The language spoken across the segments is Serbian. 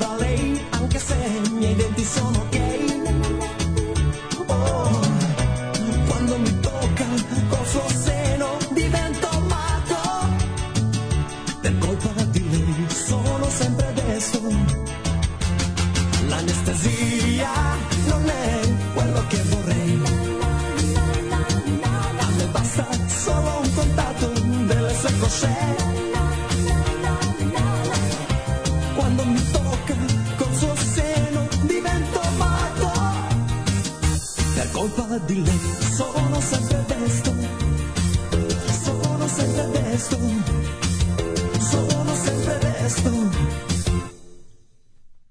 Oh,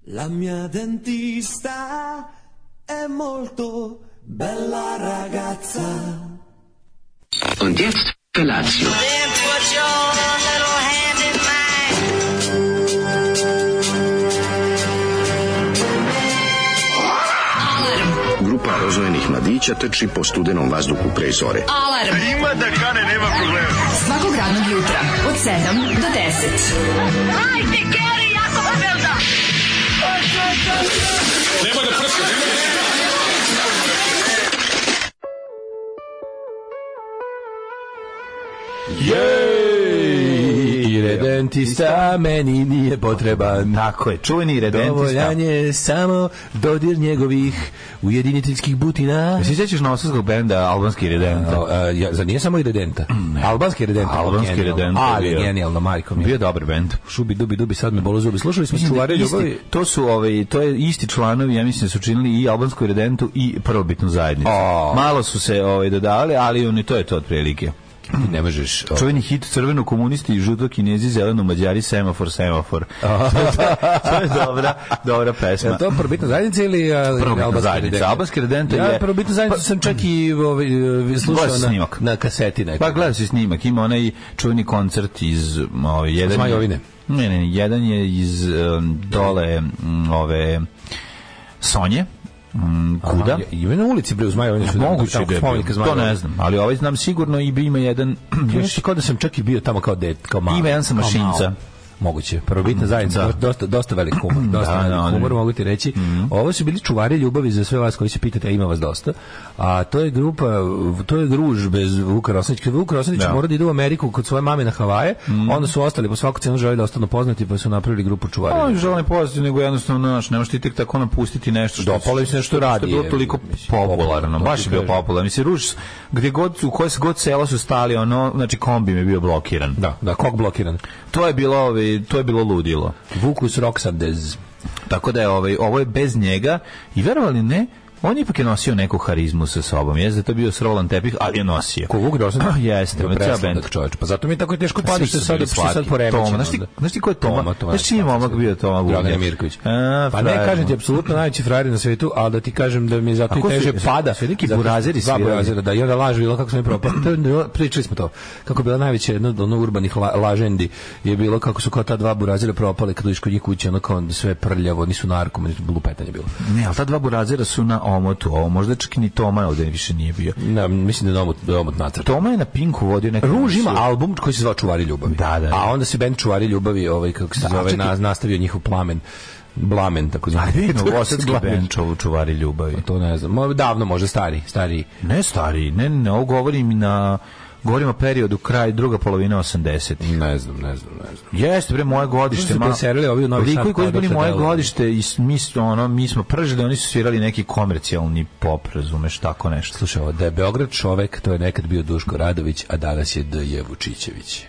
La mia dentista è molto bella ragazza. Und jetzt Felatio. Then put your little hand in mine. Grupa rozvojenih mladića trči po studenom vazduhu pre zore. Alarm. Ima da kane, nema problema. Svakog radnog jutra, od 7 do 10. Jej! Redentista meni nije potreban. Tako je, čuveni redentista. Dovoljan je samo dodir njegovih ujediniteljskih butina. Se sjećaš nosovskog benda Albanski e, redenta? A, a, ja, zar nije samo i redenta? Albanski redenta. Mm, Albanski genijalno. Redenta Ali bio. je genijalno, majko mi. Bio je dobar bend. Šubi, dubi, dubi, sad me bolo zubi. Slušali smo čuvare Isti- ljubavi. to su ovaj to je isti članovi, ja mislim da su činili i albansku redentu i prvobitnu zajednicu. A. Malo su se ovaj dodavali, ali oni to je to otprilike. Ti ne možeš... o, Čuveni hit crveno komunisti i žuto kinezi, zeleno mađari, semafor, semafor. to je dobra, dobra pesma. Je to probitna zajednica ili a, Prvobitna albanska zajednica. redenta? Albanska redenta ja, je- Pa- probitna zajednica sam čak i ovaj, e, Gledao slušao si na, snimak. na kaseti nekako. Pa gledao si snimak, ima onaj čuveni koncert iz m, ovaj, jedan... Zmajovine. Ne, ne, jedan je iz em, dole m, ove Sonje, m, Pa, kuda. Aha, je- Ima na ulici, bre, u Zmajovini. su- Moguće tamo da je bio, spomenik to Zmajovini. ne znam, ali ovaj znam sigurno i bi ima jedan Ja još mislim kao da sam čak i bio tamo kao det, kao mali. Ima jedan sa kao mašinca. Mm, mao. Moguće. Prvobitna zajednica, Da. Mm, dosta, dosta velik humor. Dosta Da, Mm. velik da, humor, da. mogu ti reći. Ovo su bili čuvari ljubavi za sve vas koji se pitate, a ima vas dosta. A to je grupa, to je gruž bez Vuka Rosnić. Kad Vuk Rosnić Da. Mm. mora da ide u Ameriku kod svoje mame na Havaje, onda su ostali po svaku cenu želi da ostanu poznati, pa su napravili grupu čuvari. On žele pozitiv, nego jednostavno, znaš, ne možeš ti tek tako napustiti nešto što... Dopalo im se nešto radi, Što je bilo je, toliko mislim, popularno, popularno, to baš ti je bio kažem. popularno. Mislim, Ruž, gdje god, u koje god sela su stali, ono, znači, kombi mi je bio blokiran. Da, da, kog blokiran. To je bilo, ovaj, to je bilo ludilo. Vukus Roxadez. Tako da je ovaj, ovo je bez njega i verovali ne, on je ipak je nosio neku harizmu sa sobom. Jeste to je bio srolan tepih, ali je nosio. Ko Vuk Rosnić? Pa, Jeste, Do ma, ceo presladak, bend. čovječe. Pa zato mi je tako teško Svi padiš su što sad, bili što je sad slatki. poremećeno. Toma, znaš ti, onda. znaš ti ko je Toma? znaš čiji je momak bio Toma Dragan Vugljaš? Mirković. A, pa ne, frajer. kažem ti, apsolutno najveći frajer na svetu, ali da ti kažem da mi je zato A i ko su- teže jesu- pada. su neki Zato što- burazeri Dva svirali? burazera, da, i onda lažu, bilo kako sam mi propao. To je bilo- Pričali smo to. Kako je bila najveća jedna od ono urbanih la, lažendi je bilo kako su kao ta dva burazera propali kad dođeš kod njih kuće, ono kao sve prljavo, nisu narkomani, lupetanje bilo. Ne, ali ta dva burazera su na omotu. Ovo možda čak ni Toma ovdje više nije bio. Na, mislim da je omot, da je omot nacrt. Toma je na Pinku vodio neku... Ruž ima emisiju. album koji se zvao Čuvari ljubavi. Da, da, da. A onda se bend Čuvari ljubavi, ovaj kako se zove, čekaj. na, nastavio njihov plamen, blamen tako A zvani. vidi, novosadski Blamen. band čov- čuvari ljubavi. To ne znam. Mo- Davno možda stari, stari. Ne stari, ne, ne, ovo govorim na... Govorim o periodu kraj, druga polovina 80. Ne znam, ne znam, ne znam. Jeste bre moje godište, Su se preselili ovi u Novi Likovi Sad, koji su kao bili Dr. moje Delano. godište i s- mi smo ono mi smo pržili, oni su svirali neki komercijalni pop, razumeš, tako nešto. Slušaj, ovo, da je Beograd čovek, to je nekad bio Duško Radović, a danas je D.J. Vučićević.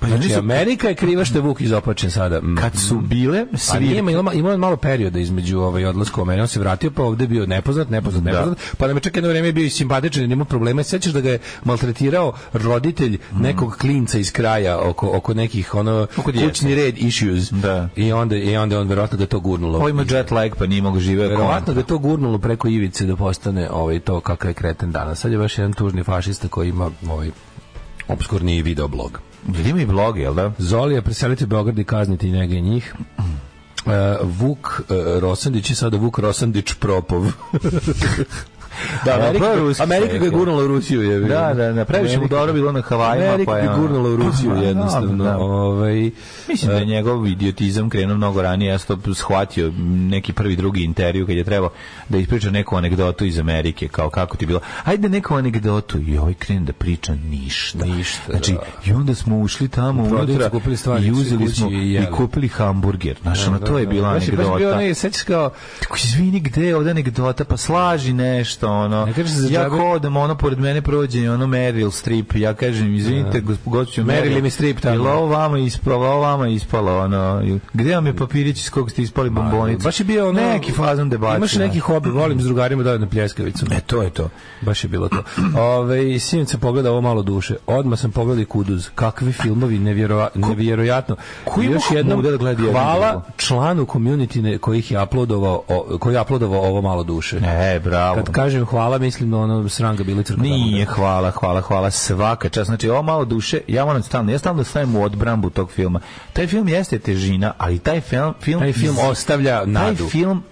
Pa Znači, nisu- Amerika je kriva što je Vuk izopačen sada. Mm. Kad su bile Pa nije, svirke, ima, ima, ima on malo perioda između ovaj odlaska u Ameriku, on se vratio pa ovde je bio nepoznat, nepoznat, nepoznat. Pa nam je čak jedno vreme bio i simpatičan, nema problema. Sećaš da ga je maltretirao roditelj nekog klinca iz kraja oko oko nekih ono Mhm. Oko djece. kućni red issues. Da. I onda i onda je on verovatno ga to gurnulo. ovo ima jet lag, pa nije mogu živeo Verovatno kontra. da je to gurnulo preko ivice da postane ovaj to kakav je kreten danas. Sad je baš jedan tužni fašista koji ima ovaj obskurni videoblog. Jel ima i blog, jel da? Zolija preseliti u Beograd i kazniti njega i njih. E, Vuk e, Rosandić je sada Vuk Rosandić Propov. da, Amerika, prvo ruski Amerika ga je čovjek, gurnula u Rusiju. Je, Da, da, da, previše mu dobro bilo na Havajima, Amerika pa je ga je ono- gurnula u Rusiju Pa, da, jednostavno. da. Ovaj, Mislim da je njegov idiotizam krenuo mnogo ranije, ja sam to shvatio neki prvi, drugi intervju kad je trebao da ispriča neku anegdotu iz Amerike, kao kako ti je bilo, ajde neku anegdotu i ovaj krenu da priča ništa. Ništa, Znači, da. i onda smo ušli tamo prodavnicu unutra kupili stvari, i išli uzeli kući smo i i, jeli. kupili hamburger. Znaš, ono, to je bila Baš je- anegdota. Baš je bio onaj, sećaš kao, Tako, izvini, gde je ovdje anegdota, pa slaži nešto, ono, Ne kažeš za ja džabe- ko odem, ono, pored mene prođe, ono, Meryl Strip, ja kažem, izvinite, gosp- gospođo Meryl Meryl, im je Streep tamo. jel ovo vama ispalo, ovo vama ispalo, ono, jel- gde vam je papirić iz kog ste ispali bombonicu? Baš je bio ono... Neki fazon debacina. Imaš neki hobi, volim s drugarima da na pljeskavicu. E, to je to. Baš je bilo to. Ove, sinoć sam pogledao ovo malo duše. Odmah sam pogledao i Kuduz. Kakvi filmovi, nevjerova, nevjerojatno. ko I ima još jednom, muda da gleda jedno hvala drugo? članu community ne- kojih je uploadovao, o- koji je uploadovao ovo malo duše. E, bravo. Kad kažem hvala, mislim na ono sranga bili crkva. Nije, hvala, hvala, hvala, svaka čast. Znači, ovo malo duše, ja moram stalno, ja stalno stavim u odbrambu tog filma. Taj film jeste težina, ali taj film... film Taj film ostavlja nadu. Taj film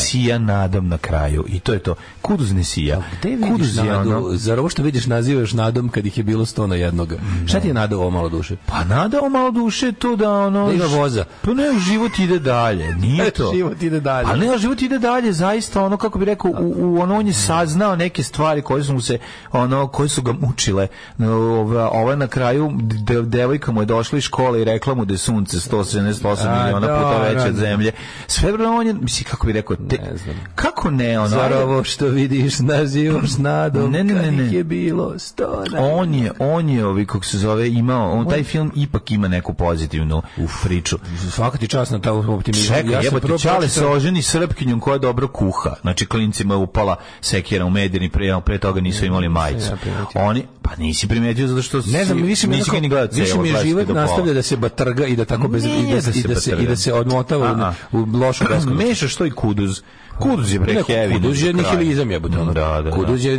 sija nadom na kraju i to je to. Kuduz ne sija. Gde vidiš Kuduz je nadu? ono- Zar ovo što vidiš nazivaš nadom kad ih je bilo sto na jednoga? Šta ti je nada ovo malo duše? Pa nada o malo duše to da ono... Da ima voza. Pa ne, život ide dalje, nije to. Život ide dalje. Ali ne, život ide dalje, zaista, ono, kako bi rekao, u, u- ono, on je saznao neke stvari koje su mu se, ono, koje su ga mučile. Ova, ova na kraju, de, devojka mu je došla iz škole i rekla mu da je sunce 178 A, miliona da, puta veće da, od da. zemlje. Sve bre, on je, misli, kako bi rekao, te, Ne znam. kako ne, ono, Zar ajde, ovo što vidiš nazivaš nadom Ne, ne, ne, kad ne. ih je bilo sto na on je, on je, ovi, kako se zove, imao, on, taj film ipak ima neku pozitivnu priču. Svaka ti čast na taj optimizam. Čekaj, sam jebote, prvo Čale se pročitao- oženi srpkinjom koja dobro kuha. Znači, klincima je upala sekira u medijini, pre, pre toga nisu imali majicu. ja primetio. Oni, pa nisi primetio zato što Ne znam, si- više mi nisi ga nekako- ni gledao više celo, mi je gledaš ti život do pola. nastavlja da se batrga i da tako bez i Nije da, se- i da se i da se batrga. odmotava A, u, u lošu beskonačnost. Meša što i kuduz. Kuduz je bre Ne, heavy. Kuduz je do kraja. nihilizam, jebote. ono. Da, da, da. Kuduz je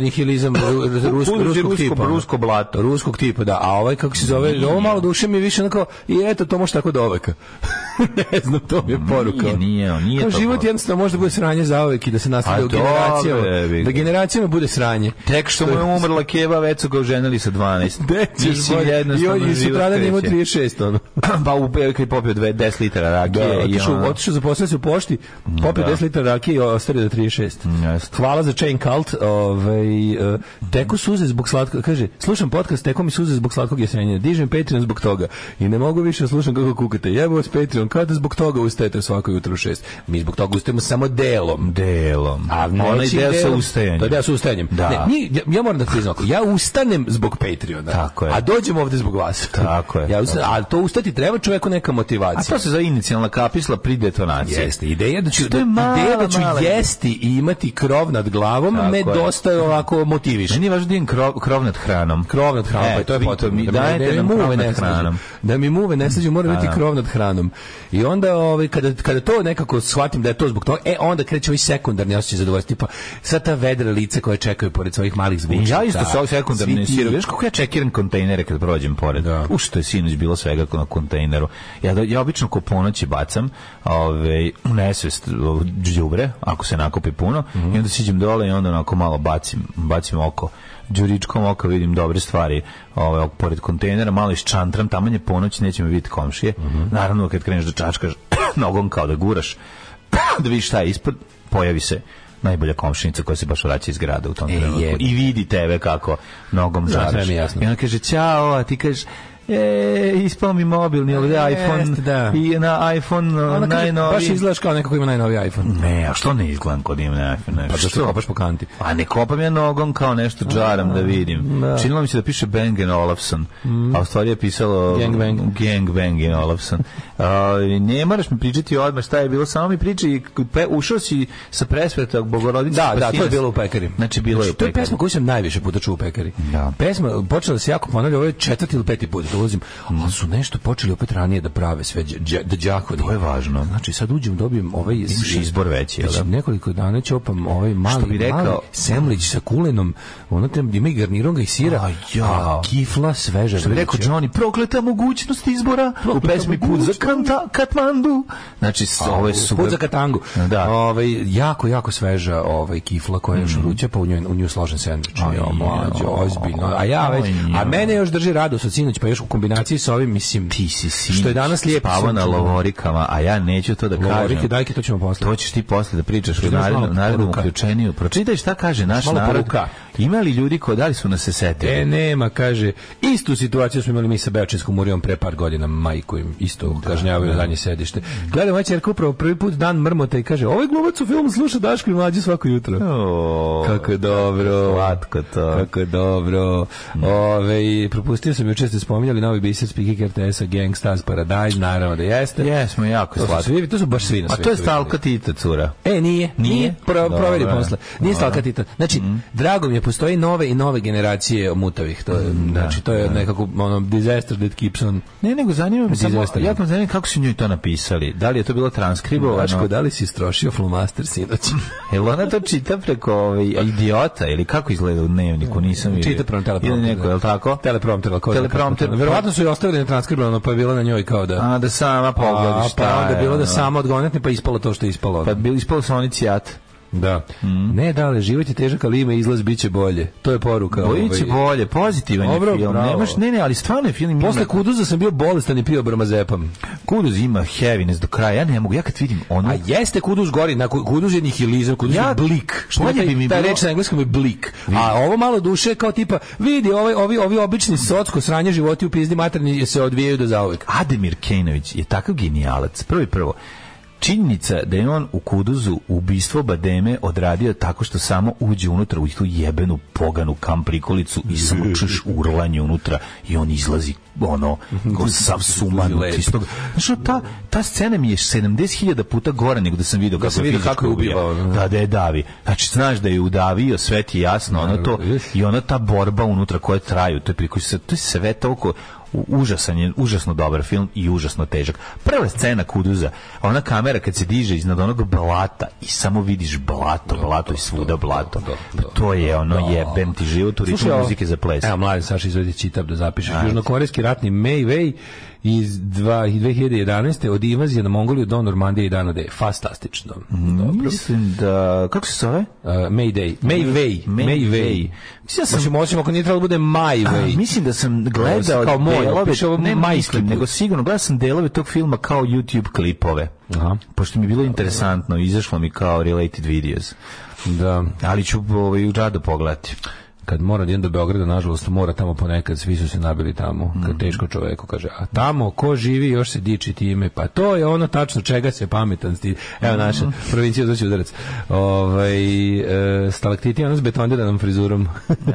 nihilizam ru- ru- Kuduz je ruskog, ruskog rusko- tipa. ono. rusko blato. Ruskog tipa, da. A ovaj, kako se zove, ovo malo duše mi je više onako, i eto, to može tako do oveka. ne znam, to mi je poruka. Nije, nije, nije Kao to život poruka. jednostavno može da bude sranje za ovek i da se nastavlja A u generacijama. dobro, jebi ga. Da generacijama bude sranje. Tek što mu je umrla keva, već su ga oženili sa 12. Gde ćeš Mislim, bolje? I jednostavno on je život sutradan imao kreće. 36, ono. Pa u Belka je popio dve- 10 litara Da, rakije. i otišao, ono- otišao zaposlio se u pošti, popio Da. 10 litara rakije i ostario da 36. Jeste. Hvala za Chain Cult. Ovaj, eh, teku suze zbog slatkog, kaže, slušam podcast, teku mi suze zbog slatkog jesenja. Dižem Patreon zbog toga. I ne mogu više da slušam kako kukate. Jebo vas Patreon, kao da zbog toga ustajete svako jutro u 6. Mi zbog toga ustajemo samo delom. Delom. A onaj nečim deo sa delom- ustajanjem. To je deo sa ustajanjem. Da. Ne, mi, ja, ja moram da priznam, ovako, ja ustanem zbog Patreona, Tako je. a dođem ovde zbog vas. Tako je. Ja ustanem, ali to ustati treba čoveku neka A motivacija. to se zove inicijalna kapisla pri detonaciji. Jeste, ideja da ću, Što da, je mala, ideja da ću mala ideja. jesti i imati krov nad glavom Tako me je. dosta ovako motiviše. Meni je važno da imam krov, krov nad hranom. Krov nad hranom, E, pa i to je vi to potrebno. mi Da mi- dajete da mi nam muve krov nad ne snađu. hranom. Da mi muve ne snađu, mora biti krov nad hranom. I onda ovaj, kada, kada to nekako shvatim da je to zbog toga, e, onda kreće ovaj sekundarni osjećaj zadovoljstva. Tipa, sva ta vedra lica koje čekaju pored svojih malih I zvučica. ja isto sa ovog sekundarne svi ti- sirup. Viš kako ja čekiram kontejnere kad prođem pored. Da. U što je sinoć bilo svega na kontejneru. Ja, da- ja obično ko ponoći bacam ove, u nesvest o, đubre, ako se nakupi puno, i onda siđem dole i onda onako malo bacim, bacim oko đuričkom oka vidim dobre stvari ovaj, pored kontejnera, malo iščantram, taman je ponoć, neće me vidjeti komšije. Naravno, kad kreneš da čačkaš nogom kao da guraš, da vidiš šta je ispod, pojavi se najbolja komšinica koja se baš vraća iz grada u tom trenutku. jebi. I vidi tebe kako nogom sve žaraš. mi je jasno. I ona kaže, ćao, a ti kažeš, e, ispao mi mobilni, ali iPhone, Jeste, E, da. i na iPhone Ona ona kaže, najnoviji. baš izgledaš kao neko ko ima najnoviji iPhone. Ne, a što ne izgledam kod imam na iPhone? Pa zašto Što? kopaš po kanti? A ne kopam ja nogom kao nešto džaram da vidim. Činilo mi se da piše Bang Olufsen, a u stvari je pisalo Mm. Gang bang. Gang Bang and Olufsen. A, ne moraš mi pričati odmah šta je bilo, samo mi priči, i pe- ušao si sa presvetog Bogorodice. Da, da, to je Spasitelja. bilo u pekari. Pa Znači, bilo je u To je pekari. pesma koju sam najviše puta čuo u pekari. Da. Pesma počela da se jako ponavlja, ovo je četvrti ili peti put da ulazim, Mm. ali su nešto počeli opet ranije da prave sve dž- dž- da đakovi. To je važno. Znači sad uđem, dobijem ovaj Imaš izbor veći, jel Već da? nekoliko dana ćopam ovaj mali, bi rekao- mali semlić sa kulenom, ono tem ima i garnirom ga i sira, A, jao. a kifla sveža. Što bi rekao vruća. Johnny, prokleta mogućnost izbora u pesmi Put za Kanta- Katmandu. Znači, s- ovo je super. Put za katangu. Da. Mhm. Ovaj, jako, jako sveža ovaj, kifla koja je još vruća, pa u njoj, u nju složen sandvič. Aj, Ja, mlađo, jao. ozbiljno. A ja već, Aj, jao. a mene još drži radost od sinoć, pa još kombinaciji sa ovim, mislim, Ti si sin. Što je danas lijep Spava na sunčano. lovorikama, a ja neću to da Lovorike, kažem. dajke, to ćemo posle. To ćeš ti posle da pričaš u Čitaš narednom, malo narednom poruka. uključeniju. Pročitaj šta kaže naš Malo narod. poruka. Ima li ljudi koji da li su nas se setili? E, nema, kaže, istu situaciju smo imali mi sa Beočinskom murijom pre par godina, majku im isto kažnjavaju na danje sedište. Gledam, moja čerka upravo prvi put dan mrmota i kaže, ovaj glumac u filmu sluša Daško i mlađe svako jutro. O, Kako je dobro. Slatko to. Kako je dobro. Ove, i propustio sam juče ste spominjali novi biser Speaking RTS-a Gangstas Paradise, naravno da jeste. Jesmo jako To su, slatki. svi, to su baš svi na A to je svetu Stalka Tita cura. E, nije. Nije? Pro, Dobro. proveri posle. Nije Dobro. stalka Tita. Znači, drago mi je, postoji nove i nove generacije mutavih. To je, znači, to je nekako ono, disaster that keeps on... Ne, nego zanima me samo, Disaster. jako me zanima kako su njoj to napisali. Da li je to bilo transkribovano? Daško, da li si strošio flomaster sinoć? Jel ona to čita preko ovaj, idiota ili kako izgleda u dnevniku, nisam vidio. Čita prema Ili teleprompteru. neko, jel tako? Teleprompter, ali ko zna kako Teleprompter. to- Verovatno su i ostavili netranskribovano, pa je bilo na njoj kao da... A, da sama A, pogledi šta pa onda je, bilo da ono. samo odgonetne, pa ispalo to što je ispalo. Pa mm. bili ispali su oni cijat. Da. Ne, dale, život je težak, ali ima izlaz, bit će bolje. To je poruka. Bojit će ovaj. bolje, pozitivan je Dobro, film. bravo. Nemaš, ne, ne, ali stvarno je film. Posle ima- kuduza sam bio bolestan i pio bramazepam. Kuduz ima heaviness do kraja, ja ne mogu, ja kad vidim ono... A jeste kuduz gori, na ku- kuduz je nihilizam, kuduz Ja- je blik. Što bolje je bi mi ta bilo- reč na engleskom je blik. A ovo malo duše je kao tipa, vidi, ovi, ovi, ovi obični socko sranje životi u pizdi materni se odvijaju do zauvek. Ademir Kejnović je takav genijalac. Prvo i prvo, činjenica da je on u Kuduzu ubistvo Bademe odradio tako što samo uđe unutra u tu jebenu poganu kam prikolicu i samo čuješ urlanje unutra i on izlazi ono ko sav suman Lep. Znaš, ono, ta, ta scena mi je 70.000 puta gore nego da sam vidio kako, sam vidio fizički kako je ubivao, ubija. da. Da, da je davi. Znači, znaš da je udavio, sve ti je jasno, ono to, i ona ta borba unutra koja traju, to je, priko, to je sve toliko u- užasan je, užasno dobar film i užasno težak. Prva scena Kuduza, ona kamera kad se diže iznad onog blata i samo vidiš blato, blato i svuda blato. Pa to je ono jebem ti život u ritmu ovo. muzike za ples. Evo, mladen Saša izvedi čitab da zapišeš. Južnokorejski ratni Mei Wei iz dva- 2011. od invazije na Mongoliju do Normandije i Danode. Fantastično. Mhm. Dobro. Mislim da, kako se zove? Uh, Mayday. May Way. May May Way. Way. Mislim da sam... Možemo, osim ako nije trebalo da bude My A, Way. Ah, mislim da sam gledao Kao moj, delove, piše ovo ne majski mislim, put. nego sigurno gledao sam delove tog filma kao YouTube klipove. Aha. Pošto mi je bilo interesantno, izašlo mi kao related videos. Da. Ali ću ovaj, u rado pogledati. kad mora da idem do Beograda, nažalost mora tamo ponekad, svi su se nabili tamo, Mhm. kad teško čoveku kaže, a tamo ko živi još se diči time, pa to je ono tačno čega se pametan sti. Evo naša Mhm. provincija zvuči udarac. Ovaj e, stalaktiti ono s betondiranom frizurom.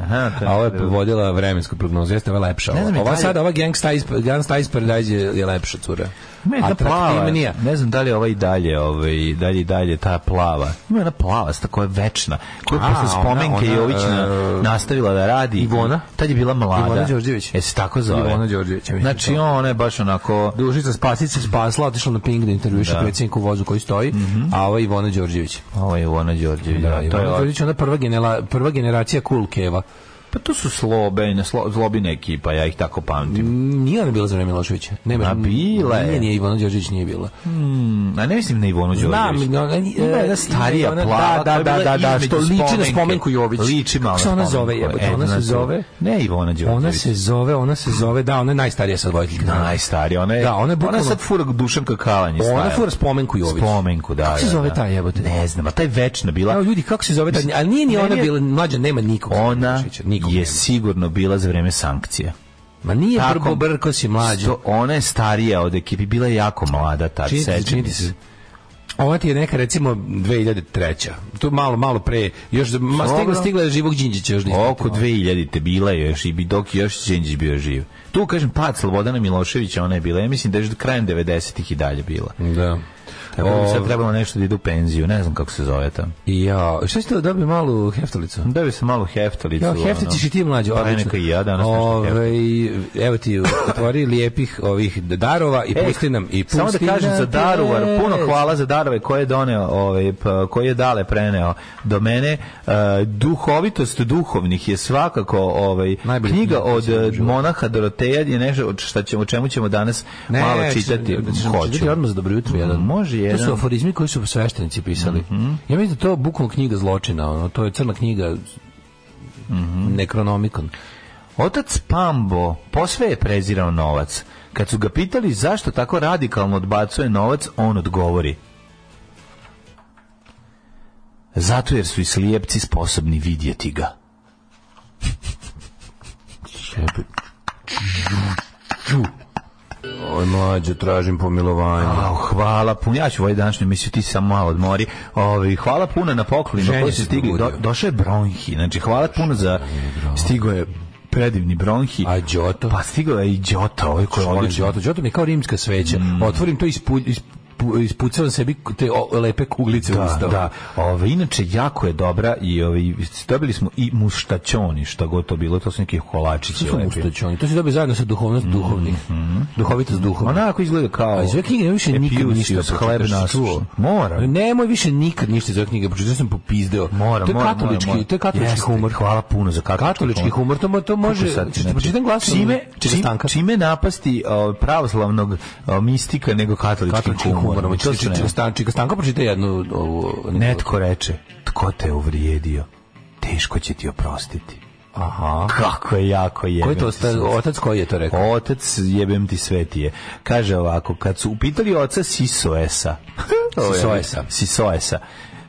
Aha, to je a ovo je dobro. povodila vremensku prognozu. Jeste, ova je lepša. Ne znam, Ova, ova Italija- sada, ova Gangsta iz, Gangsta iz Paradise je, je lepša cura. Ima jedna plava, Atraktivnija. ne znam da li je ova i dalje, ovaj, dalje i dalje ta plava. Ima jedna plava, sta koja je večna, koja je A, posle spomenke ona- ona, Jović na- e, nastavila da radi. Ivona? Tad je bila mlada. Ivona Đorđević. E se tako zove? Ivona Đorđević, ja mislim Znači, ona je baš onako... Dužica Spasić se spasla, otišla na Ping da intervjuiše predsjedniku vozu koji stoji, a ovo je Ivona Đorđević. Ovo je Ivona Đorđević. Da, Mhm. to je Ivana ova- Đorđević je ona prva, genela, prva generacija cool keva. Pa to su slobe, ne, slo, zlobine ekipa, ja ih tako pamtim. Nije ona bila za vreme Miloševića. Nema, A bila je. Nije, nije, Ivana Đorđević nije bila. A ne mislim na Ivonu Znam, Đorđević. ona- Ima jedna e, starija ona- plava, da, koja da, je bila da, da, između što liči na spomenke. spomenku Jović. Liči malo Kako se ona na spomenku. zove, jebote, ona Edna se Cu- zove- Ne Ivona Đorđević. Ona se zove, ona se zove, da, ona je najstarija sa dvojiteljka. najstarija, ona je Da, ona je ona bukvalno- sad fura Dušanka Kalanj je Ona stajala. fura spomenku Jović. Spomenku, da. Kako se da, zove da. ta jebote? Ne znam, a taj večna bila. Evo ljudi, kako se zove ta, ali nije ni Meni ona je- bila, mlađa nema nikog. za Ona Miloševića, nikog je nema. sigurno bila za vreme sankcija. Ma nije Tako- brko brko si mlađa. Sto- ona je starija od ekipi, bila je jako mlada tad, Čini ti se, sećam čini ti se. se. Ova ti je neka recimo 2003. Tu malo, malo pre, još za- ma, stigla, Dobro. stigla je živog Đinđića još nisam Oko 2000-te bila je još i bi dok je još Đinđić bio živ. Tu kažem pad Slobodana Miloševića, ona je bila, ja mislim da je još do krajem 90-ih i dalje bila. Da. Tako da bi sad O, trebalo nešto da ide u penziju, ne znam kako se zove tam. I ja, šta ćete da dobijem malu heftalicu? Da bi se malo heftalicu. Ja, heftalić i ti mlađo, Pa odlično. neka i ja danas nešto Ovaj, evo ti otvori lijepih ovih darova i E, pusti nam i pusti Samo da kažem nam za te. Daruvar, puno hvala za darove koje je doneo, ovaj, pa, koje je dale preneo do mene. E, duhovitost duhovnih je svakako ovaj, Najbolja knjiga knjiga od koju sam e, čitao. monaha Doroteja je nešto od šta ćemo, o čemu ćemo danas Ne, malo ćemo- čitati. ćemo Hoću. čitati odmah za dobro jutro jedan. Može jedan. To su aforizmi koji su sveštenici pisali. Mhm. Ja mislim da je to Mhm. bukvalno knjiga zločina, ono, to je crna knjiga nekronomikon. Otac Pambo posve je prezirao novac. Kad su ga pitali zašto tako radikalno odbacuje novac, on odgovori. Zato jer su i slijepci sposobni vidjeti ga. Oj, mlađo, tražim pomilovanje. Au, hvala puno. Ja ću ovaj današnju emisiju, ti samo malo odmori. Ovi, hvala puno na poklonima Ženje koji su se stigli. Do, probudio. došao je Bronhi. Znači, hvala puno za... Stigo je predivni Bronhi. A Đoto? Pa stigao je i Đota, ovaj koji je Volim odličan. Đoto. Đoto mi je kao rimska sveća. Mm. Otvorim to i ispu- ispu- ispucavam sebi te o- lepe kuglice u Da, ustavu. Pa, da. Ove, inače, jako je dobra i ovi, dobili smo i muštačoni, šta god to bilo, to su neki kolačići. To su lepi. Mm-hmm. muštačoni. To se dobije zajedno sa duhovnost duhovnih. Duhovitost duhovnih. Onako izgleda kao... A iz ove knjige ne više nikad Epiusiju ništa sa pročitaš, hlebna čuo? suša. Moram. Nemoj više nikad ništa iz ove knjige, pročitao sam popizdeo. Moram, to je moram, katolički, moram, moram. to je katolički Jeste, humor. Hvala puno za katolički, Katolički humor, to, mo- to može, Kako sad, ćete znači, pročitam glasom čime, Čime čim, Stanka? čime napasti o, pravoslavnog o, mistika nego katolički, Katolički humor, humor. moći To su ne- čita Stanka, Stanka pročita jednu ovu... Netko reče, tko te je uvrijedio, teško će ti oprostiti. Aha. Kako je jako je. Ko je to, osta- otac koji je to rekao? Pa Otac jebem ti sveti je. Kaže ovako, kad su upitali oca Sisoesa. Sisoesa. Sisoesa.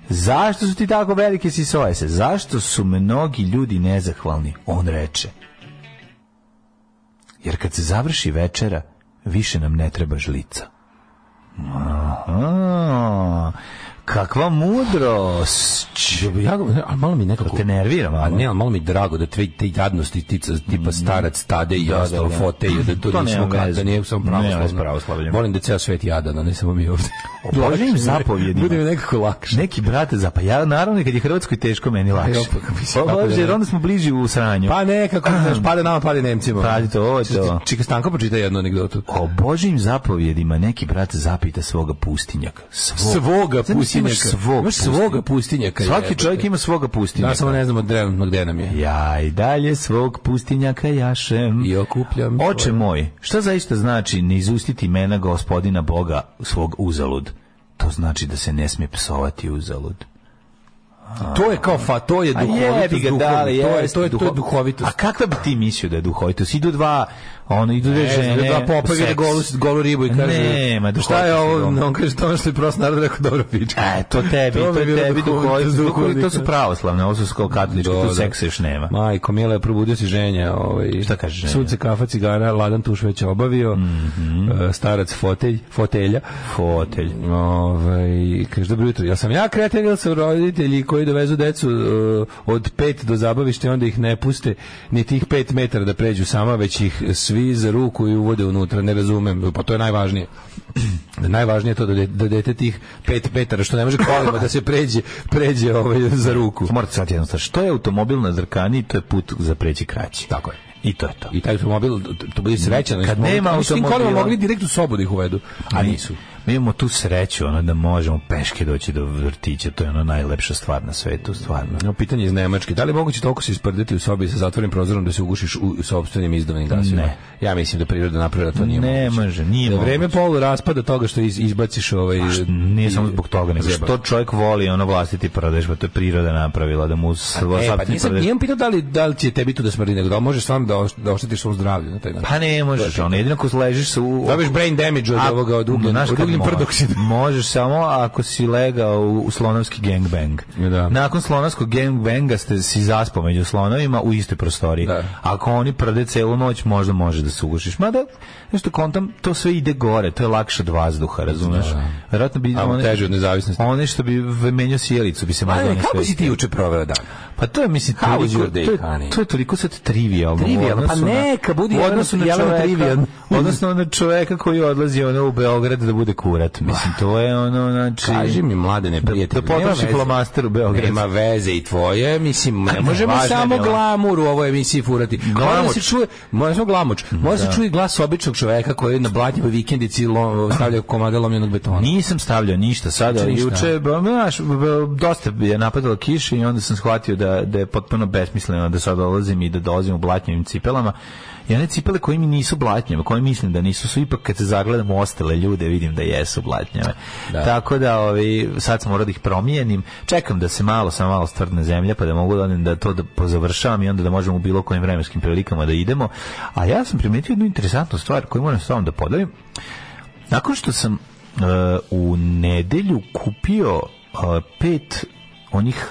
Zašto su ti tako velike Sisoese? Zašto su mnogi ljudi nezahvalni? On reče. Jer kad se završi večera, više nam ne treba žlica. Aha. Kakva mudrost. Ja, ali malo mi nekako... Te nervira ono. malo. A ne, ali malo mi je drago da te, te jadnosti tica, tipa starac Tade i ostalo Mm. da. fote, da to, To nismo nema kada, veze. da nije samo Nema pravoslavno. s pravoslavljem. Volim da je ceo svet jadan, a ne samo mi ovdje. Božim zapovjedima. Bude mi nekako lakše. Neki brate za pa ja naravno i kad je Hrvatskoj teško meni lakše. Evo, pa, mislim, Pa, kako da Jer ne. onda smo bliži u sranju. Pa nekako, znaš, pada nama, pada Nemcima. Radite ovo, je to. Čika Stanko pročita jednu anegdotu. O Božim zapovjedima neki brat zapita svoga pustinjaka. Svog. Svoga Znaš, imaš pustinjaka. svog Imaš svoga pustinjaka. Svaki jebote. čovjek ima svoga pustinjaka. Da, samo ne znamo drevno gde nam je. Ja i dalje svog pustinjaka jašem. I okupljam Oče svoje. moj, šta zaista znači ne izustiti imena gospodina Boga svog uzalud? To znači da se ne smije psovati uzalud. To je kao fa, to je A Pa jebi duhovitost. ga, duhovna. da, ali to je, jeste to je, to je duho- duhovitost. A kakva bi ti mislio da je duhovitost? Idu dva, ono, idu dve žene. Ne, da popa vidi seks. golu, golu ribu i kaže "Pa Ne, ma šta duhovitost je je ovo, duhovitost. on kaže to ono što je prost narod rekao dobro pička. E, to tebi, To to, bi je bilo tebi duhovitost duhovitost. duhovitost, To su duhovnika. pravoslavne, ovo su kao katoličke, Do, tu da. seksa još nema. Majko, Mila je probudio se ženja. Ovaj, Šta kaže ženja? Sunce, kafa, cigana, ladan tuš već je obavio, Mhm. e, starac fotelj, fotelja. Fotelj. Ovaj, kaže, dobro jutro, ja sam ja kreten ili su roditelji koji dovezu decu e, od pet do zabavište, onda ih ne puste ni tih pet metara da pređu sama, već ih svi za ruku i uvode unutra, ne razumem, pa to je najvažnije. Da najvažnije je to da, de, da dete tih pet metara, što ne može kolima da se pređe, pređe ovaj, za ruku. Morate sad jedno stvar, što je automobil na zrkani, to je put za preći kraći. Tako je. I to je to. I taj automobil, to bude srećan. znači, Kad nema Oni automobila- mogli direkt u sobu da ih uvedu, a nisu. Mi imamo tu sreću ono, da možemo peške doći do vrtića, to je ono najlepša stvar na svetu, stvarno. No, pitanje iz Nemačke. Da li je moguće toliko se isprditi u sobi sa zatvorenim prozorom da se ugušiš u sobstvenim izdavnim gasima? Ne. Ja mislim da priroda napravila to nije Ne moguće. može, nije Da je moguće. Pa vreme polu raspada toga što iz, izbaciš ovaj... Nije samo zbog toga, nego Zajebano. što čovjek voli ono vlastiti prdež, pa to je priroda napravila, da mu svo- E, pa vlastiti nisam, prdež- nisam pitao da li, da li će tebi tu da smrdi, nego da li možeš sam da, oš- da oštetiš svom zdravlju na taj način. Pa ne možeš, ono, jedino ako ležiš se u... Dobiješ brain damage od A, ovoga, od ugljen, znaš od kad ugljen može? prdoksida. Možeš samo ako si legao u, u slonovski gangbang. Da. Nakon slonovskog gangbanga ste si zaspao među slonovima u istoj prostoriji. Da. Ako oni prde celu noć, možda može da se ugušiš. Mada, nešto kontam, to sve ide gore, to je lakše od vazduha, razumeš? Vjerojatno bi... A, one- teže od nezavisnosti. One što bi v- menjao sjelicu bi se Pa možda ne, one kako sve- si ti juče proveo dan? Pa to je, mislim, How was toliko, your day, to, je, honey? to je toliko sad trivialno. Trivijalno, u odnosu pa na- neka, budi u odnosu na Jelena čoveka, trivijan. odnosno na čoveka koji odlazi ono u Beograd da bude kurat. Mislim, to je ono, znači... Kaži mi, mlade neprijatelj. da potroši flomaster u Beograd. Nema veze i tvoje, mislim, ne ne, možemo važno je samo bilo. glamur u ovoj emisiji furati. Mora da se Glamoč. čuje, mora samo glamuč. Mora da. se čuje glas običnog čoveka koji na blatnjivoj vikendici lo, stavlja komade lomljenog betona. Nisam stavljao ništa sada, ono. Znači ništa. juče, ba, znaš, ba, dosta je napadalo kiše i onda sam shvatio da, da je potpuno besmisleno da sad dolazim i da dolazim u blatnjivim cipelama. I one cipele koje mi nisu blatnjave, koje mislim da nisu, su ipak kad se zagledam u ostale ljude vidim da jesu blatnjave. Tako da ovi, sad sam morao da ih promijenim. Čekam da se malo, sam malo stvrdne zemlje pa da mogu da, odem da to da pozavršavam i onda da možemo u bilo kojim vremenskim prilikama da idemo. A ja sam primetio jednu interesantnu stvar koju moram s vama da podelim. Nakon što sam e, u nedelju kupio e, pet onih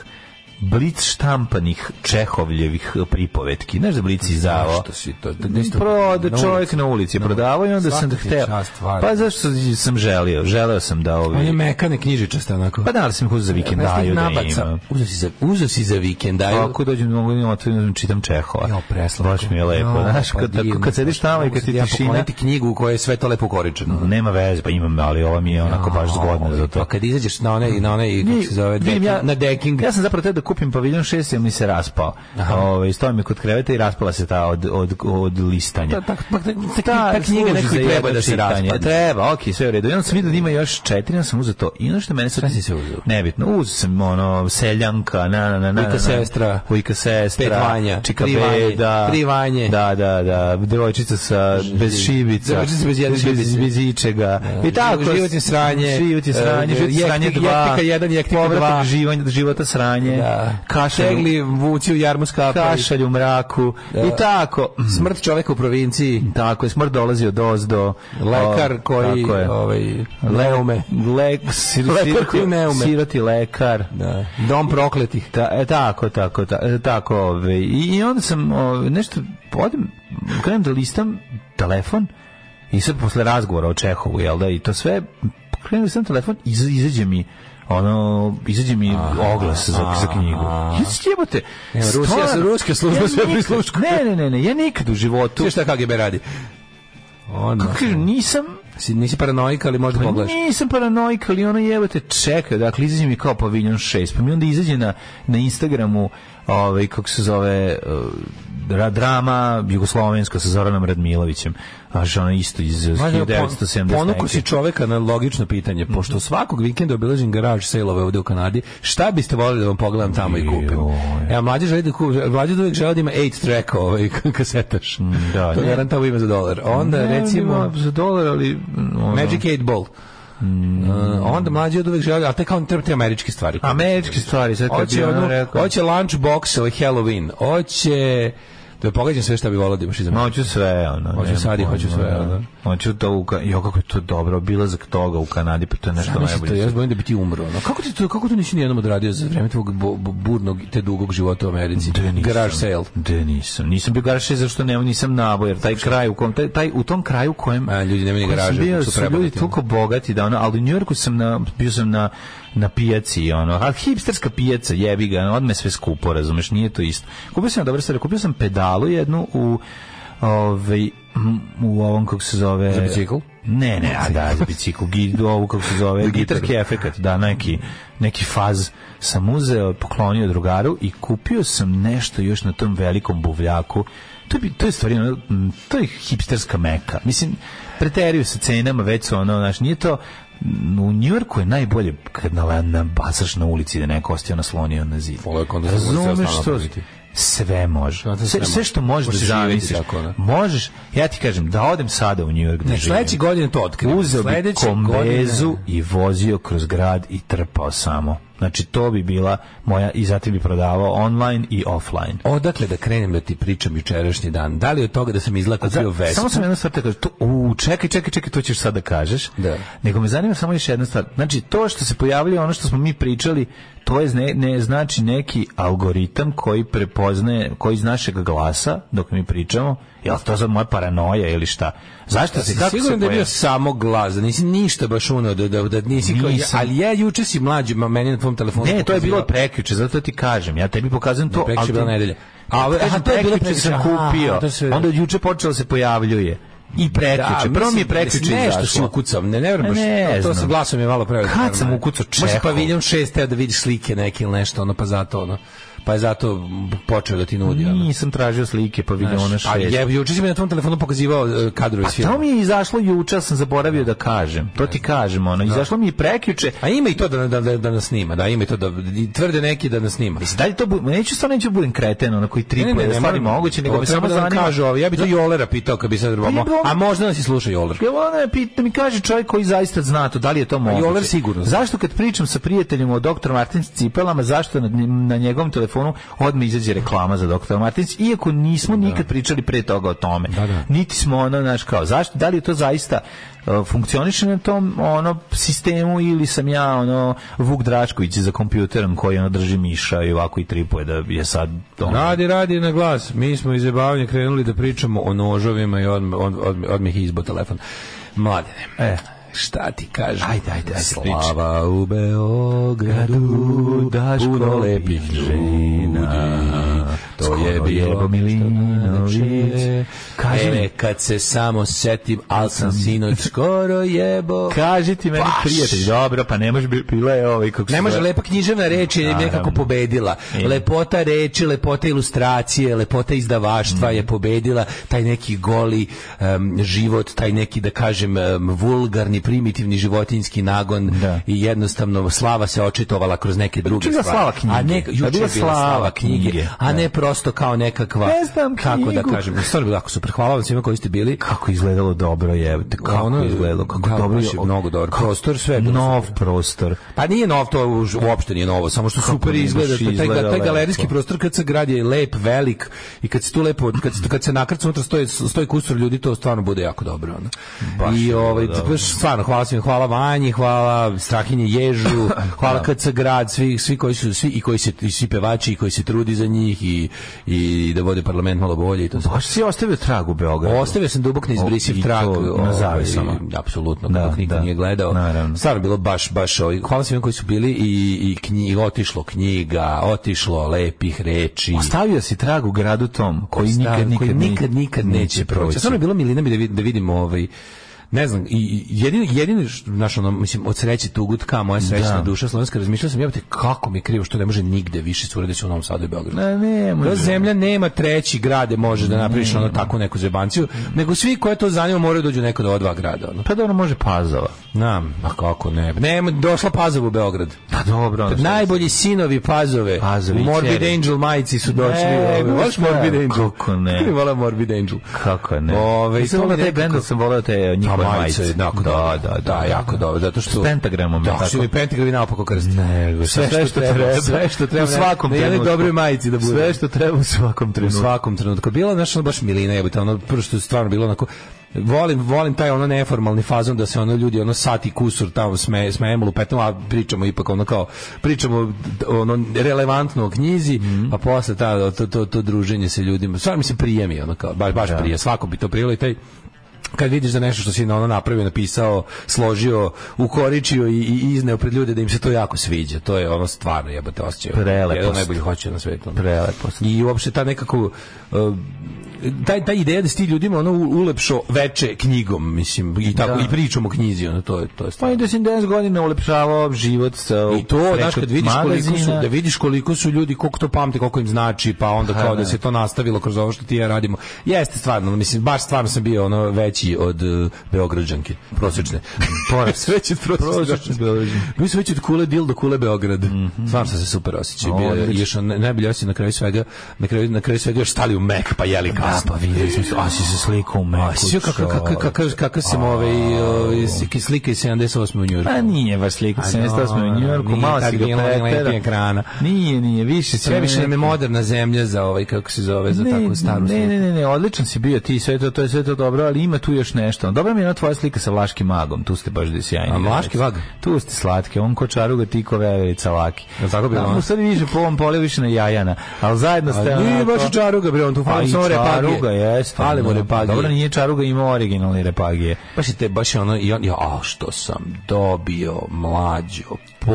blic štampanih Čehovljevih pripovetki. Znaš da blic izdavao? Zašto si to? Da- gde si to- Proda na čovjek na ulici je prodavao i onda Svaka sam da ti hteo. čast, stvarno. Pa zašto sam želio? Želeo sam da On je ovi... mekane knjižičaste onako. Pa da, ali sam ih uzeo za vikendaju da imam. Uzo si za, uzo si za vikendaju. Ako dođem mogu da imam otvorim, čitam Čehova. Jo, preslatko. Baš mi je lepo. Jo, Znaš, pa kad, divno. tako, kad sediš tamo i Mogu kad sad ti ja tišina... pokloniti knjigu u kojoj je sve to lepo ukoričeno. Nema veze, pa imam, ali ova mi je onako baš zgodna za Pa to. kad izađeš na one i na one i kako se zove, Vidim deking, ja, na deking. Ja sam zapravo teo da kupim paviljon 6, jer mi se raspao. Ovaj stojim je kod kreveta i raspala se ta od, od, od listanja. Ta- ta- ta- ta- Ta, ta služi knjiga nekoj za treba jedno da se čitanje. Pa raspadne. Treba, ok, sve u redu. I onda sam vidio da ima još četiri, onda sam uzeo to. I ono što mene sad... Šta si se uzeo? Nebitno, uzeo sam ono, seljanka, na, na, na, na. Ujka na, na. sestra. Ujka sestra. Pet vanja. Čika Tri vanje. beda. Tri vanje. Da, da, da. Devojčica sa, bez šibica. Devojčica bez jedne Bez, šibice. bez ičega. I tako. Život je sranje. Život je sranje. E, Život je jektika- sranje dva. jektika jedan, jektika Povratak dva. živanja- života sranje. Da. Kašalj, Tegli vuci u jarmu skapa. kašalj u mraku. I tako. Mm. Smrt čoveka u provinciji. Tako je, smrt dolazi od ozdo. Lekar O, koji tako je. ovaj Leume. leume. Lek, sir, Lekar siroti- koji ne ume. Siroti lekar. Da. Dom prokletih. Ta, e, tako, tako, ta, e, tako. Ove. I, I onda sam ove, nešto, odem, krenem da listam telefon i sad posle razgovora o Čehovu, jel da, i to sve, krenem da listam telefon i iza- izađe mi ono, izađe mi oglas za, za knjigu. Ja se jebate. Evo, Rusija- stvarno, ruska služba sve nikad- prisluškuje. Ne, ne, ne, ne, ja nikad u životu, Sve šta KGB radi. Ono. kažem, nisam Si, nisi paranoika, ali možda Pa pogledaš. nisam paranoik, ali ono jebate čeka, dakle izađe mi kao paviljon 6, pa mi onda izađe na, na Instagramu ovaj, kako se zove uh, ra- drama jugoslovenska sa Zoranom Radmilovićem, a ono isto iz Mlađo, pon- 1970. Ponuko si čoveka na logično pitanje, Mhm. pošto svakog vikenda obilazim garaž sejlove ovde u Kanadi, šta biste volili da vam pogledam tamo i kupim? Joj. Ja, mlađe želi da kupi, mlađe uvijek želi da ima 8 track ovaj, k- kasetaš. Mm, da, to ne. garant tamo ima za dolar. Onda, recimo, za dolar, ali ono, Magic 8 Ball. Mm. Uh, onda mlađe od uvijek želi, ali te kao ne treba te američke stvari. američke stvari, sad kad bi Hoće, ono onu, rekao hoće lunchbox ili Halloween. Hoće... Da pogađam sve šta bi volao da imaš iza Ma mene. hoću sve, ono. Hoću nemam sad i pojma, hoću sve, da. ono. Hoću to u... Ka- Jo, kako je to dobro, obilazak toga u Kanadi, pa to je nešto Zamisli to, najbolje. ja se bojim da bi ti umro. ono. Kako ti to, kako to nisi nijednom odradio za vreme tvog bu- bu- burnog te dugog života u Americi? Da nisam. Garage sale. Da nisam. Nisam bio garage sale zašto nema nisam nabo jer taj kraj u kom taj, taj u tom kraju u kojem A, ljudi nemaju ni u kojem sam garaže, bio, su su prebogati, ljudi ono. toliko bogati da ono, ali u Njujorku sam na bio sam na na pijaci ono, a hipsterska pijaca jebi ga, ono, odme sve skupo, razumeš, nije to isto. Kupio sam dobre stvari, kupio sam pedalu jednu u ovaj m, u ovom kako se zove Za bicikl? ne, ne, a da, za bicikl, gi- ovu kako se zove, gitarski efekat, da, neki, neki faz sam uzeo, poklonio drugaru i kupio sam nešto još na tom velikom buvljaku. To, bi, to je stvari, ono, mm, to je hipsterska meka. Mislim, preterio sa cenama, već su ono, znaš, nije to, mm, u Njujorku je najbolje kad na, na basaš na ulici da neko ostaje naslonio na ono, zid. Voleo je kod nas da se može Razumeš sve što? napraviti. Sve može. Znate, sve Sve, sve što može. možeš da Može živjeti zamisliš. tako, ono. Možeš, ja ti kažem, da odem sada u Njujork da Ne, živim. sledeće godine to otkrijem. Uzeo bi Sledeće kombezu godine. i vozio kroz grad i trpao samo. Znači, to bi bila moja, i zatim bi prodavao online i offline. Odakle da krenem da ti pričam jučerašnji dan? Da li od toga da sam izlako bio Za- vesel? Samo sam jednu stvar te kažem, to, u, čekaj, čekaj, čekaj, to ćeš sad da kažeš. Da. Nego me zanima samo još jedna stvar. Znači, to što se pojavljuje, ono što smo mi pričali, to je ne, ne znači neki algoritam koji prepoznaje, koji iz našeg glasa, dok mi pričamo, jel to sad moja paranoja ili šta? Zašto se, kako se Sigurno da je bio pojavljuje? samo glas, da nisi ništa baš uno, da, da, da nisi kao, Nisam. ali ja juče si mlađi, ma meni na tvom telefonu. Ne, to je bilo pokazivao- od prekjuče, zato ti kažem. Ja tebi pokazujem to. prekjuče ali je bila ti- nedelja. A, A, ovo- aha, kažem, to je bilo prekjuče prekjuče. sam Aha, kupio. to se- Onda od juče počelo se pojavljuje. I prekjuče. Prvo mi je mislim, prekjuče Nešto si izašlo. ukucao, ne, ne vrem baš, Ne to sa znam. glasom je malo preveliko. Kad sam ukucao Možda Čehov? paviljon šest, teo da vidiš slike neke ili nešto, ono, pa zato, ono. pa je zato počeo da ti nudi. ono. Nisam tražio slike, pa vidio ona A šest. je, juče si mi na tvom telefonu pokazivao e, kadrove iz Pa to filma. mi je izašlo juče, sam zaboravio da kažem. To ti kažem, ono, izašlo mi je prekjuče. A ima i to da, da, da, da nas snima, da ima i to da i tvrde neki da nas snima. Mislim, dalje to bu, neću stvarno neću budem kreten, ono koji tripuje, ne, ne, stvari moram- moguće, nego ovo me treba samo da vam zanima. Pa kažu, ovo, ja bi to Jolera pitao kad bi sad mo- bilo- a možda nas i sluša Joler. Jel ona je pita, mi kaže čovjek koji zaista zna to, da li je to moguće? Joler sigurno zna. Zašto kad pričam sa prijateljem o dr. Martins cipelama, zašto na, na njegovom telefonu odmah izađe reklama za dr. Martins, iako nismo nikad pričali pre toga o tome. da. Niti smo ono, znaš, kao, zašto, da li je to zaista e, funkcioniše na tom ono sistemu ili sam ja ono Vuk Drašković za kompjuterom koji ono drži miša i ovako i tripuje da je sad ono, Radi, radi na glas. Mi smo iz zabavanja krenuli da pričamo o nožovima i odmah od, od, odmah je izbo telefon. Mladene, E. šta ti kažem? Ajde, ajde, ajde, Slava u Beogradu, Daško puno lepih žena. To je Skoro jebo bilo Milinović. Kaži mi. Kaži E, kad se samo setim, al sam sinoć skoro jebo. Kaži ti meni Baš. prijatelj, dobro, pa ne može bi bila je ovaj kako se Ne može zove. lepa književna reč je Naravno. nekako pobedila. Je. Lepota reči, lepota ilustracije, lepota izdavaštva Mm. je pobedila taj neki goli em, život, taj neki da kažem em, vulgarni, primitivni životinski nagon Da. i jednostavno slava se očitovala kroz neke druge bila stvari. slava knjige. A ne, Pa juče je bila slava knjige, a da. ne prosto kao nekakva Ne znam kako da knjigu. kažem. Stvarno je bilo jako super. Hvala vam svima koji ste bili. kako izgledalo dobro je kako Ono, izgledalo kako da, dobro baš je mnogo dobro. Prostor, sve je bilo nov prostor Pa nije nov, to už- uopšte nije novo, samo što super nije, izgleda, pa baš taj, taj, izgleda taj galerijski lepo. prostor kad se grad je lep, velik i kad se tu lepo, kad se, kad se nakrca unutra stoji, stoji kusur ljudi, to stvarno bude jako dobro. Ono. Baš je I bilo ovaj, dobro. baš stvarno, hvala svim, hvala Vanji, hvala Strahinje Ježu, hvala KC Grad, svi, svi koji su, svi, i koji se, i svi pevači, i koji se trudi za njih, i, i da vode parlament malo bolje i to sve. baš Pa si ostavio trag u Beogradu Ostavio sam dubok neizbrisiv I to trag na ovaj, zavesama. Apsolutno, Da, kako niko da. nije gledao. Naravno. Stvarno je bilo baš, baš, ovaj, hvala svima koji su bili i, i knji, otišlo knjiga, otišlo lepih reči. ostavio si trag u gradu tom koji Staro, nikad nikad koji ni- nikad, nikad neće proći. Pa Stvarno je bilo milina mi da vidim, da vidim ovaj, ne znam, i- i jedino, jedino š- znaš, ono, mislim, od sreće Tugutka, moja srećna Da. duša slovenska, razmišljao sam, jebote, kako mi je krivo što ne može nigde više curede se u Novom Sadu i Beogradu. Ne, ne, može. Ta zemlja nema treći grade može da napraviš ono tako neku zebanciju, nego svi koje to zanima moraju dođu u neko od ova dva grada. Ono. pa dobro može pazova Nam, a kako ne? Nema, došla Pazova u Beograd. pa dobro ono što- Najbolji sinovi Pazove. Pazovi, u Morbid čeri. Angel majici su došli. Ne, ove, voliš šta? Morbid Angel? Kako ne? Ti vola Morbid Angel. kako ne Ove, Nisam to volio taj nekako- bend, ali sam volio te A njihove majica je majice da jednako dobra. da da jako dobro, zato što... S pentagramom, Da, tako? su mi pentagrami naopako krst. Nego, sve, što, treba, sve što treba. u svakom na jednoj trenutku. dobroj majici da bude. Sve što treba u svakom u trenutku. svakom trenutku. Bilo je nešto baš milina jebote, ono prvo što je stvarno bilo onako volim volim taj ono neformalni fazon da se ono ljudi ono sati kusur tamo sme smejemo lupetom a pričamo ipak ono kao pričamo d- ono relevantno o knjizi Mhm. a posle ta to to to druženje sa ljudima stvarno mi se prijemi ono kao baš baš prije svako bi to prijelo i taj kad vidiš da nešto što si na ono napravio, napisao, složio, ukoričio i, i izneo pred ljude da im se to jako sviđa. To je ono stvarno jebote osjećaj. Prelepost. Jedan od najboljih hoće na svetu. ono. Prelepo. I uopšte ta nekako uh, taj taj ideja da si ti ljudima ono u- ulepšo veče knjigom, mislim, i tako Da. i pričom o knjizi, ono to je to Pa je i stvarno. da si 10 godina ulepšavao život sa I to, znaš, preko kad vidiš koliko su, magazina. da vidiš koliko su ljudi, koliko to pamte, koliko im znači, pa onda kao da ne. se to nastavilo kroz ovo što ti i ja radimo. Jeste stvarno, mislim, baš stvarno sam bio ono veći od uh, Beograđanke, prosječne. Porac. veći od Prosječne Beograđanke. Mhm. Mi smo veći od kule dil do kule Beograd. Stvarno sam se super osjećao. Bio je Odlično. još on- najbolje osjećaj na kraju svega, na kraju, na kraju svega još stali u Mek, pa jeli Da, kasno. pa vidio sam se, a si se slikao u meku. Sio kakav kakav kakav kakav sam ovaj ovaj, slike- slike iz 78 u Njujorku. A nije baš slikao, A sam jeste osmo u dobro, Njujorku, nije malo tad si ga bilo ono pretera. lepih ekrana. Nije, nije, više si... Sve više nam je moderna zemlja za ovaj kako se zove za takvu staru ne, sliku. ne, ne, ne, odličan si bio ti, sve to, to je sve to dobro, ali ima tu još nešto. Dobra mi je ona tvoja slika sa Vlaškim magom, tu ste baš da sjajni. A Vlaški vag? Tu ste slatke, on ko čaruga, ti ko veverica laki. Jel tako bilo, Da, ono? u stvari više po ovom polju više na jajana, ali zajedno ste... A nije onako- baš i čaruga bre, on tu Pa fali i samo repagije. čaruga, jeste. Fali mu da. repagije. Dobro, nije čaruga, ima originalne repagije. Baš je te, baš je ono, i on, ja, a što sam dobio mlađo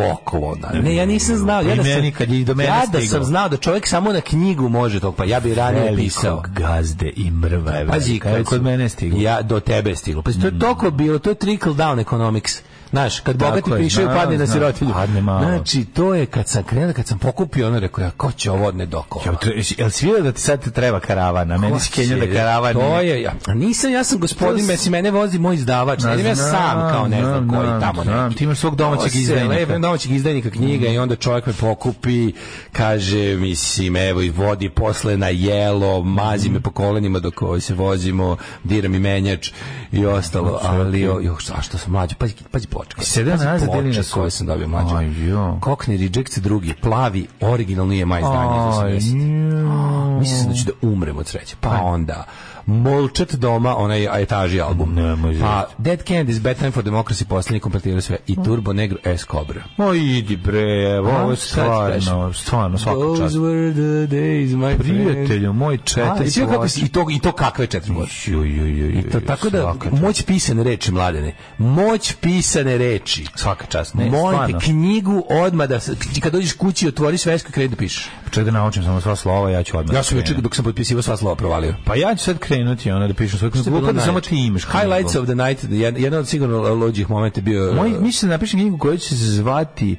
poklona. Ne, ja nisam znao, ja I da sam, meni kad je i do mene ja da stiglo. sam znao da čovjek samo na knjigu može to, pa ja bi ranije pisao. Velikog gazde i mrva je Pazi, velika. Evo, kad kod su- mene je stiglo. Pa Mm. Ja, do tebe je stiglo. Pazi, to je toliko bilo, to je trickle down economics. Znaš, kad Tako bogati je, piše znam, padne na znam, sirotinju. padne malo. Znači, to je kad sam krenuo, kad sam pokupio, ono rekao, ja, ko će ovo od nedokola? Ja, tre- jesi- jel svira da ti sad treba karavana? Meni si Kenja da karavan To nije. je, ja, a nisam, ja sam gospodin, To s- mesi, mene vozi moj izdavač, ne idem ja znam, sam kao ne znam znam, koji znam, tamo znam, neki. ti imaš svog domaćeg Ovo se izdajnika. lepo, imam domaćeg izdajnika knjiga i onda čovjek me pokupi, kaže, mislim, evo, i vodi posle na jelo, mazi me po kolenima dok ovaj, se vozimo, dira mi menjač i ostalo, ali, o, jo, zašto sam mlađi, pazi, pazi pločka. Sedeo Pazi nazad ili ploče na su- koje sam dobio mlađi. Aj, jo. Cockney Rejects drugi, plavi, originalni je Aj, maj izdanje iz 80. jao. Mislim da ću da umrem od sreće. Pa onda Molčet doma, onaj etaži album. Nemoj pa Dead Candies, Bad Time for Democracy, posljednji kompletiraju sve. I Turbo Negro S Cobra. Ma idi bre, evo, ovo je Šta ti kažem? stvarno, stvarno, svaka čast. Those were the days, my friend. Prijatelju, moj A, četiri i sve kako ploče. si- i, to, I to kakve četiri godine. Ju, ju, ju, ju, I to, tako da, svaka čast. moć pisane reči, mladene. Moć pisane reči. svaka čast, ne, Moj stvarno. knjigu odmah da, s- kad dođeš kući, otvori svesku i kredi da pišeš. Znači, Čekaj da naučim samo sva slova, ja ću odmah. Ja da sam juče krenem. dok sam potpisivao sva slova provalio. Pa ja ću sad krenuti, ono, da pišem svoju knjigu. Glupo da samo ti imaš knjigu. Highlights of the night, jed- jedan od sigurno lođih momenta je bio... e, Moj, mislim da napišem knjigu koja će se zvati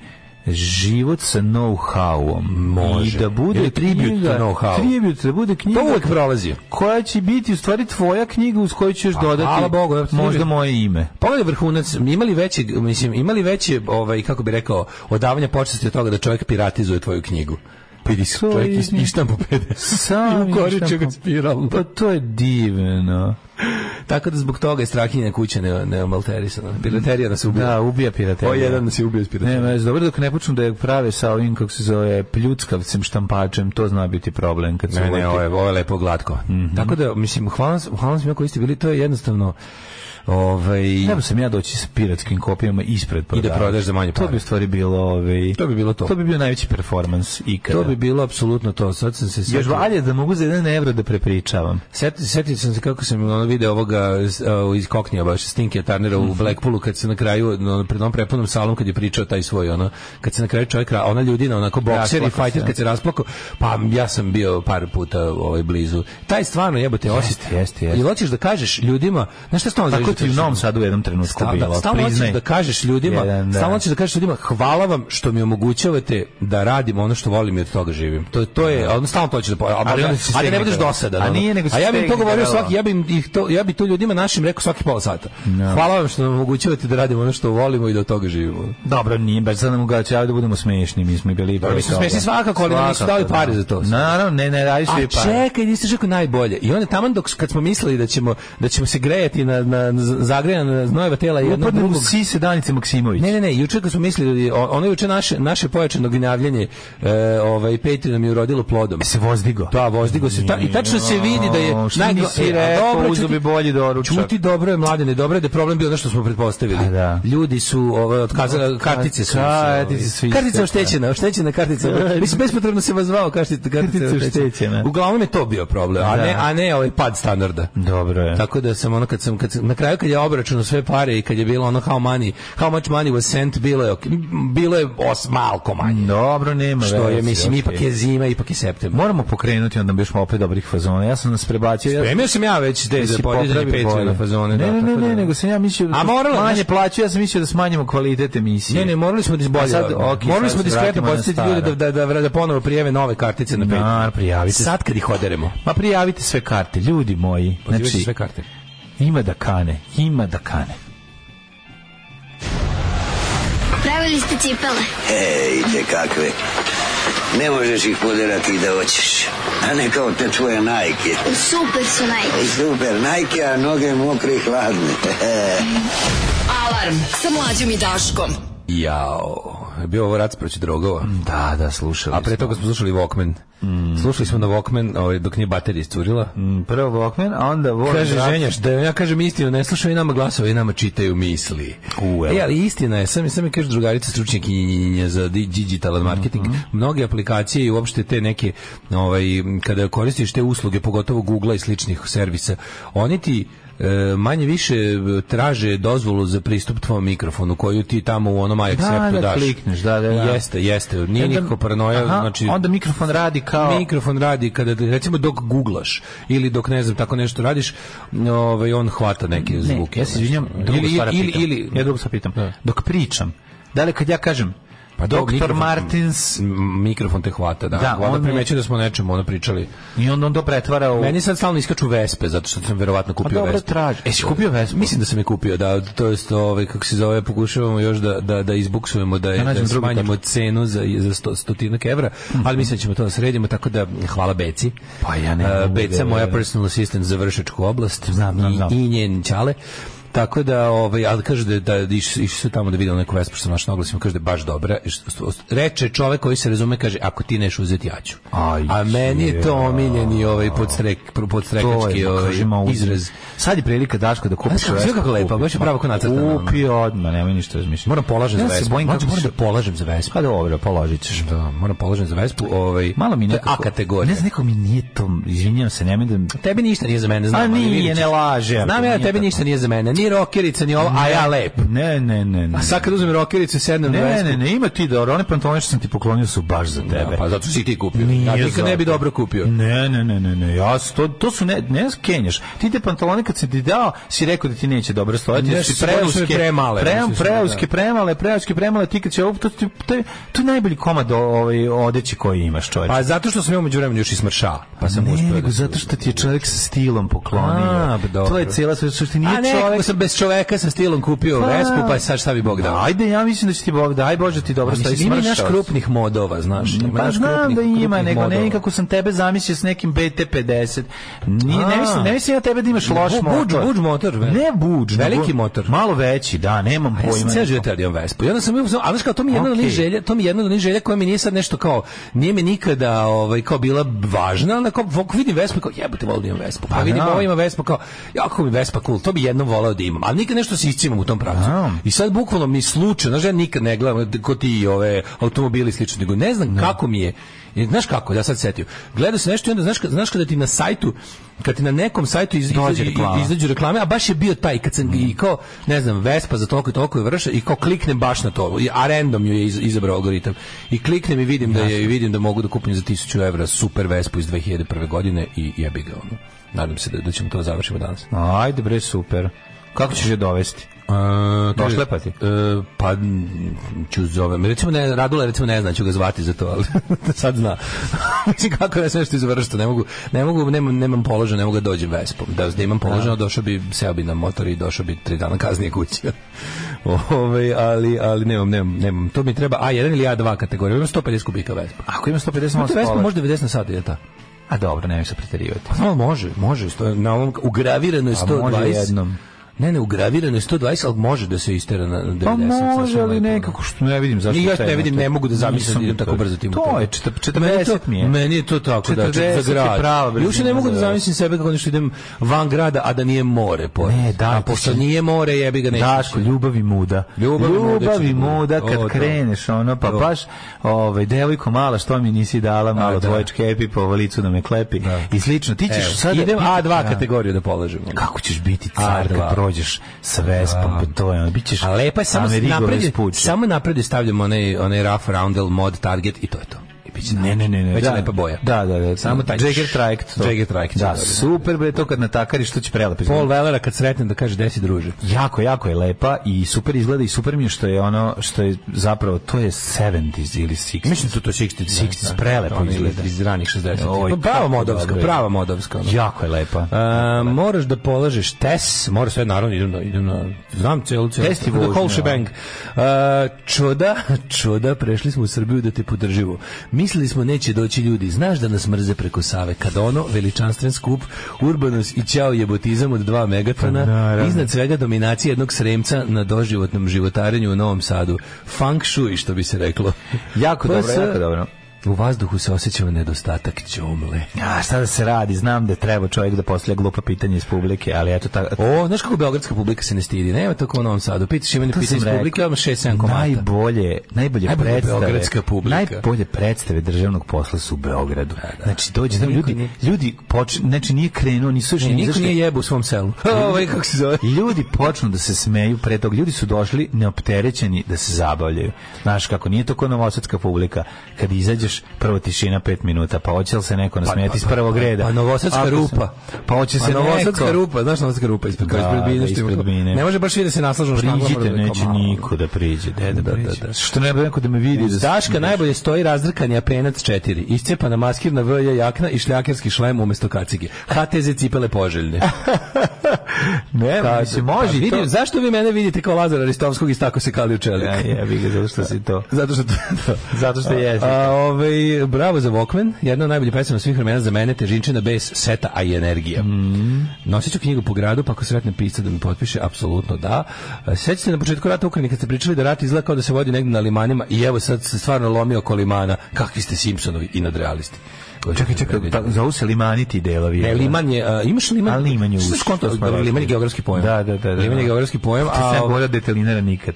život sa know-howom. Može. I da bude Ili tribute knjiga, to know-how. Tribute, da bude knjiga To uvek prolazi. koja će biti u stvari tvoja knjiga uz koju ćeš dodati Pa, hvala Bogu, ja, možda tribute. moje ime. Pogledaj Pa vrhunac, imali veće, mislim, imali veće, ovaj, kako bi rekao, odavanja počasti od toga da čovjek piratizuje tvoju knjigu. Pa vidi, To čovjek je- is, ištampu 50. Sam I ukoriče ga ištampu. spiralno. Pa to je divno. Tako da zbog toga je strahinja kuća ne, ne malterisana. Piraterija nas ubija. Da, ubija piraterija. O, jedan nas je ubio s Ne, piraterija. ma, dobro dok ne počnu da je prave sa ovim, kako se zove, pljuckavcem, štampačem, to zna biti problem kad se Ne, uvati. ne, ovo je, ovo je lepo glatko. Mhm. Tako da, mislim, hvala vam, hvala vam svima koji ste bili, to je jednostavno ovaj, Trebao sam ja doći sa piratskim kopijama ispred i da prodavača. prodaš za manje To bi u pare. stvari bilo, ovaj, To bi bilo to. to bi bio najveći performans ikada. To bi bilo apsolutno to. Sad sam se Još setio- valje da mogu za jedan evro da prepričavam. Seti, setio sam se kako sam ono video ovoga s- a, iz Koknija baš Stinkija Tarnera Mhm. u Blackpoolu kad se na kraju no, pred onom prepunom salom kad je pričao taj svoj ono kad se na kraju čovjek ra- ona ljudina onako bokser i Rasplakao fajter se. kad se rasplakao pa ja sam bio par puta ovaj blizu taj stvarno jebote osjećaj jeste, jeste. i hoćeš da kažeš ljudima znaš šta stalno Tako želiš da ti je u kažeš? Novom Sadu u jednom trenutku Sta- bilo, da, stalno hoćeš priznaj. da kažeš ljudima, Jedan, da. stalno hoćeš da kažeš ljudima hvala vam što mi omogućavate da radim ono što volim i od toga živim. To to je, ono stalno to hoćeš da po- ali, Ali onda si ali ne stegne budeš krava. dosadan. A ono. nije, nego si A ja bih im to stegne govorio krava. svaki, ja bih im ih to ja bih to ljudima našim rekao svaki pola sata. Hvala vam što nam omogućavate da radimo ono što volimo i da od toga živimo. Dobro, nije, baš sad nam ugaću, ajde da budemo smešni, mi smo i bili... mi smo smešni svakako, ali nam nisu dali Svakako, pare da. za to. Naravno, ne, ne, radi A se i pare. čekaj, niste čekao najbolje. I onda taman dok kad smo mislili da ćemo da ćemo se grejati na na na zagrejana znojeva tela i jednog Upadne u drugog sise Danice Maksimović. Ne, ne, ne, juče kad smo mislili, o- ono juče naše, naše pojačano gnjavljenje, e, ovaj, Petri nam je urodilo plodom. E, se vozdigo. Da, vozdigo se. Ta, I tačno se vidi da je... Jao, šta najgla- nisi E, a rekao, dobro, uzeo čuti- bi bolji doručak. Čuti, dobro je, mladene, dobro je da je problem bio ono što smo pretpostavili. A, da. Ljudi su, ovaj, otkazali, Otka- kartice su. ovaj, kartice su iste, Kartica da. oštećena, oštećena kartica. Mislim, bespotrebno se vas zvao kartica, kartica Kartica oštećena. oštećena. Uglavnom je to bio problem, a Da. ne, a ne ovaj pad standarda. Dobro je. Tako da sam ono kad sam kad sam- na kraju kad je obračunao sve pare i kad je bilo ono how money, how much money was sent bilo je ok- bilo je os malko manje. Dobro, nema Što je veze, mislim Mm, okej. ipak je zima, ipak je septembar. Moramo pokrenuti, onda bi još opet dobrih fazona. Ja sam nas prebacio. Ja, Spremio sam ja već te Ti za si podizanje popravi Patreon na bolje. fazone. Ne, da, ne, ne, tako ne, da. nego sam ja mislio A da moralo- manje znaš- plaću, ja sam mislio da smanjimo kvalitet emisije. Ne, ne, morali smo da A bolje. sad, da- ok, morali sad smo se diskretno vratimo na podsjetiti stara. ljude da, da, da, da ponovo prijave nove kartice na Patreon. Na, prijavite. Sad kad ih oderemo. Ma prijavite sve karte, ljudi moji. Znači, Znači, sve karte. ima da kane, ima da kane. Pravili ste cipele. Ejte E, kakve. Ne možeš ih poderati da hoćeš. A ne kao te tvoje najke. Super su najbolji. Super, najke, a noge mokre i hladne. Alarm sa mlađom i Daškom. Jao, je bio ovo rat proći drogova. Mm, Da, da, slušali Mm. A pre toga smo slušali Walkman. Slušali smo na Walkman ovaj, dok nije baterija iscurila. smo. Mm, Prvo Walkman, a onda Volim Kaže brat. ženjaš da ja kažem istinu, ne slušaju i nama glasove i nama čitaju misli. U, evo. E, ali istina je, sam, sam mi kaže drugarica stručnjakinja za di- digital marketing, Mhm. mnoge aplikacije i uopšte te neke, ovaj, kada koristiš te usluge, pogotovo Google i sličnih servisa, oni ti e, manje više e, traže dozvolu za pristup tvom mikrofonu koju ti tamo u onom iAcceptu da, daš. klikneš, da, da, da. Jeste, jeste. Nije Onda- nikako paranoja, Aha, znači onda mikrofon radi kao... mikrofon radi kada recimo dok guglaš ili dok ne znam tako nešto radiš, ovaj on hvata neke zvuke. ja se izvinjam, Drugu ili, stvar ili, pitam. ili, ja drugo sad pitam, Da. dok pričam, da li kad ja kažem, Pa pa da, doktor mikrofon- Martins, M- mikrofon te hvata, da. Da, da Vlada on je- primećuje da smo o nečemu ono pričali. i onda on to pretvara u... Meni sad stalno iskaču Vespe, zato što sam verovatno kupio dobro, Vespe. traži. E, si kupio Vespe? Mislim da sam je kupio, da. To je ovaj, kako se zove, pokušavamo još da, da, da izbuksujemo, da, je, Da da, nađemo drugu smanjimo cenu za, za sto, stotinak evra, ali mislim da ćemo to da sredimo, tako da hvala Beci. Pa ja ne A, mogu Beca, da- moja personal assistant za vršačku oblast. Znam, znam, i- znam. I njen ćale. Tako da, ovaj, ali kaže da, da iš- išli su tamo da vidjeli neku vespu što sam našao na oglasima, kaže da je baš dobra. I što- Reče čovek koji se razume, kaže, ako ti neš uzeti, ja ću. Aj, A meni je to je. omiljeni ovaj podstrek, to podstrekački je, ovaj, kažemo, izraz. Sad je prilika, Daško, da Znaš kupiš kako- znaš kako lepa, baš je pravo ko nacrtano, ono. Kupi odmah, nemoj ništa razmišljati. Moram polažem ja za se vespu. bojim Mlađe, kako moram će- da polažem za vespu. Pa dobro, položit ćeš. Da, moram polažem za vespu. Ovaj, Malo mi to je nekako... A kategorija. Ne znam, neko mi nije to, izvinjam se, nemoj da... Tebi ništa nije za mene, znam. A ali nije, vidit ćeš. ne lažem. Znam ja, da tebi Nije ništa nije za mene. Ni rokerica, ni ovo, a ja lep. Ne, ne, ne, ne. A sad kad uzmem rokericu i sednem Ne, na ne, vespu. ne, ne, ima ti dobro, one pantone što sam ti poklonio su baš za tebe. Da, pa zato si ti kupio. Nije Ja nikad ne bi zato. dobro kupio. Ne, ne, ne, ne, ne, ja s- to, to su ne, ne skenjaš. Ti te pantalone kad sam ti dao, si rekao da ti neće dobro stojati, Ne, jer su ti su- oni su mi preuske, premale, pre- mislim, preuske, da. premale, preuske, premale, ti kad će ovo, to, ti- to, je- to je najbolji komad o- ovaj, odeći koji imaš, čovječe. Pa zato što sam ja umeđu vremenu još i smršao. Pa sam ne, uspio nego da- zato što ti je čovjek sa stilom poklonio. A, pa dobro. to je cijela sve, što ti nije A ne, čovjek... kako sam bez čoveka sa stilom kupio Pa. vespu, pa sad šta bi Bog dao? Ajde, ja mislim da će ti Bog da, aj Bože ti dobro stoji Pa Mislim, ima i naš smršao si. krupnih modova, znaš. Ima Pa naš znam krupnih- da ima, krupnih nego ne modova. nekako sam tebe zamislio s nekim BT50. Ni, ne, A. mislim, ne mislim ja tebe da imaš loš Bu- motor. budž- budž motor, ve- Ne budž. nego Veliki motor. Malo veći, da, nemam A ja sam pojma. ceo život radio Vespu. I onda sam imao, ali znaš kao, to mi je jedna od onih Okej. želja, to mi je jedna od onih želja koja mi nije sad nešto kao, nije mi nikada ovaj, kao bila važna, ali kao, ako vidim Vespu, i kao, jebote, volim da imam Vespu. Pa, Pa vidim, da. ovo ima Vespu, kao, jako mi Vespa cool, to bi jednom volao da imam. Ali nikad nešto se iscimam u tom pravcu. Da. I sad bukvalno mi slučajno, znaš, ja nikad ne gledam ko ti ove automobili i slično, nego ne znam kako mi je, i znaš kako, ja sad setio. Gledao se nešto i onda, znaš, ka- znaš kada ti na sajtu, kad ti na nekom sajtu iz, Dođe izađe- reklama. Mm. izađu reklame, a baš je bio taj kad sam i kao, ne znam, Vespa za toliko i toliko je vrša i kao kliknem baš na to, a random ju je iz- izabrao algoritam. I kliknem i vidim da je i vidim da mogu da kupim za 1000 evra super Vespu iz 2001. godine i jebi ga ono. Nadam se da, da ćemo to završimo danas. Ajde bre, super. Kako ćeš je dovesti? E, kaže, Došlepati? e, pa m, ću zovem. Recimo ne, Radula recimo ne zna, ću ga zvati za to, ali sad zna. Mislim kako ne sve što izvršta, ne mogu, ne mogu, nemam, nemam položaj, ne mogu da dođem vespom. Da, da imam položaj, došao bi, seo bi na motor i došao bi tri dana kasnije kući. Ove, ali, ali nemam, nemam, nemam. To mi treba A1 ili A2 kategorija, imam 150 kubika vespa. Ako ima 150 Imate mosta, vespa može... možda 90 na sat, je ta? A dobro, nemoj se preterivati. No, Pa može, može. Sto, na ovom, ugravirano je A Pa može 120. jednom. Ne, ne, ugravirano je 120, ali može da se istera na 90. Pa može, sasvim ali lepo, ono. nekako što ne vidim zašto. Ni ja taj ne vidim, motor. ne mogu da zamislim Nisam da idem tako to- brzo tim. To putem. je, četrde- 40 mi je. Meni je to tako, da, 40 40 za je grad. prava Ja uopšte ne brzina mogu da za- zamislim sebe kako nešto idem van grada, a da nije more. Pored. Ne, da, a ti pošto si- nije more, jebi ga neću. Daško, ljubav i muda. Ljubav i muda Ljubav će i muda biti. kad O, to. kreneš, ono, pa To. baš, ovaj, devojko mala, što mi nisi dala, malo da. tvoje čkepi, po ovo licu da me klepi i slično. Ti ćeš Evo, sad... idem A2 Da. kategoriju da položim. Kako ćeš biti car A2. kad prođeš sa Vespom, pa to je ono, bit ćeš A lepa je samo Amerigo napred, je- Vespucci. samo napred je stavljam onaj, onaj rough roundel mod target i to je to. I bit će Ne, ne, ne, ne. Već je da. lepa boja. Da, da, da. Samo taj- Jagger Trajekt. to. Jagger Trajekt, Da, da, da. super bre, to kad natakariš, to će prelepo izgledati. Paul Wellera kad sretnem da kaže desi druže. jako, jako je lepa i super izgleda i super mi je što je ono, što je zapravo, to je 70s ili 60s. Mislim da su to 60 60s, prelepo Ono iz- izgleda. Iz ranih 60 Oj, Pa Prava kako modovska, dobro je. prava modovska. ono. Jako je lepa. E, moraš da polažeš tes, moraš sve naravno idem na, idem na znam celu celu. Test i The vožnja, whole da. shebang. E, čuda, čuda, prešli smo u Srbiju da te podržimo. Mislili smo neće doći ljudi, znaš da nas mrze preko Save. Kad ono, veličanstven skup, urbanos i ćao jebotizam od dva megatona, Pa naravno. iznad svega dominacija jednog sremca na doživotnom životarenju u Novom Sadu. Funk shui, što bi se reklo. Jako PS, dobro, jako dobro. U vazduhu se osjećao nedostatak ćomle. A šta da se radi, znam da treba čovjek da postavlja glupa pitanja iz publike, ali eto ta, O, znaš kako beogradska publika se ne stidi? Nema tako u Novom Sadu. Pitaš imanje To pisa sam iz rekao. publike, odmah 6-7 komata. Najbolje, najbolje, Najbolja predstave. beogradska publika. Najbolje predstave državnog posla su u Beogradu. Znači dođe tamo Niko ljudi, nije- ljudi počnu, znači nije krenuo, nisu još I ni niko izašli. nije jebao u svom selu. Ovaj, kako se zove? Ljudi počnu da se smeju pre tog. Ljudi su došli neopterećeni da se zabavljaju. Znaš kako, nije to kao novosadska publika. Kad izađeš, prvo tišina pet minuta, pa hoće li se neko nasmijeti iz prvog reda? Pa novosadska Ako se- rupa. Pa hoće se pa novosadska neko- rupa, znaš novosadska rupa ispred, kao Da, ispred bine. da, što ima ispred kao- bine. Ne može baš i da se naslažu na štangla. Priđite, mora da neće kao malo. niko da priđe. De, da, Da, da, priđe. da. Što ne bi neko da me vidi? Iz Da Daška najbolje stoji razrkan apenac 4, iscepana maskirna VJ jakna i šljakerski šlem umesto kacige. HTZ cipele poželjne. ne, Kaže, mislim, može pa i to. vidim, Zašto vi mene vidite kao Lazara Ristovskog i tako se kali u čelik? Ja, ja bih ga zato što si to. Zato što da. Zato što jeste. A, ovaj, bravo za Walkman, jedna od najboljih pesama svih vremena za mene, težinčina bez seta, a i energija. Mhm. Nosit ću knjigu po gradu, pa ako sretnem pisca da mi potpiše, apsolutno da. E, Sjećate se na početku rata u Ukrajini kad ste pričali da rat izgleda kao da se vodi negdje na limanima i evo sad se stvarno lomi oko limana. Kakvi ste Simpsonovi i nadrealisti. Čekaj, čekaj, ta, Pa, zovu se limani ti delovi. Ne, liman je, a, imaš liman? A liman je Šta usko, skonto to smo da rekli. liman je geografski pojam. Da, da, da, da. Liman je geografski pojam, Ti a sam govorio detelinara nikad.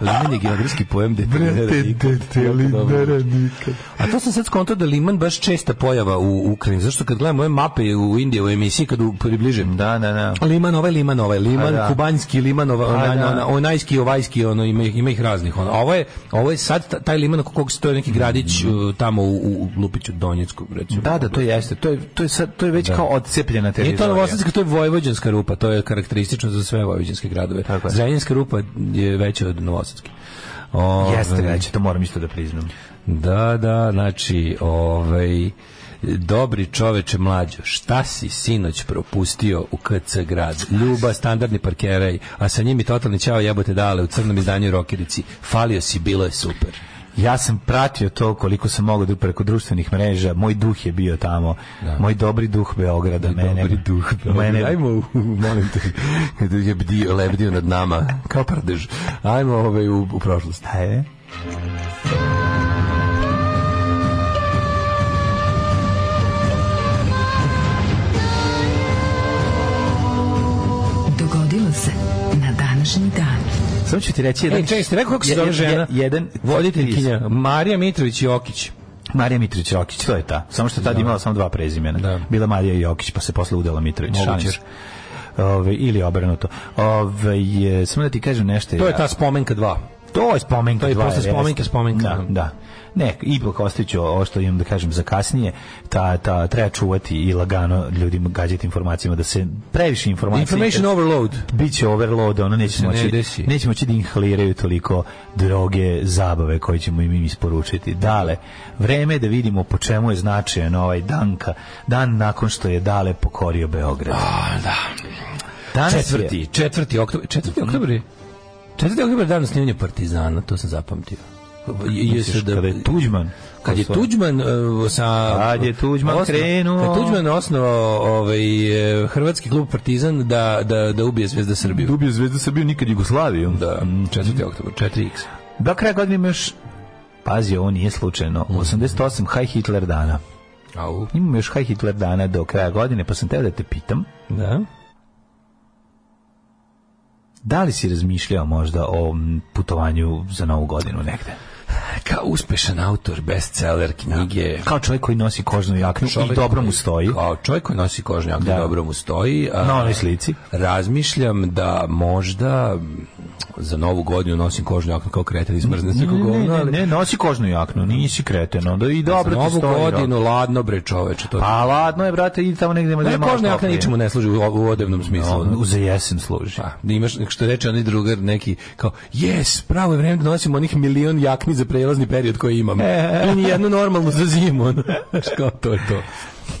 liman je geografski pojam detelinara nikad. detelinara nikad. A to sam sad skontao da liman baš česta pojava u Ukrajini. Zašto kad gledam ove mape u Indiji u emisiji kad u- približim Da, da, da. Liman ovaj, liman ovaj, liman, A, da. kubanjski liman, ovaj, ova, A, ona, da. ona, onajski, ovajski, ono, ima, ih- ima ih raznih. Ono. A Ovo, je, ovo je sad ta- taj liman oko kog stoji neki gradić uh, tamo u, u Lupiću, Donjecku, recimo. Mm. Da, da, to jeste. To je, to je, sad, to je već kao odcepljena Nije to teritorija. Novosadska, to je vojvođanska rupa, to je karakteristično za sve vojvođanske gradove. Tako je. Zrenjanska rupa je veća od Novosadske. Ove, Jeste veće, to moram isto da priznam. Da, da, znači, ovaj, dobri čoveče mlađo, šta si sinoć propustio u KC grad? Ljuba, standardni parkeraj, a sa njim i totalni ćao jebote dale u crnom izdanju Rokirici. Falio si, bilo je super. Ja sam pratio to koliko sam mogao da preko društvenih mreža. Moj duh je bio tamo. Moj dobri duh Beograda. mene, Dobri duh. Mene, Ajmo, molim te, kada je bdio, lebdio nad nama, kao prdež. Ajmo ovaj, u, u prošlost. Ajde. Dogodilo se na današnji dan. Samo ću ti reći jedan... Ej, E, čekaj, ste rekao kako se zove je- žena? je- Jedan Voditeljkinja, Marija Mitrović Jokić. Marija Mitrović Jokić, to je ta. Samo što je tad imala samo dva prezimena. Da. Bila Marija Jokić, pa se posle udala Mitrović. Moguće. Šalim se. Ove, ili obrnuto. Ove, je, samo da ti kažem nešto. To je ja- ta spomenka 2. To je spomenka. To je dva, posle jeste. spomenke, spomenka. Da, da. Ne, ipak ostavit ću ovo što imam da kažem za kasnije. Ta, ta, treba čuvati i lagano ljudima gađati informacijama da se previše informacije... Information overload. Biće overload, ono neće se ne moći, desi. neće moći da inhaliraju toliko droge, zabave koje ćemo im im isporučiti. Dale, vreme je da vidimo po čemu je značajan ovaj danka, dan nakon što je Dale pokorio Beograd. Danas je- Mhm. Četvrti, četvrti oktobar, četvrti oktobar je? Četvrti oktobar je dan snimanja Partizana, to sam zapamtio. Je, Misliš, kada je Tuđman Kad je Ko su- Tuđman e, sa Kad je Tuđman krenuo. Kad je Tuđman osnovao ovaj e, hrvatski klub Partizan da da da ubije Zvezda Srbiju. Dubio zvezda Srbiju nikad Jugoslaviju. Da, Mm. 4. oktobar, 4x. Do kraja godine ima još Pazi, ovo nije slučajno. 88 High Hitler dana. Au. Imamo još High Hitler dana do kraja godine, pa sam teo da te pitam, Da. da li si razmišljao možda o mm, putovanju za novu godinu negde? E, Kao uspešan autor, bestseller knjige. Kao čovjek koji nosi kožnu jaknu i Čovjek dobro mu koji- stoji. Kao čovjek koji nosi kožnjak, Da. da. dobro mu stoji. a- Na onoj slici. Razmišljam da možda mm, za novu godinu nosim kožnu jaknu kao kretan iz mrzne sve kako govno, Ne, ali- ne, nosi kožnu jaknu, nisi kreten, onda i dobro za ti novu stoji. godinu, ladno bre čoveče, to je- Pa ladno je, brate, idi tamo negde. Ne, kožna jakna ničemu ne služi u, u odevnom smislu. No, Ono, za jesen služi. Pa, da imaš, što reče onaj drugar, neki, kao, jes, pravo je vreme da nosim onih milion jakni za prelazni period koji imam. I nijednu normalnu za zimu. ono. Znaš, kao, to je to.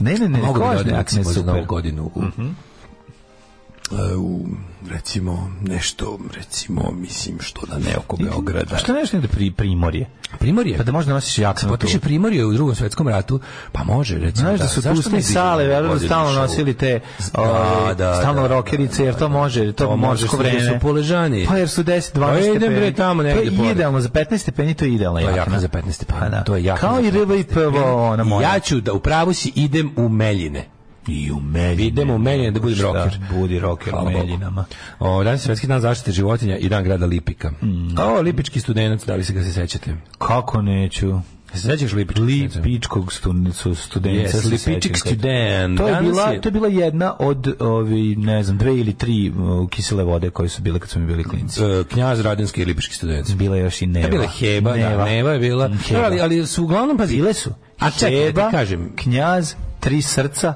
Ne, ne, ne, Pa, Mogu bi da kožne odem, jakne Mhm. recimo, za super. novu godinu u, e, u recimo nešto recimo mislim što da ne oko Beograda A što nešto negde pri, primorje? Primorje Pa da možda nosiš jaknu. Potiše Primorje u drugom svjetskom ratu, pa može, recimo. Znaš da su tu sni sale, verujem da vodili stalno show? nosili te ovaj, Da, da, stalno da, rokerice, jer to može, to, To može, morsko jer su- vreme. su poležani. Pa jer su 10, 12 Pa idem, stepeni. bre, tamo negde To je pored. idealno, za 15 stepeni to je idealna To je jakna. jakna za 15 stepeni. Pa da. To je jakna Kao za i riba i 15 stepeni. prvo ona moja. Ja ću da u pravu si idem u Meljine. i u Meljine. Idemo u Meljine da budem Šta, roker. Budi roker u Hvala Bogu. Meljinama. O, danas je Svetski dan zaštite životinja i dan grada Lipika. Mm. O, Lipički studenac, da li se ga se sećate? Kako neću? Se sećaš Lipički Lipičkog studnicu, studenca. Yes, se Lipički sećam. student. To je, Danas bila, je- to je bila jedna od, ovi, ne znam, dve ili tri uh, kisele vode koje su bile kad smo mi bili klinci. e, Knjaz Radinski i Lipički studenac. Bila je još i Neva. Neva. Bila je Heba, Neva. da, Neva je bila. Mm, Heba. Ali, ali su uglavnom, pazi, Bile su. A čekaj, da Heba, ti kažem. Knjaz, tri srca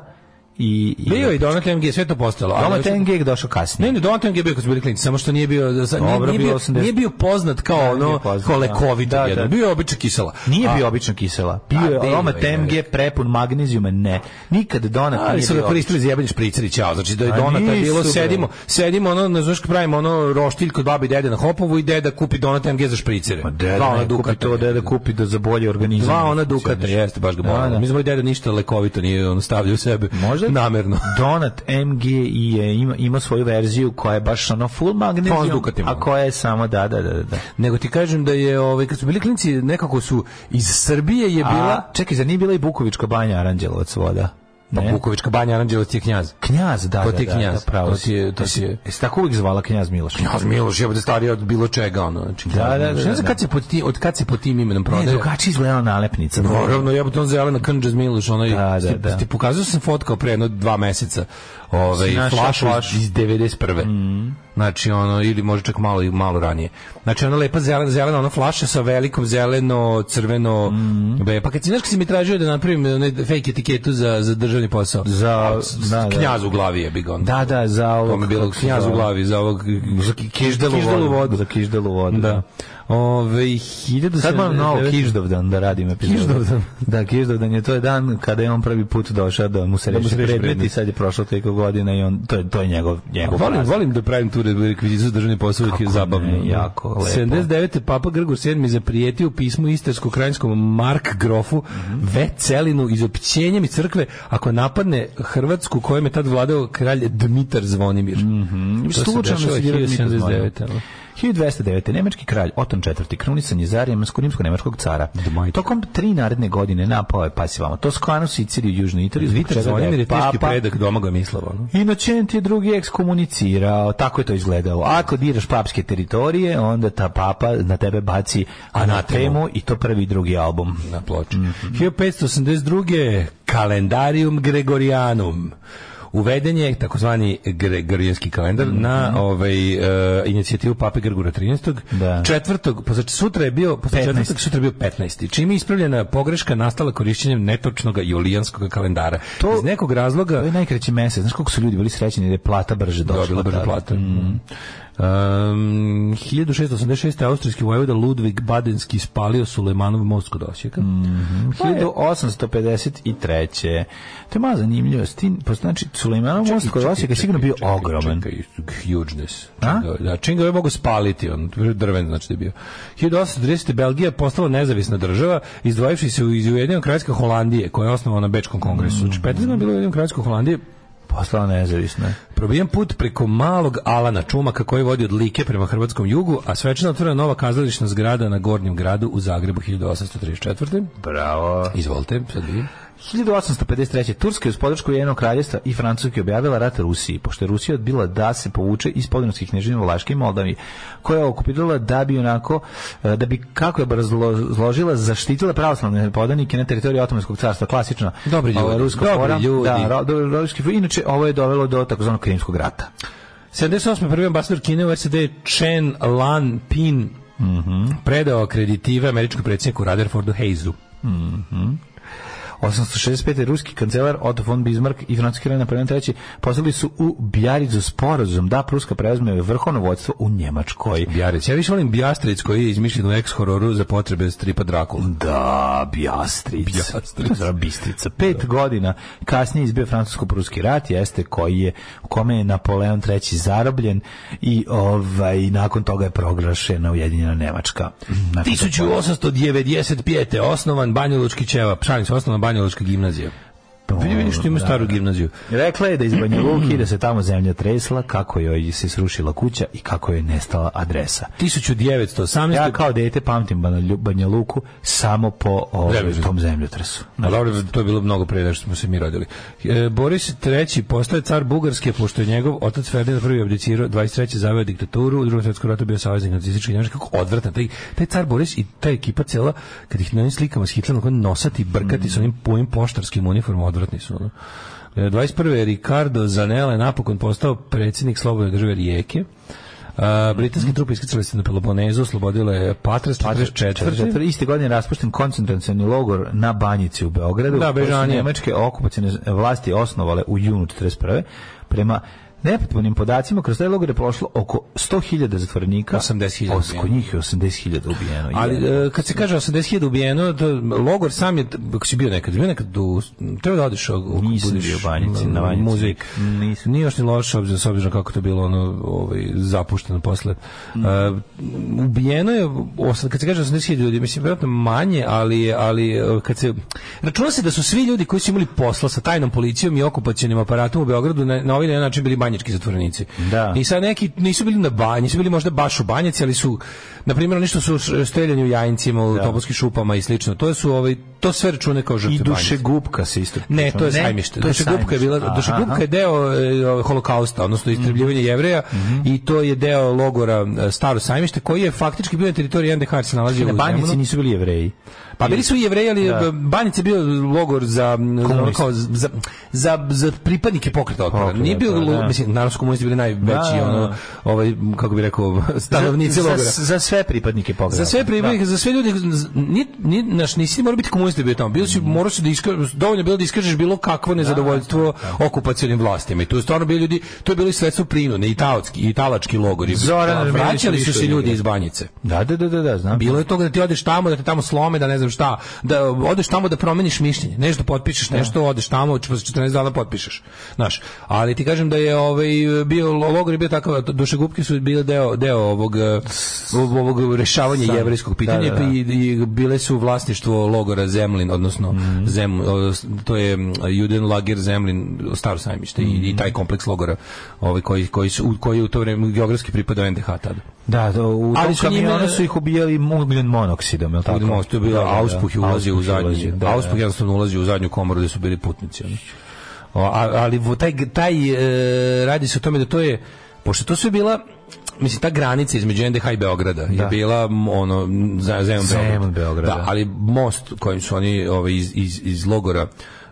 i... i Bio je i Donat MG, sve to postalo. Doma ali- TNG je došao kasnije. Ne, ne, Donat MG je bio kad su bili klinci, samo što nije bio, za- nije, Dobro, nije, bio bio, 80. nije bio poznat kao nije bio ono, poznat, kao da. lekovit Da, jedan. da. Bio je obična kisela. Nije A- bio obično kisela. Bio A, je bio Roma je. TMG prepun magnezijuma, ne. Nikad Donat Ali nije su ga bio koristili za jebanje špriceri i ćao. Znači da je A Donata je bilo, nisu, bre. sedimo, sedimo ono, ne znaš kako pravimo ono roštilj kod babi i dede na Hopovu i deda kupi Donat MG za špricere. Ma Pa deda Dva ona ne kupi dukata. to, deda kupi da za bolje organizam. Dva ona dukata, jeste, baš ga Da, moram. da. Mi smo deda ništa lekovito nije ono stavlja u sebe. Možda- Namerno. Donat MG i je, ima, ima svoju verziju koja je baš ono full Pa s magnezijum, dukatima. a koja je samo da, da, da, da. Nego ti kažem da je, ovaj, kad su bili klinci, nekako su, iz Srbije je Bila, bila... čekaj, zar nije bila i Bukovička banja Aranđelovac voda? Pa Ne? Vukovička banja, Aranđelovac je knjaz. Knjaz, da, To da, ti je da, knjaz. da, pravo To si. ti je- to ti je- Jesi tako uvijek zvala knjaz Miloš? Knjaz Miloš je stariji od bilo čega, ono. Znači, Da, da, da, Ne znam da. kad se pod tim, od kad se pod tim imenom Ne, prodaje. drugačije izgledala nalepnica. Naravno, ja to zelena Kanđaz Miloš, onaj, Da, da, ste, da. ste pokazao sam fotkao pre jedno dva meseca, ovaj, Si našao flašu flašu? Mm. iz, iz 91. Znači, ono, ili možda čak malo, i- malo ranije. Znači, ona lepa zelena, zelena, ona flaša sa velikom zeleno, crveno, Mm. be, pa kad si, znaš, kad si mi tražio da napravim onaj fake etiketu za, za državni posao, Za- S- da, da. knjaz u glavi je bigon. Da, da, za ovog... To mi je bilo kako se knjaz u zove? glavi za ovog za ki- kiždelu, Kiždelu vodu. vodu. Za kiždelu vodu. Da. Ove, 1000 Sad moram novo Kiždovdan da radim epizodu. Kiždovdan. Da, Kiždovdan je to je dan kada je on prvi put došao da mu se Da mu reši se reši predmet, i predmet. sad je prošlo toliko godina i on, to je, to je njegov, A njegov Volim, praznik. volim da pravim tu rekvizitu za državni posao, uvijek je Kako zabavno. ne, jako lepo. 79. Papa Grgur VII zaprijetio u pismu istarsko-krajinskom Mark Grofu Vecelinu izopćenjem iz crkve ako napadne Hrvatsku kojem je tad vladao kralj Dmitar Zvonimir. Mm To Mhm. se dešava 1979. 1209. Nemački kralj Oton IV. krunisan je za rimsko- rimsko-nemačkog cara. Mighty. Tokom tri naredne godine napao je pasivamo Toskanu, Siciliju, Južnu Italiju. zbog Dmitar čega ga Zvonimir je teški papa- predak domaga Mislava. no? Inocent je drugi ekskomunicirao, tako je to izgledalo. Ako diraš papske teritorije, onda ta papa na tebe baci anatemu i to prvi i drugi album. Mm. na ploči. 1582. kalendarium Gregorianum. Uveden je takozvani gregorijanski kalendar Mhm. na ovaj e, inicijativu pape Grgura 13. Da. Četvrtog, pa znači sutra je bio posle 15.. četvrtog sutra je bio 15. Čime je ispravljena pogreška nastala korišćenjem netočnog julijanskog kalendara. To- Iz nekog razloga To je najkraći mesec. Znaš koliko su ljudi bili srećni jer je plata brže došla. dobila brže tada. Mhm. plate. Um, 1686. austrijski vojvoda Ludvig Badenski spalio Sulemanov most kod Osijeka. Mhm. Mm, 1853. To je malo zanimljivo. S tim, pa znači, Sulejmanov most kod Osijeka je sigurno bio Čekaj, ogroman. Čekaj, hugeness. A? Činga- Da, činga je mogu spaliti, on drven znači da je bio. 1830. Belgija postala nezavisna država, izdvojivši se u- iz Ujedinjenog kraljevstva Holandije, koja je osnovana na Bečkom kongresu. Mm. Znači, 15 godina je bilo Ujedinjeno kraljevstvo Holandije, Postala nezavisna. Probijen put preko malog Alana Čumaka koji vodi od Like prema hrvatskom jugu, a svečano otvorena nova kazališna zgrada na Gornjem gradu u Zagrebu 1834. Bravo. Izvolite, sad vidim. 1853. Turska je uz podršku Jedinog kraljestva i Francuske objavila rat Rusiji, pošto je Rusija odbila da se povuče iz podrinskih knježina u Vlaške i Moldavi, koja je okupirala da bi onako, e, da bi, kako je razložila, zaštitila pravoslavne podanike na teritoriji Otomanskog carstva, klasično. Dobri ljudi, Ovo je rusko dobri fora. ljudi. Da, ro- do- ruski fora. Inače, ovo je dovelo do takozvanog Krimskog rata. 78. prvi ambasador Kine u SAD Chen Lan Pin predao akreditive američkom predsjedniku Rutherfordu Hayesu. 865. ruski kancelar Otto von Bismarck i francuski kralj Napoleon III poslali su u Bjaricu sporazum da Pruska preuzme vrhovno vodstvo u Njemačkoj. Bjarić. Ja više volim Bjastrić koji je izmišljen u ex-hororu za potrebe stripa Drakula. Da, Bjastric. Bjastric. Zdrav, Bistrica. Pet godina kasnije izbio francusko-pruski rat, jeste koji je, u kome je Napoleon III zarobljen i ovaj, nakon toga je proglašena Ujedinjena Nemačka. Nakon tog poraza. 1895. osnovan Banjalučki ćevap. Šalim se, osnovan Banjalučka gimnazija. Pa vidi, vidi što ima staru gimnaziju. Rekla je da iz Banja Luki, da se tamo zemlja tresla, kako joj se srušila kuća i kako joj nestala adresa. 1918. Ja kao dete pamtim Banja Lu- Banja Luku samo po ovaj, Zemljotresu. tom zemljotresu. A dobro, to je bilo mnogo pre nego što smo se mi rodili. E, Boris III. postaje car Bugarske, pošto je njegov otac Ferdinand I. abdicirao, 23. zaveo diktaturu, u drugom svjetskom ratu bio saveznik nacistički njemački, kako odvratan. Taj, taj car Boris i ta ekipa cela, kad ih na onim slikama s Hitlerom, kako nosati, brkati s onim pojim poštarskim uniformom, odvratni su. Ono. E, 21. je Ricardo Zanella je napokon postao predsjednik slobodne države Rijeke. A, britanske trupe iskrcale se na Peloponezu, oslobodile Patras, 44. Četvrte, iste godine je raspušten koncentracioni logor na Banjici u Beogradu, Da, koji su Bežanije. nemačke okupacijne vlasti osnovale u junu 41. Prema nepotpunim podacima, kroz taj logor je prošlo oko 100.000 zatvorenika. 80.000 Osko njih je 80.000 ubijeno. Ali Jebe. e, kad se kaže 80.000 ubijeno, to logor sam je ako si bio nekad, bio nekad u treba da odeš u Nisam bio u Banjici, na Banjici. muzej. Nisam. Nije još ni loše obzirom s obzirom kako to je bilo ono ovaj zapušteno posle. Mm. E, ubijeno je osam- kad se kaže 80.000 ljudi, mislim verovatno manje, ali je- ali e, kad se računa se da su svi ljudi koji su imali posla sa tajnom policijom i okupacionim aparatom u Beogradu na, na ovaj ili onaj način bili banjički zatvorenici. Da. I sad neki nisu bili na banji, nisu bili možda baš u banjaci, ali su na primjer oni što su š- streljani u jajincima, u topovskim šupama i slično. To su ovaj to sve račune kao žrtve I banjice. duše gubka se isto Ne, to je pričalo. sajmište. to je Dušegupka je bila, sajmište. Dušegupka Aha. Mhm. je deo e, ovaj, holokausta, odnosno istrebljivanje jevreja i to je deo logora e, Staro sajmište koji je faktički bio na teritoriji NDH jer se nalazio Na u Banjici Zemunu. nisu bili jevreji. Pa bili su i jevreji, ali Da. da. Banjica je bio logor za, m, za, ono Komunista. kao, za, za, za pripadnike pokreta otpora. Pokreta, Nije bio, da, lo- da. mislim, naravno su komunisti bili najveći, Da, da, ono, da. ovaj, kako bi rekao, stanovnici za, logora. za, za sve pripadnike pogleda. Za sve pripadnike, za sve ljude, z- ni, ni, naš, nisi morao biti komunista da bio tamo. Bio si, morao si da iskažeš, dovoljno je bilo da iskažeš bilo kakvo nezadovoljstvo okupacionim vlastima. I tu je stvarno bili ljudi, to je bilo i sredstvo prinude, i taotski, i italački logori. Zoran Da, Ermelić Vraćali su više se ljudi igra. iz banjice. Da, da, da, da, da, znam. Bilo je toga da ti odeš tamo, da te tamo slome, da ne znam šta, da odeš tamo da promeniš mišljenje, nešto potpišeš, nešto odeš tamo, čep- 14 dana potpišeš. Znaš, ali ti kažem da je ovaj bio logor je bio takav, dušegupke su bile deo deo ovog eh, ovog rešavanja Sam. jevrejskog pitanja Da, da, da. I, i bile su vlasništvo logora Zemlin, odnosno Mhm. Zem, o, s- to je mm, Juden lager Zemlin, staro sajmište Mhm. i, i taj kompleks logora, ovaj koji koji su koji je u to vreme geografski pripadao NDH tada. Da, da, u Ali tom su njime- kamionu su ih ubijali ugljen monoksidom, je li tako? Tako, to je bilo, Da, da, da. auspuh je ulazio u Auspuh je zadnji, ulazio, da, auspuh da. jednostavno ulazio u zadnju komoru gde su bili putnici. Ono. O, a, ali vo- taj, taj e, radi se o tome da to je, pošto to sve bila, mislim, ta granica između NDH i Beograda je bila m, ono, za, Zemun Zemun Beograd. Beograd, da. Da, ali most kojim su oni ovaj, iz, iz, iz logora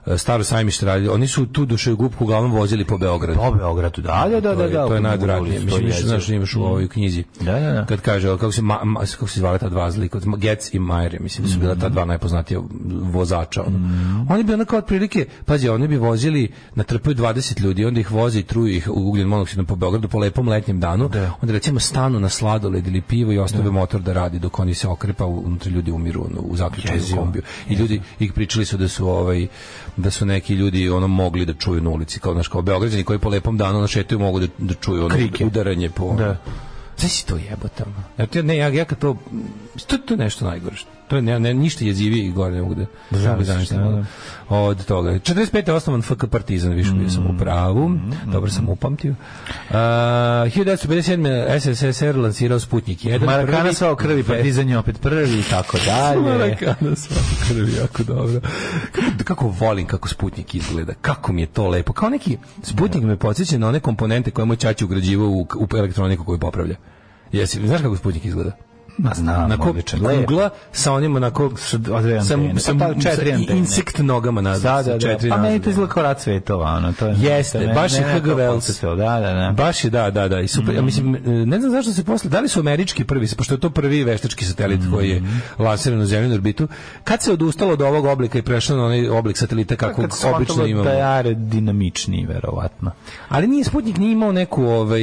e, staro sajmište radili, oni su tu duše gubku uglavnom vozili po Beogradu. Po Beogradu, da, da, da, To da. je- da, to je u- najodvratnije. u- Mislim, u- više znaš, imaš u ovoj knjizi. Mm. Da, da, da. Kad kaže, kako se, ma, ma, kako se zvala ta dva zlika, Getz i Mayer, mislim da su bila ta dva Mm. najpoznatija vozača. Ono. Oni bi onako otprilike, pazi, oni bi vozili, natrpaju 20 ljudi, onda ih voze i truju ih u ugljen monoksidom po Beogradu po lepom letnjem danu, onda recimo stanu na sladoled ili pivo i ostave motor da radi dok oni se okrepa, unutra ljudi umiru ono, u zaključenom kombiju. I ljudi ih pričali su da su ovaj da su neki ljudi ono mogli da čuju na ulici kao naš kao beograđani koji po lepom danu na šetaju mogu da, da čuju ono Krike. udaranje po Da. Sve si to jebote. ono. Ja, ti- ne, ja, ja kad to, to, to je nešto najgore. što- To je ne, ne, ništa jezivije i gore ne mogu da ne mogu da Zamisliš, zamislim, da, Mm-hmm. ono. Od toga. 45. je osnovan FK Partizan, više bio sam u pravu. Dobro sam upamtio. Uh, 1957. SSSR lansirao Sputnik 1. Marakana sva o krvi, pa prvi- partizan je opet prvi i tako dalje. Marakana svakako je jako dobro. Kako, kako volim kako Sputnik izgleda, kako mi je to lepo. Kao neki Sputnik me podsjeća na one komponente koje moj čači ugrađivao u, u elektroniku koju popravlja. Jesi, znaš kako Sputnik izgleda? Ma znam, onako odličan. kugla sa onim onako sa, dve sa, antene. sa, Pa, pa, četiri sa antene. insekt nogama nazad. Da, sa da, da. četiri Pa meni nazad, to da. izgleda kao rad cvetova, ono, to je... Jeste, to baš je mene H.G. to Wells. podsjetilo, Da, da, da. Baš je, da, da, da. I super. Ja Mhm. mislim, ne znam zašto se posle, da li su američki prvi, pošto je to prvi veštački satelit koji je Mhm. lansiran u zemljenu orbitu. Kad se odustalo od ovog oblika i prešlo na onaj oblik satelita kakvog Pa, Kad se obično shvatilo imamo? Da je aerodinamičniji, verovatno. Ali nije Sputnik nije imao neku ovaj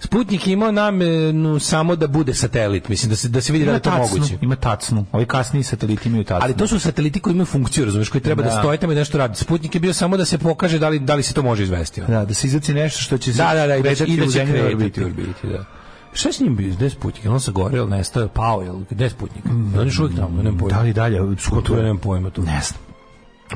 Sputnik je imao namenu samo da bude satelit, mislim da se da se vidi da je to tacnu, moguće. Ima tacnu. Ovi kasniji sateliti imaju tacnu. Ali to su sateliti koji imaju funkciju, razumiješ, koji treba da, Da. stoje tamo i nešto radi. Sputnik je bio samo da se pokaže da li, da li se to može izvesti. ono. Da, da se izbaci nešto što će se Da, da, da, i da, kretati i da u će zemlji kretati u orbiti, da. Šta je s njim bio? Gde je Sputnik? Je li On se gore, ili nestao, je pao, je li? Gde je Sputnik? On je još uvijek tamo, ja nemam pojma. Da li dalje? Ko to ja nemam pojma tu. Ne znam.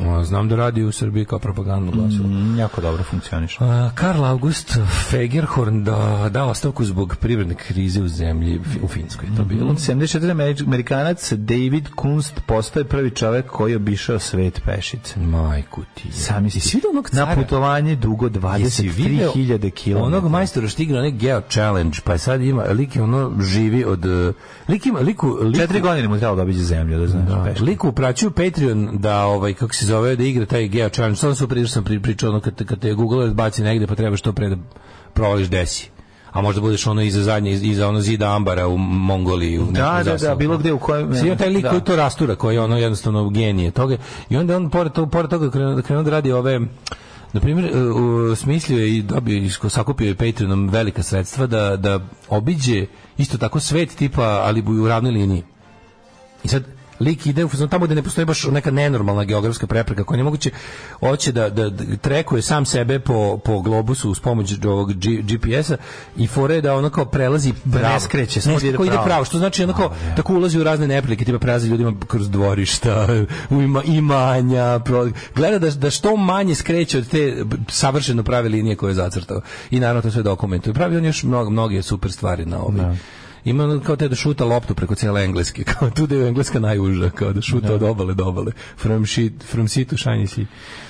A, Znam da radi u Srbiji kao propagandno glasilo. Mm, jako dobro funkcioniš. A, Karl August Fegerhorn da, da ostavku zbog privredne krize u zemlji u Finskoj. To bilo. 74. Američ- Amerikanac David Kunst postaje prvi čovjek koji je obišao svet pešice. Majku ti. je. Sami si Jesi vidio onog Na cara? putovanje dugo Jesi video 23.000 km. Onog majstora što igra onaj Geo Challenge, pa je sad ima, lik je ono živi od... eh, Lik ima, liku, liku, Četiri godine mu je trebalo da obiđe zemlju, da znaš. Da, pešice. liku upraćuju Patreon da ovaj kako se zove da igra taj Geo Challenge. Sad sam pričao sam pri- pričao ono kad kad te Google baci negde pa treba što pre da provališ desi. A možda budeš ono iza zadnje iz- iza ono zida ambara u Mongoliji u nekom Da, da, da, zaseoku. bilo gde u kojem... Svi taj lik Da. koji to rastura, koji je ono jednostavno genije toga. I onda on pored toga, pored toga krenuo, krenuo da radi ove Na primjer, e, u- smislio je i dobio, isko- sakupio je Patreonom velika sredstva da, da obiđe isto tako svet tipa, ali bu- u ravnoj liniji. I sad lik ide u fazon tamo gde ne postoji baš neka nenormalna geografska prepreka koja je nemoguće hoće da, da, da trekuje sam sebe po, po globusu uz pomoć ovog G- GPS-a i fore da ono kao prelazi pravo. skreće, Ne, samo ide kao ide pravo. pravo, što znači ono kao tako ulazi u razne neprilike, tipa prelazi ljudima kroz dvorišta, u ima, imanja, pro- gleda da, da što manje skreće od te savršeno prave linije koje je zacrtao. I naravno to sve dokumentuje. Pravi on još mnogo, mnoge super stvari na ovim. Ima ono kao te da šuta loptu preko cijele Engleske, kao tu da je Engleska najuža, kao da šuta od obale do obale. From, shit, from sea to shiny sea.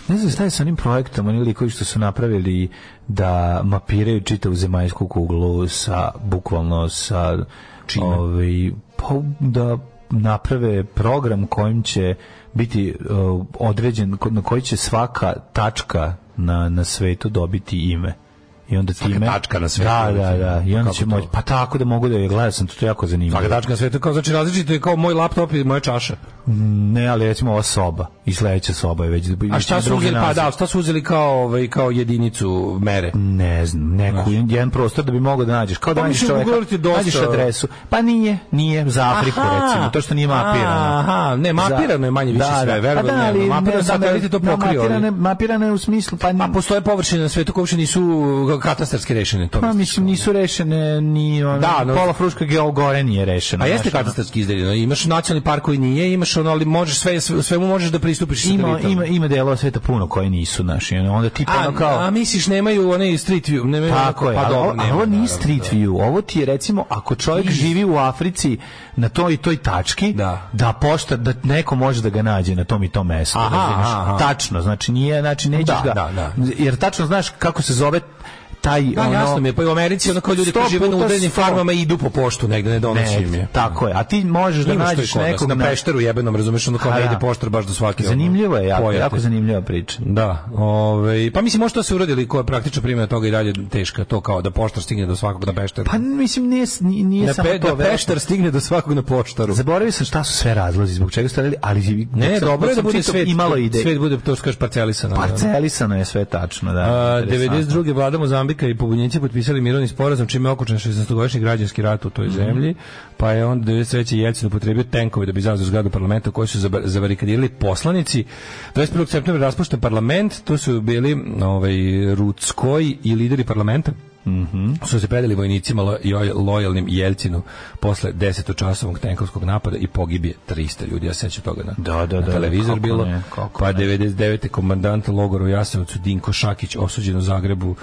Ne znam šta je sa onim projektom, oni likovi što su napravili da mapiraju čitavu zemaljsku kuglu sa, bukvalno sa... Čime? Ovaj, pa da naprave program kojim će biti uh, određen, ko- na koji će svaka tačka na, na svetu dobiti ime. I onda time... tačka na svetu Da, dobiti da, da. I onda Kako će to? moći... Pa tako da mogu da je gledao sam, to, to je jako zanimljivo. Svaka tačka na svetu, kao znači različito je kao moj laptop i moja čaša. Ne, ali recimo ova soba. I sledeća soba je već... A šta su uzeli, pa da, šta su uzeli kao, ovaj, kao jedinicu mere? Ne znam, neku, jedan prostor da bi mogao da nađeš. Kao da Pa nađeš mislim, čoveka, Google ti dosta- nađeš adresu. Pa nije, nije za Afriku recimo, to što nije mapirano. Aha, ne, mapirano je manje više Da, sve, da. verujem, Pa da, ali mapirano ne, je sateliti to da, pokrio. Mapirano, je- ali- mapirano je u smislu, pa, A postoje površine na svetu koje uopšte nisu katastarski rešene. To pa mislim. ono. mislim nisu rešene ni ono, Da, no- pola Fruška Geo- gore nije rešeno. A jeste znaš, ono. katastarski izdeljeno. Imaš nacionalni park koji nije, imaš ono, ali možeš sve, sve- svemu možeš da pristupiš ono. Ima, satelitom. ima, ima delova sveta puno koji nisu naši. ono, Onda tipa A, ono kao... a misliš nemaju one street view, nemaju Tako je, pa ali, dobro, ovo, ali nema, ovo nije naravno, street da. view, ovo ti je recimo ako čovjek živi u Africi na toj i toj tački, Da. pošta, da neko može da ga nađe na tom i tom mestu. Aha, razumeš? aha. Tačno, znači nije, znači nećeš Da, ga, da, jer tačno znaš kako se zove taj Da, ono, jasno mi je, pa i u Americi ono kao ljudi sto koji žive na puta udaljenim sto. farmama i idu po poštu negde, ne donosi im ne, je. tako je, a ti možeš da Ima što je nađeš kod nas, nekog na na- pešteru jebenom, razumeš, ono kao A, ne da. ide poštar baš do svake. ono, Zanimljivo je, jako, pojate. jako zanimljiva priča. Da, ovaj, pa mislim možda se uradili koja praktična primjena toga i dalje teška, to kao da poštar stigne do svakog na peštaru. Pa mislim nije, nije, nije da, samo pe, to. da verovatno- peštar stigne do svakog na poštaru. Zaboravio sam šta su sve razlozi zbog čega ste radili, ali Ne, ne, dobro je da bude svet, imalo ide. svet bude to što kažeš parcelisano. da. Parcelisano je sve tačno, da. A, interesantno. 92. vlada Mozambika i pobunjenici potpisali mirovni sporazum čime je okončan 16-godišnji građanski rat u toj Mhm. zemlji, pa je onda 93. Jelcin upotrebio tenkove da bi izazvao zgradu parlamenta koji su zaba- zabarikadirali poslanici. 21. septembra je raspušten parlament, tu su bili ovaj, Ruckoj i lideri parlamenta Mhm. su se predali vojnicima lo- joj- lojalnim Jelcinu posle 10-časovog tenkovskog napada i pogibije 300 ljudi. Ja se sećam toga na, Da, da, na da, televizor kako bilo. ne, kako pa 99. komandant logora u Jasenovcu Dinko Šakić osuđen u Zagrebu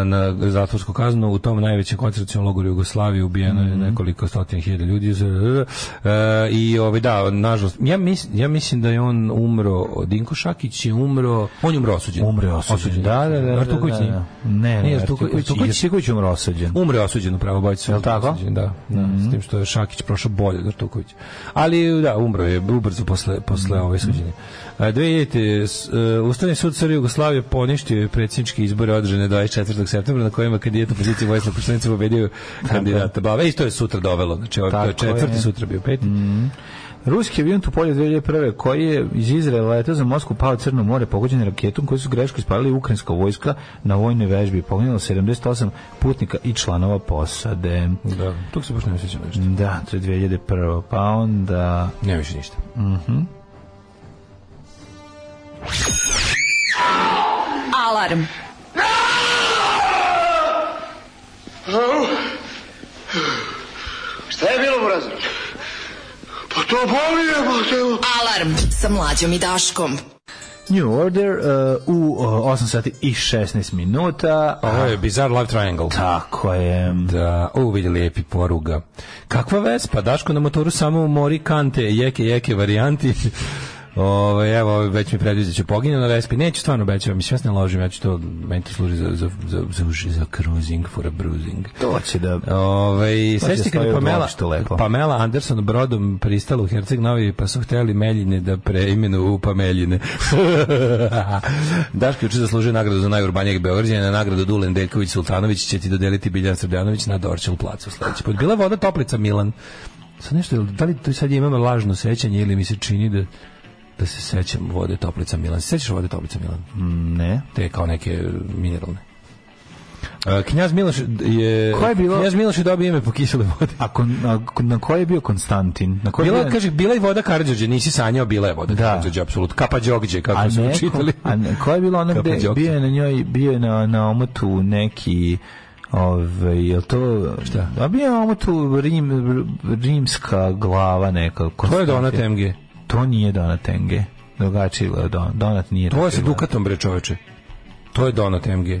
e, na zatvorsku kaznu u tom najvećem koncentracijom logoru Jugoslavije ubijeno je nekoliko stotina hiljada ljudi E, i ovaj da nažalost ja mislim ja mislim da je on umro Dinko Šakić je umro on je umro osuđen Umre osuđen. da da da Artuković Artuković nije. Ne, Nije ne, Artuković. Artuković, Artuković je umro osuđen. Umre osuđen u pravobojicu. Jel tako? Mhm. Osuđen, da, da s tim što je Šakić prošao bolje od Artuković. Ali da, umro je ubrzo posle, posle Mhm. ove suđenje. A, dve jedite, s- e, Ustavni sud Srbije Jugoslavije poništio je predsjedničke izbore održane 24. septembra na kojima kandidat opozicije Vojislav Koštunica pobedio kandidata Bave. I to je sutra dovelo. Znači, ovo je Tako je. Mhm. četvrti, sutra bio peti. Ruski avion Tupolje 2001. koji je iz Izraela letao za Moskvu pao u Crno more pogođen je raketom koju su greško ispalili ukrajinska vojska na vojnoj vežbi. Poginjalo 78 putnika i članova posade. Da, tu se baš ne osjećam nešto. Da, to je 2001. Pa onda... Ne više ništa. Alarm. Šta je bilo, Burazer? Pa to boli, evo, Alarm sa mlađom i Daškom. New Order uh, u uh, 8 sati i 16 minuta. Pa Ovo je Bizarre Love Triangle. Tako je. Da, ovo vidi lijepi poruga. Kakva Vespa, Daško na motoru samo u mori kante, jeke, jeke varijanti. Ove, evo, ovaj već mi predviđa da ću poginu na Vespi. Neću stvarno obećavam, mislim, ja se ne ložim, ja ću to, meni to služi za, za, za, za, uži- za cruising for a bruising. To će da... Ove, To ti je Ovaj, sećate kada stoji je u Pamela, dvorištu lepo. Pamela Anderson brodom pristala u Herceg Novi pa su hteli Meljine da preimenu u Pameljine. Daško juče zaslužio nagradu za najurbanijeg Beograđana, nagradu Dulen Deljković Sultanović će ti dodeliti Biljan Srbljanović na Dorčel placu sledeći put. Bila je voda Toplica Milan. Sad nešto, jel- da li tu sad imam lažno sećanje ili mi se čini da da se sećam vode Toplica Milan. Se Sećaš vode Toplica Milan? Mm, Ne. te kao neke e, mineralne. E, Knjaz Miloš je... Ko je bilo- Knjaz Miloš je dobio ime po kisele vode. A, kon, a kon- na koji je bio Konstantin? Na koji je Bila, bio- kaže, bila je voda Karadžođe, nisi sanjao, bila je voda Da. Karadžođe, apsolutno. Kapa Đogđe, kako smo neko- učitali. A ne- koja je bila ona Kapa gde Đokić. bio je na njoj, bio je na, na omotu neki Ove, je to... Šta? A bio je na omotu rim, rimska glava neka. To je Konstantin. Donat MG. To nije Donat Enge. Drugačiji je Don, Donat nije. To je sa Rafael. Dukatom, bre čoveče. To je Donat MG.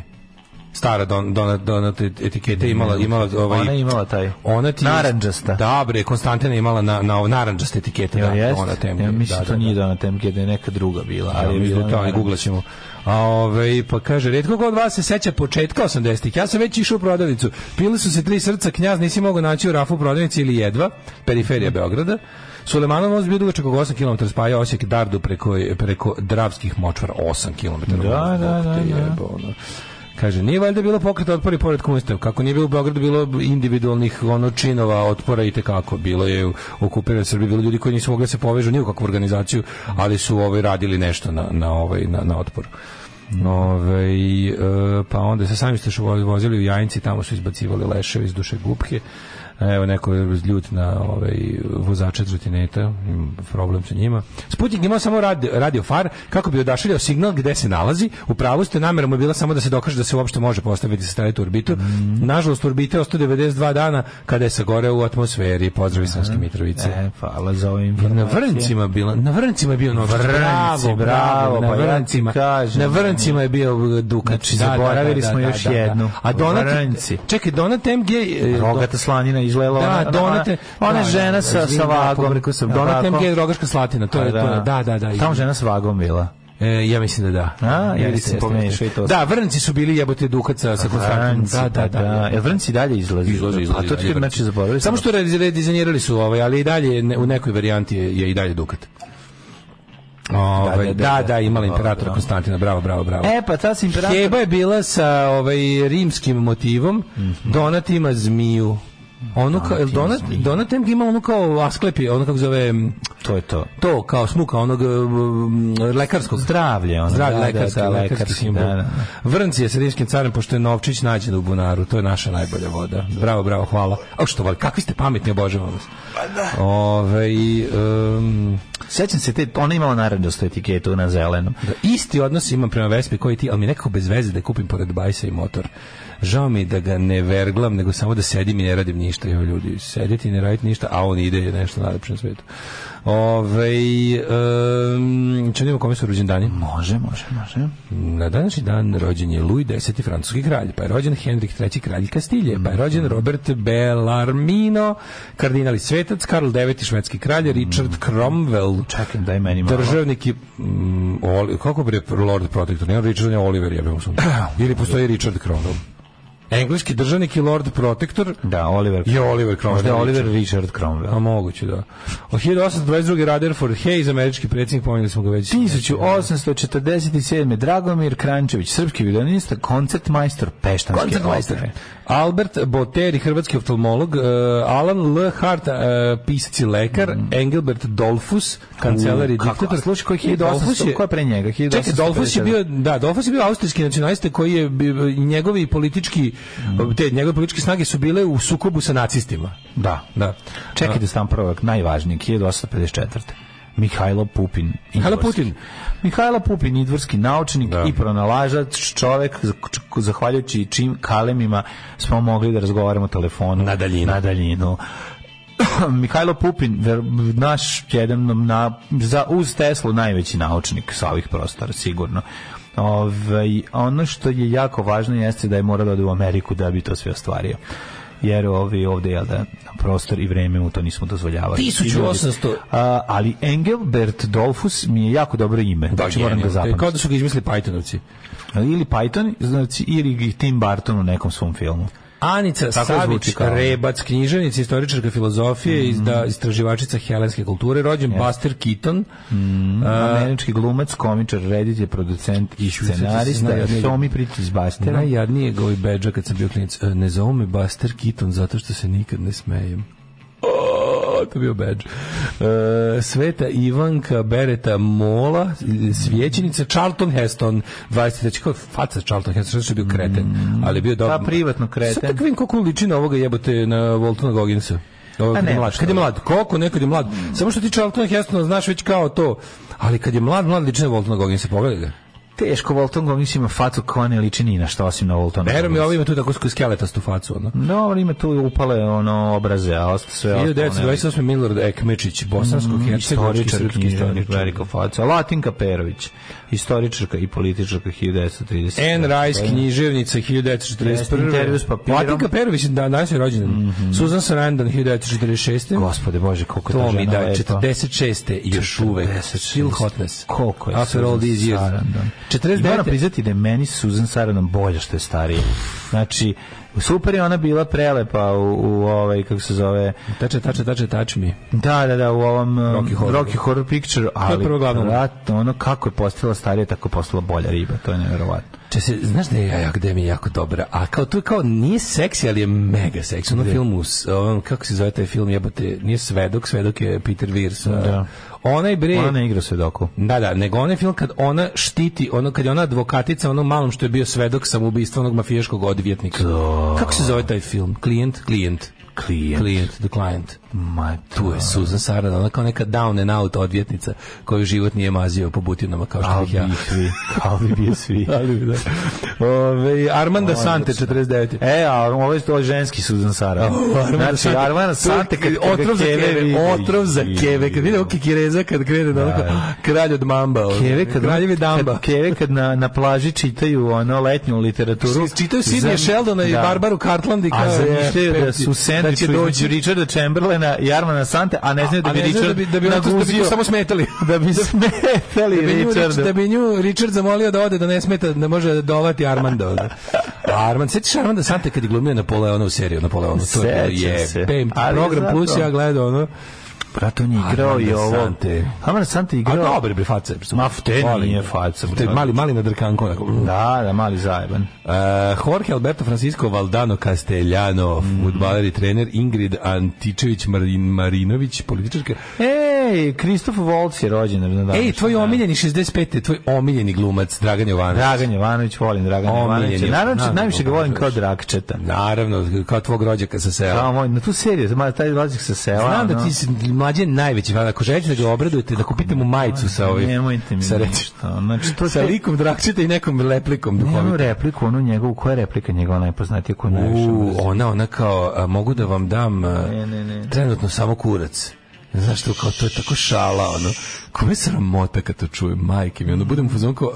Stara don, donat, donat etiketa imala, imala ovaj... Ona je imala taj. Ona ti je- Narandžasta. Da, bre, Konstantina je imala na, na narandžaste etikete. Jel da, jest? Donat MG. Ja mislim da, da, to da, nije da. Donat Enge, da je neka druga bila. Ja ali je mislim bila da je to, ali Narandžasta. googlaćemo. A ovaj pa kaže retko ko od vas se seća početka 80-ih. Ja sam već išao u prodavnicu. Pili su se tri srca, knjaz nisi mogao naći u rafu prodavnici ili jedva, periferija Beograda. Sulemanov most bio dugačak oko 8 km, spaja Osijek Dardu preko, preko Dravskih močvara 8 km. Da, da, da, da. ono. Kaže, nije valjda bilo pokreta otpora i pored komunista. Kako nije bilo u Beogradu, bilo individualnih ono, činova otpora i tekako. Bilo je u okupiranoj Srbiji, bilo ljudi koji nisu mogli da se povežu ni u kakvu organizaciju, ali su ovaj, radili nešto na, na, ovaj, na, na otporu. Ove, pa onda se sami ste što vo- vozili u Jajinci, tamo su izbacivali leševe iz duše gubke. Evo neko je ljut na ovaj vozače trotineta, imam problem sa njima. Sputnik imao samo radio, radio far kako bi odašiljao signal gde se nalazi. U pravu ste, namera mu je bila samo da se dokaže da se uopšte može postaviti satelit u orbitu. Mhm. Nažalost, orbite je 192 dana kada je sagore u atmosferi. Pozdrav iz Sremske Mitrovice. E, hvala za ovim. Na vrncima bila, na vrncima je bio Novač. Vrnci, bravo, na pa ja ti vrncima. kažem. na vrncima je bio e, Dukač. Znači, zaboravili smo još jednu. A Donat, Vrnci. čekaj, Donat MG... e, Rogata slanina izgledala. Da, ona, Donate. Ona, ona da, žena da, sa, sa izvinjavam, vagom. pobrkao sam. Jel Donat tako? Pa MG je Rogaška Slatina, to je to. je- Da, da, da. Tamo žena sa vagom bila. E, ja mislim da da. A, ja Jeste, sam jeste, pomešao jeste. i to. Da, vrnci su bili jebote Dukac sa sa Konstantinom. Vrnci, Da, da, pa da. pa Pa Jel Vrnci dalje izlazi? Izlazi, izlazi, A to ti dalje znači vrnci. zaboravili. Samo smo. što re- redizajnirali su ovaj, ali i dalje ne- u nekoj varijanti je, je i dalje Dukat. Ovaj, da, da, da, da, da. imala Bravo, imperatora bravo. Konstantina, bravo, bravo, bravo. E, pa ta si imperator... Heba je bila sa ovaj rimskim motivom, Mhm. Donat ima zmiju. Ono kao, jel Donat, Donat MG ima ono kao asklepi, ono kako zove, m, To je to. to kao smuka onog m, lekarskog. Zdravlje, ono. Zdravlje, da, da, lekarski, da, lekarski, simbol. Da, da. Vrnci je sa rimskim carem, pošto je Novčić nađen u bunaru. To je naša najbolja voda. Bravo, bravo, hvala. A što, vali, kakvi ste pametni, obožavam vas. Pa da. Ove, i, em, Sećam se, te, ona je imala naranđastu etiketu na zelenom. isti odnos imam prema Vespi koji ti, ali mi je nekako bez veze da je kupim pored bajsa i motor. žao mi je da ga ne verglam, nego samo da sedim i ne radim ništa. Evo ljudi, sediti i ne raditi ništa, a on ide je nešto najlepše na svetu. Ove, um, čemu imamo kome su rođendani? Može, može, može. Na današnji dan rođen je Louis X. francuski kralj, pa je rođen Henrik III. kralj Kastilje, pa je rođen Robert Bellarmino, kardinali svetac, Karl IX. švedski kralj, Richard Cromwell, Čekaj, daj meni malo. državnik je... Mm, Oli- kako bre Lord Protector? Ne, Richard je Oliver, jebe mu sunce. Ili postoji Richard Cromwell. Engleski državnik i Lord Protector Da, Oliver. je Oliver Cromwell. Možda je ne Oliver Richard. Richard A Cromwell. moguće, da. O 1822. Rutherford Hayes, američki predsjednik, pominjali smo ga već. 1847. Dragomir Krančević, srpski violinista, koncertmajstor Peštanske Koncertmajstor. opere. Albert Boteri, hrvatski oftalmolog, eh, Alan L. Hart, eh, pisac i lekar, Engelbert Dolfus, kancelar i Mm. kako- diktator. a slušaj, koji je I Dolfus 1800 ko je pre njega? Čekaj, Dolfus je 1857. bio, da, Dolfus je bio austrijski nacionalista koji je, bi- i njegovi politički, te njegove političke snage su bile u sukobu sa nacistima. Da. Da. Čekaj da stam prvak, najvažniji, 1854. Mihajlo Pupin. Mihajlo idvorski. Putin. Mihajlo Pupin, idvorski naučnik Da. i pronalažač, čovek za- č- zahvaljujući čim kalemima smo mogli da razgovaramo telefonu. Na daljinu. Na daljinu. Pa, Mihajlo Pupin, ver- naš jedan na, za, uz Teslu najveći naučnik sa ovih prostora, sigurno. Ovaj, ono što je jako važno jeste da je morao da ode u Ameriku da bi to sve ostvario. Jer ovi ovde, jel da, prostor i vreme mu to nismo dozvoljavali. 1800. A, ali Engelbert Dolfus mi je jako dobro ime. Da, znači, moram da Genijalno. E, Kao zapamtim. da su ga izmislili Pythonovci. Ili Python, znači, ili Tim Burton u nekom svom filmu. Anica Tako Savić zvuči kao- Rebac, književnica, istoričarka filozofije, izda, istraživačica helenske kulture, rođen Buster Keaton, Mhm. Američki glumac, komičar, reditelj, producent i sad ti se scenarista. zna, ja ne- Somi Pritić iz Bastera. Najjadnije ga ovaj bedža kad sam bio klinic. E, Ne zovu me Buster Keaton zato što se nikad ne smejem. O, to je bio bedž. E, Sveta Ivanka Bereta Mola, svjećenica Charlton Heston, 23. Kako je faca Charlton Heston, što je bio kreten, ali je bio dobro. Pa, privatno kreten. Sad tako vidim koliko on liči na ovoga jebote na Voltona Gogginsa. Ovo, A kad, je Pa ne, mlad, što Mm. kad je je. mlad, koliko nekad je mlad. Samo što ti Charlton Heston znaš već kao to, ali kad je mlad, mlad liči na Voltona Gogginsa, pogledaj ga. Teško, Volton Gomis ima facu koja ne liči ni na šta osim na Voltona. Verujem mi, Goggins. ovo ima tu tako sk- skeletastu facu, ono. Dobro, ima tu upale ono obraze, a osta sve ostalo. ne. 1928. Milorad Ekmečić, bosansko-hercegovički Mm, Istoričar, srpski književnik, istoričar. velika faca. Latinka Perović, istoričarka i političarka 1930. N. Rice, književnica, Jeste, intervju s 1941. papirom. Latinka Perović, da, danas je rođena. Susan Sarandon, 1946. Gospode Bože, koliko je ta To mi žena da, lepa. 46. još uvek. Still hotness. Koliko je After all these years. Sarandon. 49. I moram 49. priznati da je meni Susan Sarandon bolja što je starija. Znači, super je ona bila prelepa u, u ovaj, kako se zove, Tače, tače, tače, tač mi. da, da, da, u ovom um, Rocky Rocky Horror. Horror, Picture, ali prva glavna uloga. vrat, ono kako je postala starija, tako je postala bolja riba, to je nevjerovatno. Če se, znaš da je Jaja Akademija jako dobra, a kao tu je kao nije seksi, ali je mega seksi. Ono film, u s- ovom, kako se zove taj film, jebate, nije Svedok, Svedok je Peter Weir sa... Da. Onaj bre... Ona ne igra sve doku. Da, da, nego onaj film kad ona štiti, ono kad je ona advokatica onom malom što je bio svedok samoubistva onog mafijaškog odvjetnika. Kako se zove taj film? Klijent? Klijent. Klijent. Klijent, the client. Ma, Tu je Susan Sarandon, ona kao neka down and out odvjetnica koju život nije mazio po butinama kao što Ali bih ja. bi svi, ali bi svi. Ali bi, da. Ove, Armanda Sante, 49. E, a ovo je to ženski Susan Sara. Znači, Arvana Sante kad kad ga otrov za Keve keve, vidi. otrov za keve. Kad vidi ovo kikireza, kad krene da onako, kralj od mamba. ono. Keve kad, Kraljevi damba. kad- Keve kad na, na plaži čitaju ono letnju literaturu. Čitaju Sidney Zam- Sheldona i Barbaru Cartland i A kao zamišljaju je, da su da sandviču će da doći Richarda Chamberlaina i Armana Sante, a ne znaju da A bi ne Richard znam da bi, da bi, da bi, da bi naguzio- nju samo smetali. da bi smetali Da bi, nju, Richard, da Richarda. bi nju Richard zamolio da ode da ne smeta da može dovati Armando. A Armand, sećaš Armanda Sante kad je glumio Napoleona u seriju Napoleona? To je bilo Sećam je. se. pem, Ali program zato- plus ja gledao ono. Brat, on je igrao i Armando ovo. Sante. Armand Sante je A igrao. dobro bre faca. Ma, te Volim. nije faca, Te bre. mali mali na drkanku onako. Da, da, mali zajeban. Uh, Jorge Alberto Francisco Valdano Castellano, mm. i trener Ingrid Antičević Marin Marinović, političarka. E, Ej, Kristof Volc je rođen na današnji Ej, tvoj dan. omiljeni 65. Tvoj omiljeni glumac Dragan Jovanović. Dragan Jovanović, volim Dragan Omiljen Jovanovića. je. Naravno, Naravno, najviše ga volim kao Jovanović. Drakčeta. Naravno, kao tvog rođaka sa sela. Kao moj, na tu seriju, ma, taj razlik sa sela. Znam da ono. ti si mlađe najveći fan. Ako želite da ga obradujete, da kupite mu majicu sa ovim. Nemojte mi sa ništa, reč- Znači, to sa te- likom Drakčeta i nekom leplikom Njenu duhovitom. repliku, onu njegovu, koja je replika njegova najpoznatija, koju najviše U, mrzim? ona, ona kao, a, mogu da vam dam a, Ne, ne, ne. trenutno samo kurac. Znaš to, kao, to je tako šala, ono. Kome sramota kad to čujem, majke mi, ono, budem u fazonu kao,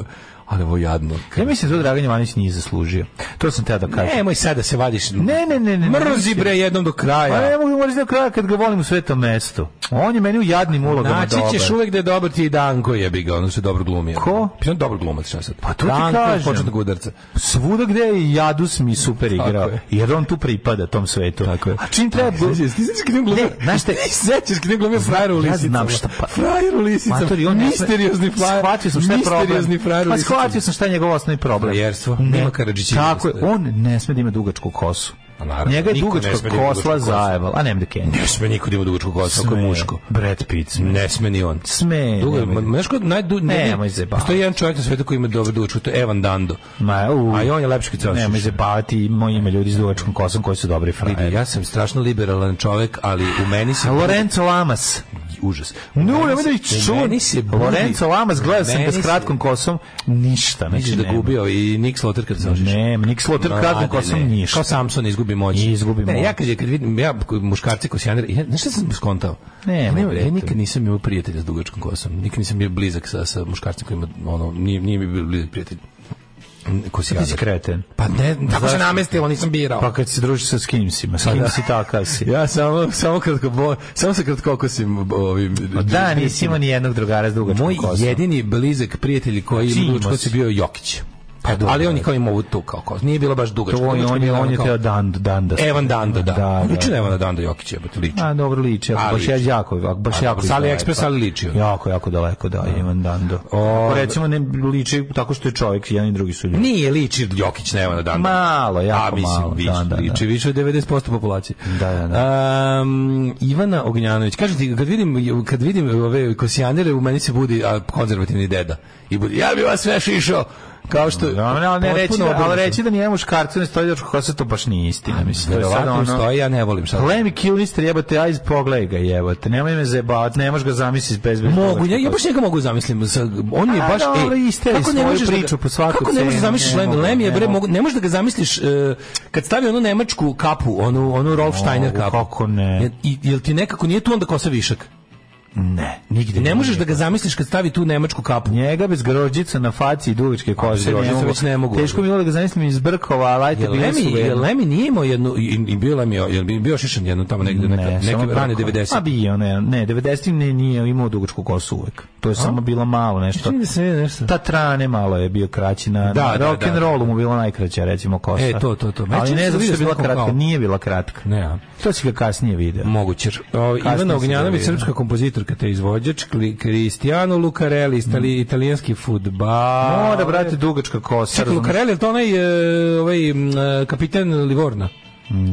ali ovo jadno. Ja mislim da to Dragan Jovanović nije zaslužio. To sam teo da kažem. Nemoj sad da se vadiš. Ne, ne, ne, ne. Mrzi mislim. bre jednom do Pa ne kraja. mogu moraš do kraja kad ga volim u svetom mestu. On je meni u jadnim ulogama Naći dobar. ćeš uvek da je dobar ti i Danko jebi ga, ono što je dobro glumio. Ko? Pa on je dobar glumac, šta sad? Pa to ti Danko je kažem. početnog udarca. Svuda gde je Jadus mi super igrao. je. Jer on tu pripada tom svetu. Tako je. A čim treba... Ti sećaš ti sećaš kad je on glumio? Ne, znaš šta- Ti sećaš kad je on glumio frajer u Ja lisicama? znam šta, pa- Frajer u lisicama. Matori, on ne sme- Misteriozni frajer. Shvatio sam šta je problem. Misteriozni frajer u Pa lisicama. shvatio sam šta je njegov osnovni problem. Frajerstvo, Ne. nema Karadžićevine. Tako je, on ne sme da ima dugačku kosu. A Pa naravno, Njega je niko ne dugačka sme da ima dugačku kosla kosu. zajebala. A nemam da kenja. Ne sme niko da ima dugačku kosu, ako je muško. Brad Pitt sme. Ne sme ni on. Sme. Dugo, nemoj. ma- znaš ko, najdu, ne, Nemoj zajebavati. Postoji jedan čovjek na svetu koji ima dobro dugačku, to je Evan Dando. Ma, u, A i on je lepši kad se osuši. Nemoj zabavati, ima, ima ljudi s dugačkom kosom koji su dobri Vidi, frajeri. ja sam strašno liberalan čovjek, ali u meni se... Lorenzo Lamas. Užas. Ne, U meni nemoj se- da ih u čujem. meni se budi- Lorenzo Lamas, gledao sam ga Meni s se- kratkom kosom, ništa. Misliš Znači, da gubio i Nick Slaughter kad se ožiš? Ne, Nick Slaughter kratkom kosom ništa. Kao Samson izgubi moć. Izgubi ne, moć. Ja kad, je- kad vidim, ja koji muškarci kosijaner, ja, znaš šta sam skontao? Ne, ja, ma, nema, ja brate. nikad nisam imao prijatelja s dugačkom kosom. Nikad nisam bio blizak sa, sa muškarcem koji ima, ono, nije, nije mi bio blizak prijatelj. Ti Kosijaner. si kreten. Pa ne, tako se Zašto? namestilo, nisam birao. Pa kad se družiš sa skimsima, s kim si takav si. Ja samo samo kratko bo, samo se kratko kosim ovim. Pa Da, nisi imao ni jednog drugara s dugačkom Moj kosom. jedini blizak prijatelj koji Čiji ima imao dugačko si? je bio Jokić. Pa dobro, ali on da. je kao imao ovu tu kao kosu. Nije bilo baš dugačko. To je, dugačko on je, bilo on ono je kao- E, teo dan, dan da se- Evan Danda, da. Da, da. Liči na Evana Danda Jokić, jebote, liči. A dobro liči, ako A, baš ja liči. jako, ako baš A, jako. s AliExpressa, izgleda, ali liči on. Jako, jako daleko da, Ivan Dando. Pa O, recimo ne liči tako što je čovjek, jedan i drugi su ljudi. Nije liči Jokić na Evana Danda. Malo, jako A, mislim, malo, Više, da, da, da. liči više od 90% populacije. Da, da, Um, Ivana Ognjanović, kažete, kad vidim, kad vidim ove kosijanere, u meni se budi a, konzervativni deda. I budi, ja bi vas sve šišao. Kao što... Da, ne, ali ne reći potpuno da, ali obrnuto. reći da nije muškarcu ne stoji dočko kosa, to baš nije istina, mislim. To je sad Verovatno ono... stoji, ja ne volim šta. Lemmy Kilmister, jebate, ajde pogledaj ga, jebate. Nemoj me zajebavati, ne možeš ga zamisliti bez bez Mogu, dugačke ja, ja kose. baš njega mogu zamislim. Sa, on je A, baš... dobro, ej, isteri svoju možeš da ga- priču po svaku Kako ne možeš cenu, zamisliš ne Lem, mogu, Lem je, ne bre, mogu. mogu- ne možeš da ga zamisliš e, kad stavi onu nemačku kapu, onu, onu Rolf Steiner Mogu, kapu. kako ne. Je- I, jel ti nekako nije tu onda kosa višak? Ne, nigde. Ne nema možeš njega. da ga zamisliš kad stavi tu nemačku kapu. Njega bez grožđica na faci i dugačke koze. grožđice već ne mogu. Teško mi je bilo da ga zamislim iz brkova, ali ajte Jel bili su Lemi, jel verni. Lemi nije imao jednu, i, i bio Lemi, jel bi bio šišan jednu tamo negde, neka, Ne, samo Pa neke rane tako. 90. A bio, ne, ne, 90 ne, nije imao dugačku kosu uvek. To je samo bilo malo nešto. Čini mi se nešto. Ta trane malo je bio kraći na, Da, na da, rock da, and da. rollu mu bila najkraća recimo kosa. E, to, to, to. Ma, Ali čini ne se znam što vidio je sam bila nekom kratka, kao- nije bila kratka. Ne, a? To si ga kasnije video. Mogućer. O, Ivana se Ognjanović, zavira. srpska kompozitorka te izvođač, Kli- Cristiano Lucarelli, istali, italijanski futbal. Mora, Mm. brate, dugačka kosa. Čekaj, razumeš? Lucarelli, je li to onaj e, ovaj, m, e, kapitan Livorna?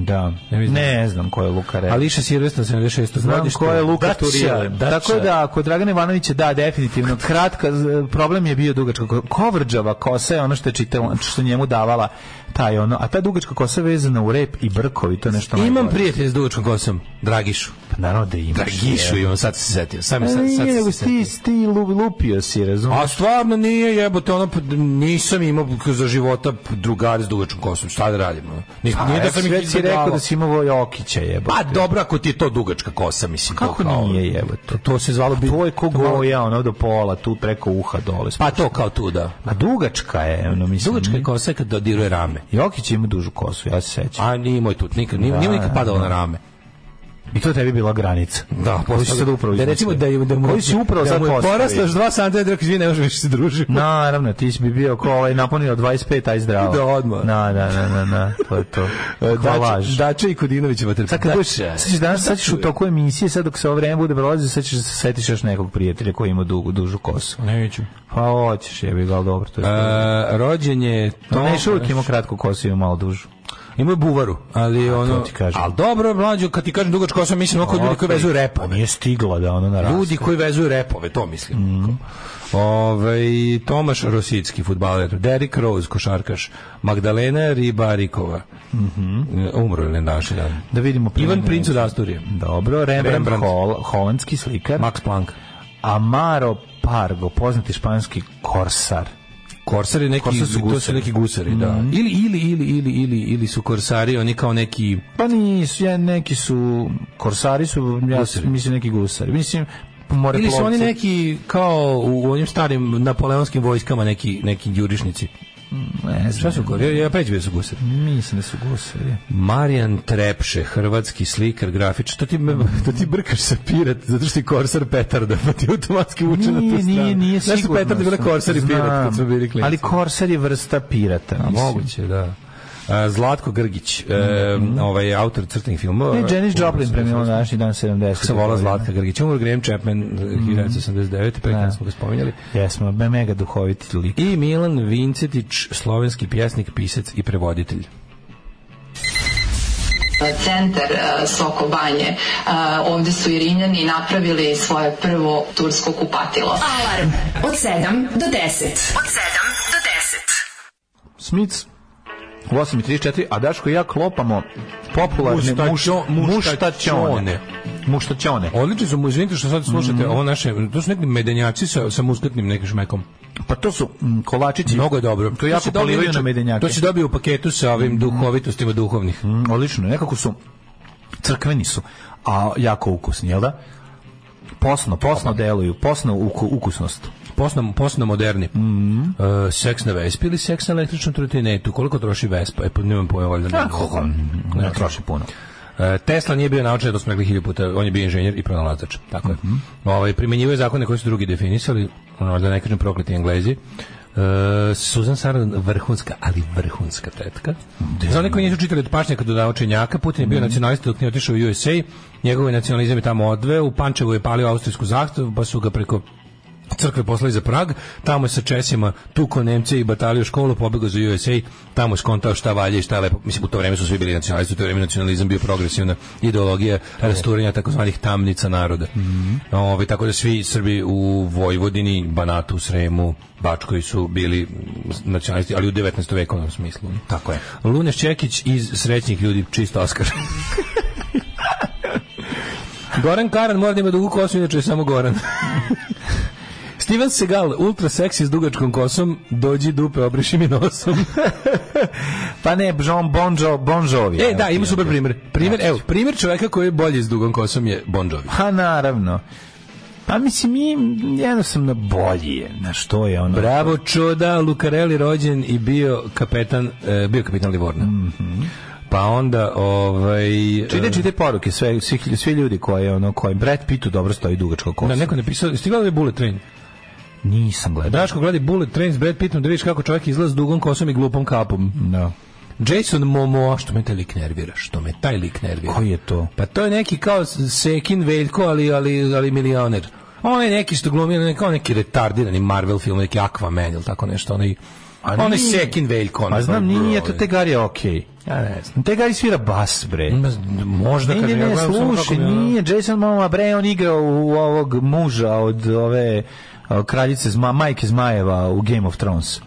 Da. Ne znam. Ne znam ko je Luka Rela. Ališa Sirvesta, 76. Znam godište. ko je Luka Dača, Turija. Dača. Tako da, kod Dragana Ivanovića, da, definitivno. Kratka, z- problem je bio dugačka ko- kovrđava kosa, je ono što je čitala, što je njemu davala taj ono, a ta dugačka kosa je vezana u rep i brkovi, to je nešto Imam najgore. prijatelja s dugačkom kosom, Dragišu. Pa Naravno da imaš. Dragišu je. imam, sad se setio. Sam, je A sad, sad Nije, sam nego se setio. ti, ti lu- lupio si, razumiješ? A stvarno nije jebote, ono p- nisam imao k- za života p- drugare s dugačkom kosom. Šta da radim? ono? Ni, Pa nije da sam ih već si e, rekao izbjegavao. da si imao Jokića, jebo. Pa dobro, ako ti je to dugačka kosa, mislim. to Kako kao- nije, jebote? To, to se zvalo... bi- Pa, To je ko to malo- goja, ono do pola, tu preko uha dole. Pa to kao tu, da. A dugačka je, ono, mislim. Dugačka je kosa kad dodiruje rame. Jokić ima dužu kosu, ja se sećam. A nije moj tut, nikad, nije, nije mi nikad padalo na rame. I to tebi bila granica. Da, Koji si sad upravo da recimo da, je- da mu, Koji si upravo da sad mu je postavio? poraslo još dva santa, da kaže, "Vi ne možeš više se družiti. Naravno, ti si bi bio ko ovaj napunio 25, aj zdravo. Da, odmah. Na, da, da, da, da, to je to. Ko laž. Dače i Kodinovića vatrpa. Sad, kad budeš, sad ćeš danas, sad ćeš u toku emisije, sad dok se ovo vreme bude prolazio, sad ćeš da se setiš još nekog prijatelja koji ima dugu, dužu kosu. Neću. Pa hoćeš, jebi ga, ali dobro, to je. E, rođen je to Tom... ne, uvijek imao kratku kosu i imao malo dužu. Imao je buvaru, ali ono... ti kažem. Ali dobro, mlađo, kad ti kažem dugač kosa, mislim oko ljudi koji vezuju repa. repove. Pa Nije stigla da ona narasta. Ljudi koji vezuju repove, to mislim. Ovaj, Tomaš Rosicki, futbaler, Derek Rose, košarkaš, Magdalena Ribarikova, E, umro je naši dan. Da vidimo prvi Ivan news. Princ od Asturije, Dobro, Rembrandt, Rembrandt. Hol, holandski slikar. Max Planck. Amaro Pargo, poznati španski korsar. Korsari neki, Korsari su to su gusari. neki gusari, Mhm. da. Ili, ili, ili, ili, ili, ili su korsari, oni kao neki... Pa nisu, ja, neki su, korsari su, ja Gusari. mislim neki gusari. Mislim, more Ili su oni neki, kao u onim starim napoleonskim vojskama, neki, neki jurišnici. Ne Šta znam, su korsari? Ja, ja preći bio su gusari. mislim da su gusari. Marijan Trepše, hrvatski slikar, grafič, to ti, to ti brkaš sa pirat, zato što je korsar petarda, pa ti automatski uče na tu Nije, stranu. nije, nije Znaš su sigurno. petarda bila korsar i pirat, Znam. kad smo bili klinci. Ali korsar je vrsta pirata. A, mislim. moguće, da. A, Zlatko Grgić, e, ovaj autor crtenih filmova. Ne, Janis Joplin premijela na današnji dan 70. Kako se vola Zlatka Grgić, umro Graham Chapman eh, 1989, Da. prekada smo ga spominjali. Jesmo, me- mega duhoviti lik. I Milan Vincetić, slovenski pjesnik, pisac i prevoditelj. centar eh, e, Soko Banje. E, Ovde su i Rimljani napravili svoje prvo tursko kupatilo. Alarm od 7 do 10. Od 7 do Smith u 8.34, a Daško i ja klopamo popularne Muštačo- muš- muštačone. muštačone. Muštačone. Odlični su mu, izvinite što sad slušate ovo naše, to su neki medenjaci sa, sa muskatnim nekim šmekom. Pa to su mm, kolačići. Mnogo je dobro. To jako si dobio polivaju inače- na medenjake. Mhm. To se dobio u paketu sa ovim duhovitostima duhovnih. Mm, odlično, nekako su crkveni su, a jako ukusni, jel da? Posno, posno deluju, posno uku, ukusnost. Posno, posno moderni. Mhm. E, seks na Vespi ili seks na električnom trotinetu? Koliko troši Vespa? E, pa nemam pojma, Ah, valjda. ne. Ne troši puno. E, Tesla nije bio naučen, to smo rekli hilju puta, on je bio inženjer i pronalazač. Tako Mhm. je. Ovaj, primjenjivao je zakone koji su drugi definisali, ono, da ne kažem prokleti englezi. E, Susan Sarandon, vrhunska, ali vrhunska tetka. Za one koji nisu čitali od pašnjaka do naučenjaka, Putin je bio nacionalista dok nije otišao u USA, njegov je nacionalizam je tamo odveo, u Pančevu je palio austrijsku zastavu, pa su ga preko crkve poslali za Prag, tamo je sa Česima tuko Nemce i batalio školu, pobegao za USA, tamo je skontao šta valje i šta je lepo. Mislim, u to vreme su svi bili nacionalisti, u to vreme nacionalizam bio progresivna ideologija rasturanja takozvanih tamnica naroda. Ovaj, tako da svi Srbi u Vojvodini, Banatu, Sremu, Bačkoj su bili nacionalisti, ali u 19. vekovnom smislu. Tako je. Luneš Čekić iz Srećnih ljudi, čisto Oskar. Goran Karan mora da ima dugu kosu, inače je samo Goran. Steven Segal, ultra seksi s dugačkom kosom, dođi dupe, obriši mi nosom. Pa ne, Jean Bonjo, Bonjovi. e, da, ima super primjer. Primjer, evo, primjer čoveka koji je bolji s dugom kosom je Bon Jovi. Ha, naravno. Pa mislim, mi jednostavno bolji je. Na što je ono? Bravo, čuda, Lucarelli rođen i bio kapetan, e, bio kapitan Livorna. Pa onda, ovaj... Čite, e, čite poruke, sve, svi, svi ljudi koji, ono, koji Brad Pittu dobro stoji dugačko kosu. Da, neko je napisao, stigao je Bullet Train. Nisam gledao. Daško gleda Bullet Train s Brad Pittom da vidiš kako čovjek izlazi s dugom kosom i glupom kapom. Da. Jason Momoa, što me taj lik nervira, što me taj lik nervira. Koji je to? Pa to je neki kao Sekin Veljko, ali, ali, ali milioner. On je neki što glumi, on je kao neki retardirani Marvel film, neki Aquaman ili tako nešto. Onaj, A onaj nije. Sekin Veljko. onaj Pa znam, koji- nije to Tegari je okej. Ja ne znam. Tegari svira bas, bre. Ma, Možda Ne, ne, kažem, ja ne, gledam samo kako slušaj, mi je ono- nije Jason Momoa, bre, on igrao u ovog muža od ove a, kraljice zma, majke Zmajeva u Game of Thrones.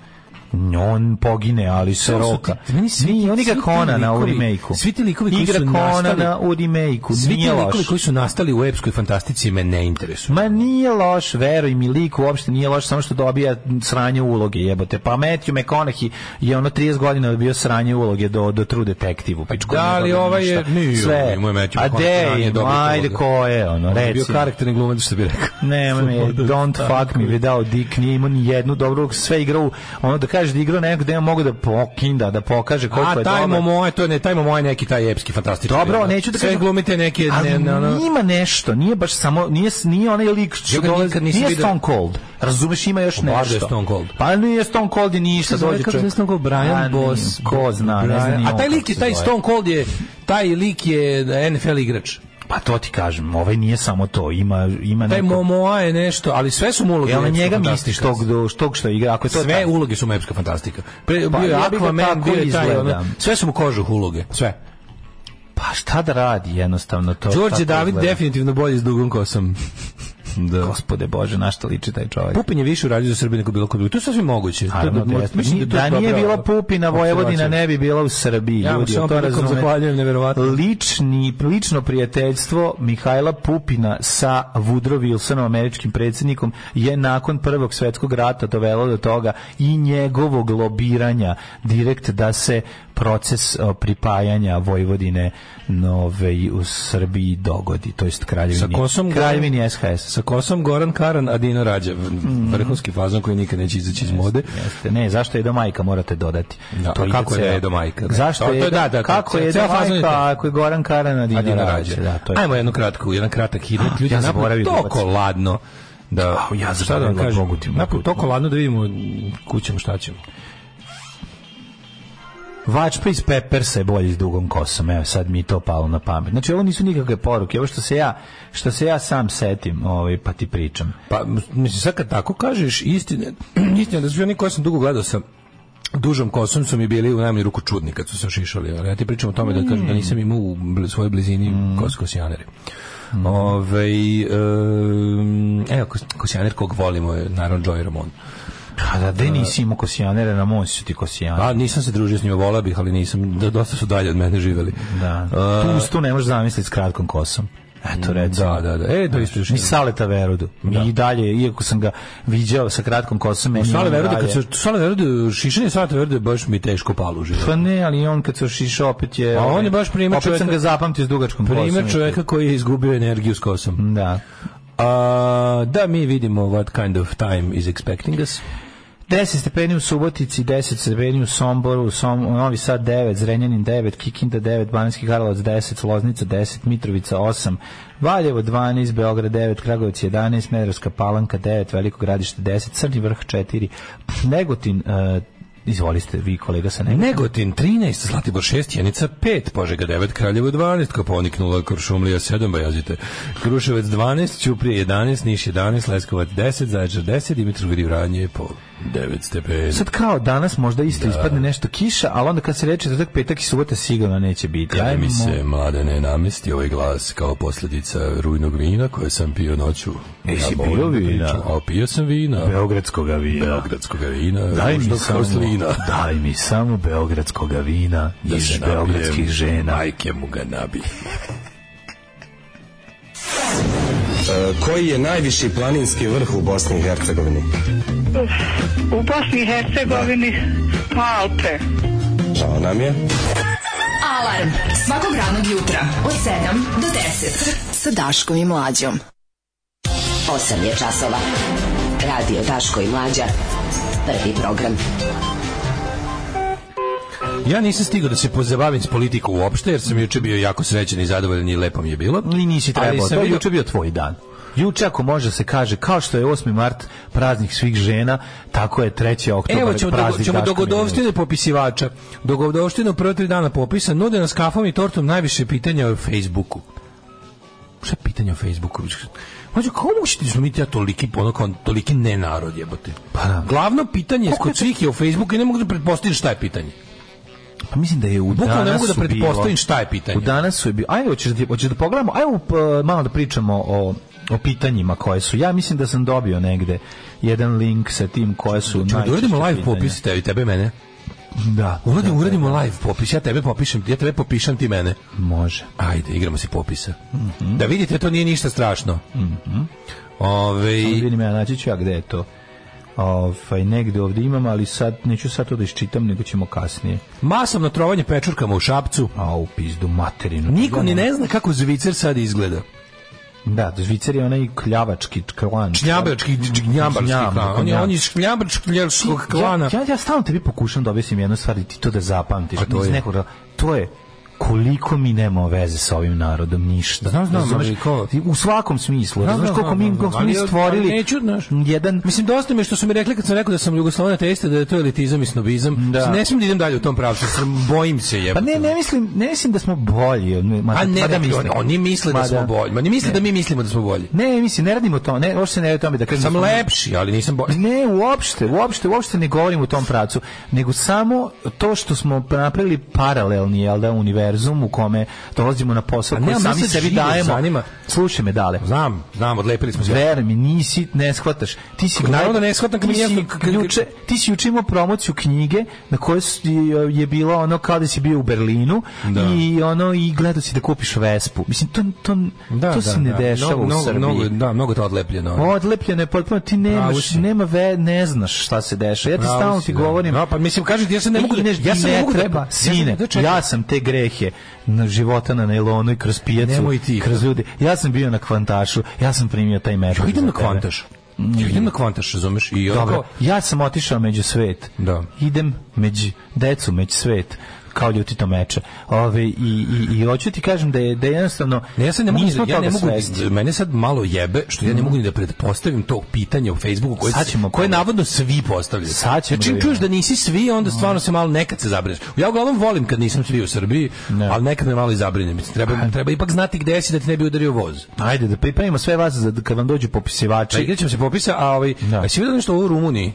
On pogine, ali se To su roka. ti- meni svi ti- Nije, on igra svi ti Konana u likovi- remake-u. svi ti likovi koji igra su Konana nastali- u remake-u. Svi ti nije loš. likovi koji su nastali u epskoj fantastici me ne interesuju. Ma nije loš, veruj mi, lik uopšte nije loš, samo što dobija sranje uloge, jebote. Pa Matthew McConaughey je ono 30 godina bio sranje uloge do, do True Detective-u. pičku, da, nije ali dobio ovaj je- ništa. nije, Sve. imao je Matthew A McConaughey sranje dej, dobrih ajde, uloga. ko je, ono, On je bio reci. karakterni glumac što bi rekao. Ne, me, don't fuck me without dick, nije imao ni jednu dobru, sve igrao, ono da kaže da igrao nekog da ja mogu da pokinda, da pokaže koliko A je taj dobar. Momoa, to ne, taj Momoa je neki taj epski fantastični. Dobro, film. neću da Sve kažem- glumite neke... Ali ne, ne, ono- ima nešto, nije baš samo, nije, nije onaj lik Ja što ga dolazi, nikad nisam nije vidio. Stone Cold, razumeš, ima još Obažuje nešto. Stone Cold. Pa nije Stone Cold i ništa, se zove, dođe kako čovjek. se Stone Cold? Brian A, nije, Boss. Ko zna, ne Brian- znam ni A taj on lik kako je, se taj zove. Stone Cold je, taj lik je NFL igrač. pa to ti kažem, ovaj nije samo to, ima ima Taj neko- Momoa je nešto, ali sve su mu uloge. Jel na epska njega fantastika. misliš tog do što što igra, ako je to sve tako? uloge su mu epska fantastika. Pre, Pa, bio je ja bi ga tako Aquaman, bio je taj, izgledam. ono, sve su mu kožuh uloge, sve. pa šta da radi jednostavno to. Đorđe tako David izgleda. definitivno bolji s dugom kosom. da. Gospode Bože, na šta liči taj čovjek? Pupin je više uradio za Srbiju nego bilo ko drugi. To je sasvim moguće. Naravno to, da, da, jeste. mislim Ni- da, da to ono, je nije dobra bila Pupina, Vojvodina observacija. ne bi bila u Srbiji. Ja mu ljudi, se ovom to prilikom razume. zahvaljujem, neverovatno. Lični, lično prijateljstvo Mihajla Pupina sa Woodrow Wilsonom, američkim predsjednikom, je nakon Prvog svjetskog rata dovelo do toga i njegovog lobiranja direkt da se proces e, pripajanja Vojvodine nove i u Srbiji dogodi, to jest kraljevini, Sa kosom- kraljevini SHS. Sa kosom Goran Karan, a Dino Rađa. Vrhunski fazon koji nikad neće izaći iz mode. Mm. Jeste, ne, zašto je do majka morate dodati. Da, a ide kako je ceo. Edo Majka, da. Zašto To- to je, je- da, da, kako to- je do ceo fazon je majka to. ako je Goran Karana A Dina, Dino Rađe, Rađe. Da, to je. Ah, Ajmo jednu kratku, jedan kratak hidret. Ljudi, ja ja zaboravio zaboravio da toliko ubacim. ladno da Au, ja šta da vam zaboravio, kažem Bogu ti, Bogu napoj ti. toliko ladno da vidimo kućemo šta ćemo Vačpa iz Peppersa je bolji s dugom kosom. Evo, sad mi je to palo na pamet. Znači, ovo nisu nikakve poruke. Ovo što se ja, što se ja sam setim, ovaj, pa ti pričam. Pa, mislim, sad kad tako kažeš, istine, istine da su oni koje sam dugo gledao sa dužom kosom su mi bili u najmanju ruku čudni kad su se ošišali. Ali ja ti pričam o tome da Mm. kažem da nisam imao u bl- svojoj blizini mm. kos kosijanere. Mm. Ove, um, evo, kos, kosijaner kog volimo je naravno Joey Ramon. A Pa da, E, de nisi imao kosijanere, na moj su ti kosijanere. A nisam se družio s njima, volao bih, ali nisam, da, dosta su dalje od mene živeli. Da. A, Tu, tu ne možeš zamisliti s kratkom kosom. Eto, recimo. e. Mm, da, da, da. E, to isto još Ni jednom. Saleta Verudu. I dalje, iako sam ga viđao sa kratkom kosom, meni Sale on Verode, dalje- kad se Sale Verode, šišanje Sale Verode baš mi teško palo u životu. Pa ne, ali on kad se ošišao opet je... A Pa on je ovaj, baš primer Opet sam čoveka- ga zapamtio s dugačkom kosom. Primer čovjeka koji je izgubio energiju s kosom. Da. A, da mi vidimo what kind of time is expecting us. 10 stepeni u Subotici, 10 stepeni u Somboru, Som, Novi Sad 9, Zrenjanin 9, Kikinda 9, Bananski Karlovac 10, Loznica 10, Mitrovica 8, Valjevo 12, Beograd 9, Kragovic 11, Medarska Palanka 9, Veliko gradište 10, Crni vrh 4, Negotin, e, izvolite vi kolega sa Negotin. Negotin 13, Zlatibor 6, Jenica 5, Požega 9, Kraljevo 12, Koponik 0, Kuršumlija 7, Bajazite, Kruševac 12, Ćuprije 11, Niš 11, Leskovac 10, Zaječar 10, Dimitrovgrad i Vranje po 9 stepeni. Sad kao danas možda isto ispadne nešto kiša, ali onda kad se reče da tak petak i subota sigurno neće biti. Kada mi Ajmo. se mladene namesti ovaj glas kao posljedica rujnog vina koje sam pio noću. Jesi volim pio da vina? pričam, A pio sam vina. Beogradskoga vina. Beogradskog vina. Daj mi, ružnog samo, kao slina. daj mi samo beogradskog vina Da iz se beogradskih napijem, žena. Majke mu ga nabi. Koji je najviši planinski vrh u Bosni i Hercegovini? U Bosni i Hercegovini pa Alpe. Žao nam je. Alarm svakog radnog jutra od 7 do 10. Sa Daškom i Mlađom. 8 je časova. Radio Daško i Mlađa. Prvi program. Ja nisam stigao da se pozabavim s politikom uopšte, jer sam juče bio jako srećen i zadovoljan i lepo mi je bilo. Ni nisi trebao, Ali sam to je vidio- juče bio tvoj dan. Juče ako može se kaže, kao što je 8. mart praznik svih žena, tako je 3. oktobar Evo ćemo, dogo, praznik ćemo Daška Milinovića. dogodovštine popisivača. Dogodovštine u prvo tri dana popisa nude nas kafom i tortom najviše pitanja o Facebooku. Šta je pitanje o Facebooku? Mađo, kako možete izumiti ja toliki, ono, kao toliki nenarod jebote? Pa da. Glavno pitanje kod svih je o Facebooku i ne mogu da pretpostavim šta je pitanje. Pa mislim da je u Bukvalno danas ne mogu da su bilo- pretpostavim šta je pitanje. U danas su je bio. Ajde, hoćeš da, hoćeš da pogledamo. Ajde, p- malo da pričamo o o pitanjima koje su. Ja mislim da sam dobio negde jedan link sa tim koje su Čemo da najčešće uradimo live pitanja. popis tebi, tebe i mene. Da. Uradimo, uradimo live popis, ja tebe popišem, ja tebe popišem ti mene. Može. Ajde, igramo se popisa. Da vidite, to nije ništa strašno. Ove, I vidim ja, naći ću ja gde je to. Ovaj, negde ovdje imam, ali sad, neću sad to da iščitam, nego ćemo kasnije. masovno trovanje pečurkama u Šapcu. A u pizdu materinu. Niko ni ne zna kako Zvicer sad izgleda. Da, Zvicer je onaj kljavački klan. Šljabački, gnjabarski Gnjab, klan. On je, gnjab. on je iz šljabačkog klana. Ja, ja, ja stalno tebi pokušam da objasnim jednu stvar i ti to da zapamtiš. A to Iz je? nekog ra- to je koliko mi nemamo veze sa ovim narodom ništa. Znam, znam, Razumeš? ali kao- u svakom smislu. Znam, Znaš znam, koliko znam, mi znam, koliko smo ali mi ja- stvorili ali neću, znaš. jedan Mislim, dosta mi je što su mi rekli kad sam rekao da sam jugoslovan ateista, da je to elitizam i snobizam. Da. Ne smijem da idem dalje u tom pravcu, jer sam, bojim se Pa jebate. ne, ne mislim, ne mislim da smo bolji. od- Ma, A ne, ma ne, mislim. oni, oni misle da Ma smo bolji. Ma Oni misle da mi mislimo da smo bolji. Ne, mislim, ne radimo to. Ne, uopšte ne radimo o tome da kažem. Sam da smo- lepši, ali nisam bolji. Ne, uopšte, uopšte, uopšte ne govorim u tom pracu, nego samo to što smo napravili paralelni, jel da, univerzum u kome dolazimo na posao A Pa ne, koji ali sami mene se sebi život dajemo. zanima. Slušaj me, dale. Znam, znam, odlepili smo se. Ver mi, nisi, ne shvataš. Ti si Naravno gledao- da ne shvatam ti kad mi si jasno- kad- juče- ti si juče imao promociju knjige na kojoj su- je bilo ono kao da si bio u Berlinu i ono i gledao si da kupiš Vespu. Mislim, to, to, to se ne dešava Mnogo- u mnogo- Srbiji. Mnogo, da, mnogo je to odlepljeno. Odlepljeno je potpuno, ti Pravo nemaš, si. nema ve, ne znaš šta se dešava. Ja ti Pravo stalno si, ti da. govorim. No, pa mislim, kažem ti, ja se ne ti mogu da- ideš ja di se ne ne mogu da- treba, ja se- sine. da, čekaj. ja sam te grehe na života na nailonu i kroz pijacu, Nemoj ti. kroz ljudi. Ja sam bio na kvantašu, ja sam primio taj metak. Ja idem za na tebe. kvantaš. Ja idem na kvantaš, razumeš? I Dobro, onako, ja sam otišao među svet. Da. Idem među decu, među svet kao ljutito meče. Ove, i, i, I hoću ti kažem da je, da je jednostavno... Ne, ja sad ne mogu, nismo ni- ja ne toga mogu, svesni. mene sad malo jebe što ja ne mogu ni da pretpostavim to pitanje u Facebooku koje, Sad ćemo koje probati. navodno svi postavljaju. Sad ćemo Znači, čim vidjeti. čuješ da nisi svi, onda stvarno se malo nekad se zabrineš. Ja uglavnom volim kad nisam svi u Srbiji, ali nekad me malo i zabrinem. Mislim, Treba, treba ipak znati gde si da ti ne bi udario voz. Ajde, da pripremimo sve vas za, kad vam dođu Če, popisivači. igrati ćemo se popisa, a ovaj, Da. a si vidio nešto ovo u Rumuniji?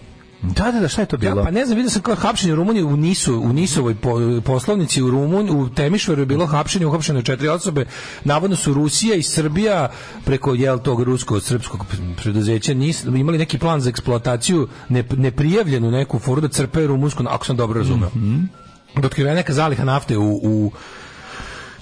Da, da, da, šta je to Ja, bilo? pa ne znam, vidio sam kao hapšenje u Rumuniji u Nisu, u Nisovoj po- poslovnici u Rumun, u Temišvaru je bilo hapšenje, uhapšeno je četiri osobe. Navodno su Rusija i Srbija preko jel tog rusko-srpskog preduzeća nis, imali neki plan za eksploataciju ne, neprijavljenu neku foru da crpe rumunsku, ako sam dobro razumeo. Mm Mhm. je neka zaliha nafte u, u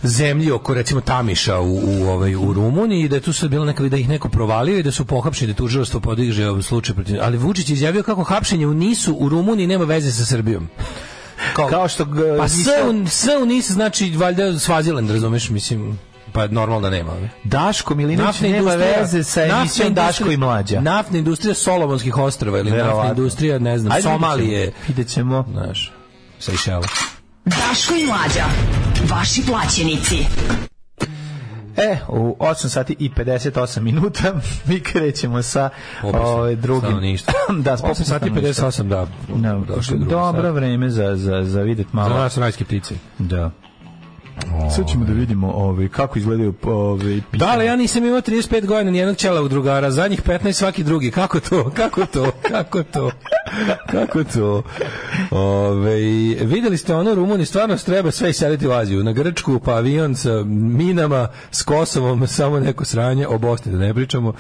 zemlji oko recimo Tamiša u, u, ovaj, u Rumuniji i da je tu sad bilo neka da ih neko provalio i da su pohapšeni da je tužilaštvo podiže ovaj slučaj protiv ali Vučić je izjavio kako hapšenje u Nisu u Rumuniji nema veze sa Srbijom Kao što e, ga- pa sve u, sve u Nisu znači valjda Svaziland razumeš mislim pa normalno da nema ali. Daško Milinović Znači, nema veze sa naftna emisijom industrija- Daško i Mlađa. Naftna industrija Solomonskih ostrava ili naftna Verovatno. industrija, ne znam, Ajde, Somalije, Vidjet ćemo. znaš, Sejšela. Daško i Mlađa. Vaši plaćenici. E, u 8 sati i 58 minuta mi krećemo sa Popisom ovaj, drugim. stanovništva. da, s 8 popisom sati stanovništva. 58, da. Da, došli drugo dobro sad. vreme za, za, za vidjet malo. Za nas rajske ptice. Da. Sad ćemo da vidimo ovaj, kako izgledaju ovaj, Da, ali ja nisam imao 35 godina nijednog čela u drugara, zadnjih 15 svaki drugi. Kako to? Kako to? Kako to? Kako to? Ove, videli ste ono, Rumuni stvarno treba sve iseliti u Aziju. Na Grčku, pa avion sa minama, s Kosovom, samo neko sranje, o Bosni da ne pričamo.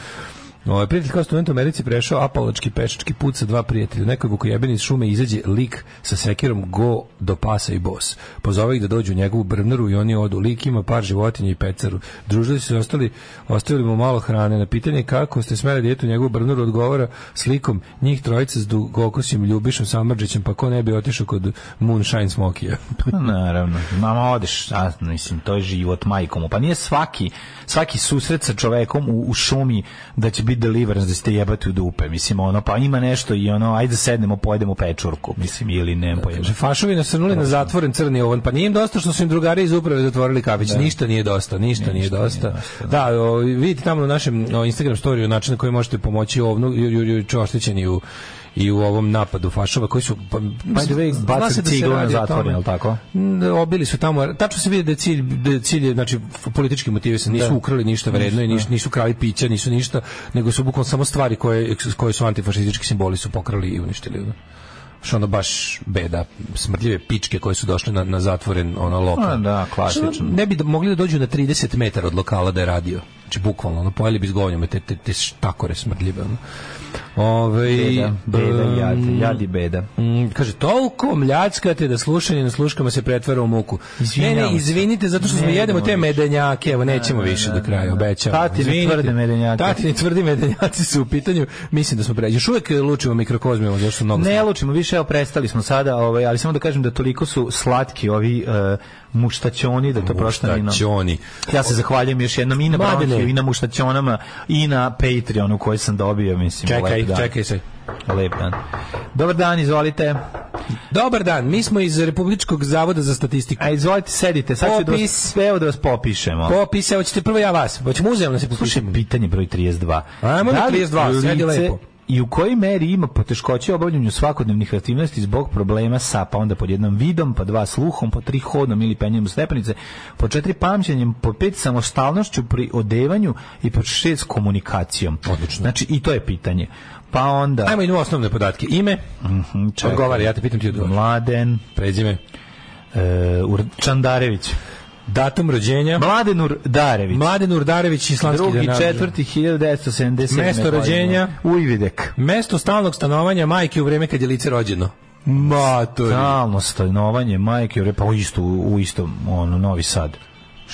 Ovaj prijatelj kao student u Americi prešao apalački pešački put sa dva prijatelja. Nekoj vukojebini iz šume izađe lik sa sekirom go do pasa i bos. Pozove ih da dođu u njegovu brvnaru i oni odu. Lik ima par životinja i pecaru. Družili su se i ostali, ostavili mu malo hrane. Na pitanje kako ste smeli djetu u njegovu brvnaru odgovara slikom njih trojica s dugokosim ljubišom samrđećem, pa ko ne bi otišao kod Moonshine Smokija. Pa Naravno, mama odeš, a, mislim, to je život majkomu. Pa nije svaki, svaki susret sa čovekom u, u šumi da će biti deliverance, da ste jebati u dupe. Mislim, ono, pa ima nešto i ono, ajde sednemo, pojedemo pečurku, mislim, ili ne pojedemo. Kaže, fašovi nasrnuli na zatvoren crni ovan. Pa nije im dosta što su im drugari iz uprave zatvorili kafić. Ništa nije dosta, ništa, nije dosta. da, o, vidite tamo na našem o, Instagram storiju način na koji možete pomoći ovnu ju, ju, ju, oštećeni u i u ovom napadu fašova koji su pa, By the way, zna bacaju se da se ciglu na radi o zatvoren, tome. jel tako? N- Obili su tamo, tačno se vidi da je cilj, da je cilj je, znači, f- politički motivi se nisu ukrali ništa vredno i niš, nisu krali pića, nisu ništa, nego su bukvalno samo stvari koje, koje su antifašistički simboli su pokrali i uništili. ono. Što ono baš beda, smrdljive pičke koje su došle na, na zatvoren ono lokal. A, da, klasično. Što ono, Ne bi da- mogli da dođu na 30 metara od lokala da je radio. Znači, bukvalno, ono, pojeli bi s govnjama te, te, te štakore smrdljive. Ono. Ove, Beda, beda, jad, em, jadi beda. Mm, kaže, toliko mljackate da slušanje na sluškama se pretvara u muku. Izvinjavam ne, ne, se. izvinite, zato što smo Ne idemo jedemo te više. medenjake, evo, nećemo više do kraja, obećamo. Tatini Izvinite. tvrde medenjake. Tatini tvrdi medenjaci su u pitanju, mislim da smo pređe. Još uvijek lučimo mikrokozmijom, zato što mnogo Ne smo- lučimo više, evo prestali smo sada, ovaj, ali samo da kažem da toliko su slatki ovi e, muštaćoni, da to prošta ni na- Muštaćoni. Ja se zahvaljujem još jednom i na Mladene. Bronhiju, i na muštaćonama, i na Patreonu koji sam dobio, mislim. Čekaj, lep dan. čekaj se. Lep dan. Dobar dan, izvolite. Dobar dan, mi smo iz Republičkog zavoda za statistiku. A izvolite, sedite, sad ću da vas, Popis. sve da vas popišemo. Popise, hoćete prvo ja vas, hoćemo uzemno se Slušaj, poslušati. pitanje broj 32. Ajmo na Da li 32, sjedi lice lepo. I u kojoj meri ima poteškoće u obavljanju svakodnevnih aktivnosti zbog problema sa, pa onda pod jednom vidom, pa dva sluhom, po tri hodom ili penjem u stepenice, po četiri pamćenjem, po pet samostalnošću pri odevanju i po šest komunikacijom. Odlično. Znači, i to je pitanje. Pa onda... Ajmo idemo u osnovne podatke. Ime, Mhm, čekaj. odgovara, ja te pitam ti odgovor. Mladen Prezime, e, Ur- Čandarević. datum rođenja, Mladen Urdarević. Mladen Urdarević, islamski Drugi, general. četvrti, 1977. Mesto godine. rođenja? Ujvidek. Mesto stalnog stanovanja majke u vreme kad je lice rođeno. Matori. Stalno stanovanje majke, jer je pa u isto, u istom, ono, Novi Sad.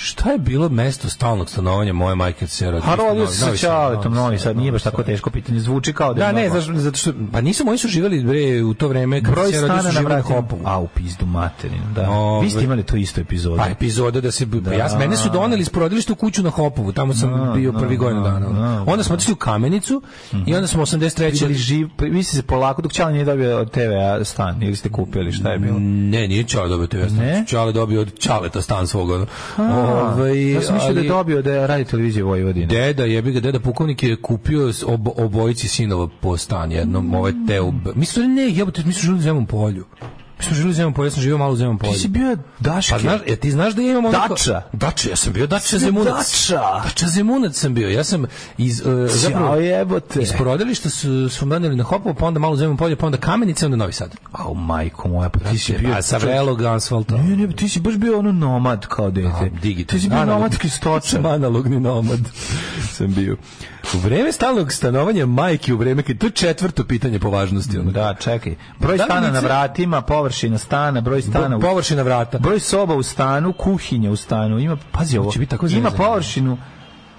Šta je bilo mesto stalnog stanovanja moje majke kad se rođeno? A rodio se sa Pa, Novi Sad, Čaletom, Novi Sad, Novi nije baš tako teško pitanje, zvuči kao da Da, je ne, normalno. znaš, zato što, pa nisu, oni su živjeli bre, u to vreme kad broj se rodio stana su na živjeli na vratu. Hopovu. A, u pizdu materinu, da. Ove. Vi ste imali tu istu epizodu. Pa epizoda da se da. ja mene su doneli iz porodilišta u kuću na Hopovu, tamo sam bio prvi godinu dana. ono. da, onda smo otišli u Kamenicu i onda smo 83. Bili živ, vi ste se polako, dok Čale nije dobio od TV-a stan, ili ste kupili, šta je bilo? Ne, nije Čale dobio to jasno. Ne? Čale dobio od Čaleta stan svog. ono. Ovaj, ja sam mislio da je ali- dobio da je radi televizije Vojvodina. Deda, jebi ga, deda pukovnik je kupio s ob, obojici sinova po stan jednom, ovaj teo. Mislim, da ne, jebote, mi smo živjeli u Zemom polju. Mi smo živjeli u Zemom polju, ja sam živio malo u Zemom polju. Ti si bio Daške. Pa znaš, e, ti znaš da ja imam onako... Dača. Dača, ja sam bio Dača bio Zemunac. Dača. Dača Zemunac sam bio. Ja sam iz... e, Zapravo, zapravo, jebote. iz porodilišta su, su me doneli na Hopovo, pa onda malo u Zemom polju, pa onda Kamenice, onda Novi Sad. Au, majko moja, pa ti si bio... A sa Vreloga, asfalta. Ne, ne, ti si baš bio ono nomad kao dete. digitalni. Ti si bio Analogni. nomadski stočar. sam analogni nomad. sam bio. U vreme stalnog stanovanja majke, u vreme kad... To je četvrto pitanje po važnosti. Ono. Da, čekaj. Broj Da li stana na lice- vratima, površina stana, broj stana u... Površina vrata. Broj soba u stanu, kuhinja u stanu. Ima, pazi ovo, Će biti tako ima zezanje. površinu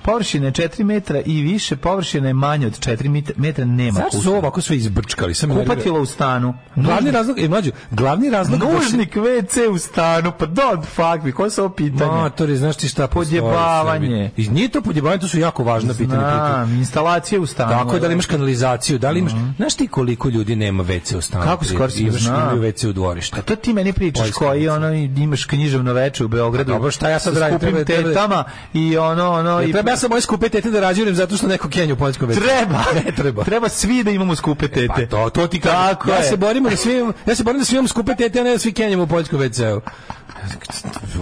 Površina je 4 metra i više, površina je manje od 4 mit- metra, nema Zašto su kuhinje. ovo ovako sve izbrčkali? Sam Kupatilo u stanu. Glavni razlog, e, mlađu, glavni razlog... Nužnik WC u stanu, pa don't fuck me, koje su ovo pitanje? Matori, znaš ti šta postoji u Podjebavanje. Srbiji? I nije to podjebavanje, to su jako važna pitanja. pitanja. Znam, instalacije u stanu. Tako je, da li imaš kanalizaciju, da li imaš... Znaš ti koliko ljudi nema WC u stanu? Mhm. Kako skoro si imaš, zna? imaju WC u dvorištu. A to ti meni pričaš Poljska koji ulica. ono imaš književno veče u Beogradu. A dobro, šta ja sad sa radim? skupim Treba- treba- tetama i ono ono i I treba ja sam moje skupe tete da rađujem zato što neko kenju u poljskom WC. treba. Ne treba. Treba svi da imamo skupe tete. Pa to, to ti kažem. Tako ja je. se borim da svi imam- ja se borim da svi imam skupe tete, a ne da svi kenjamo u poljskom WC-u.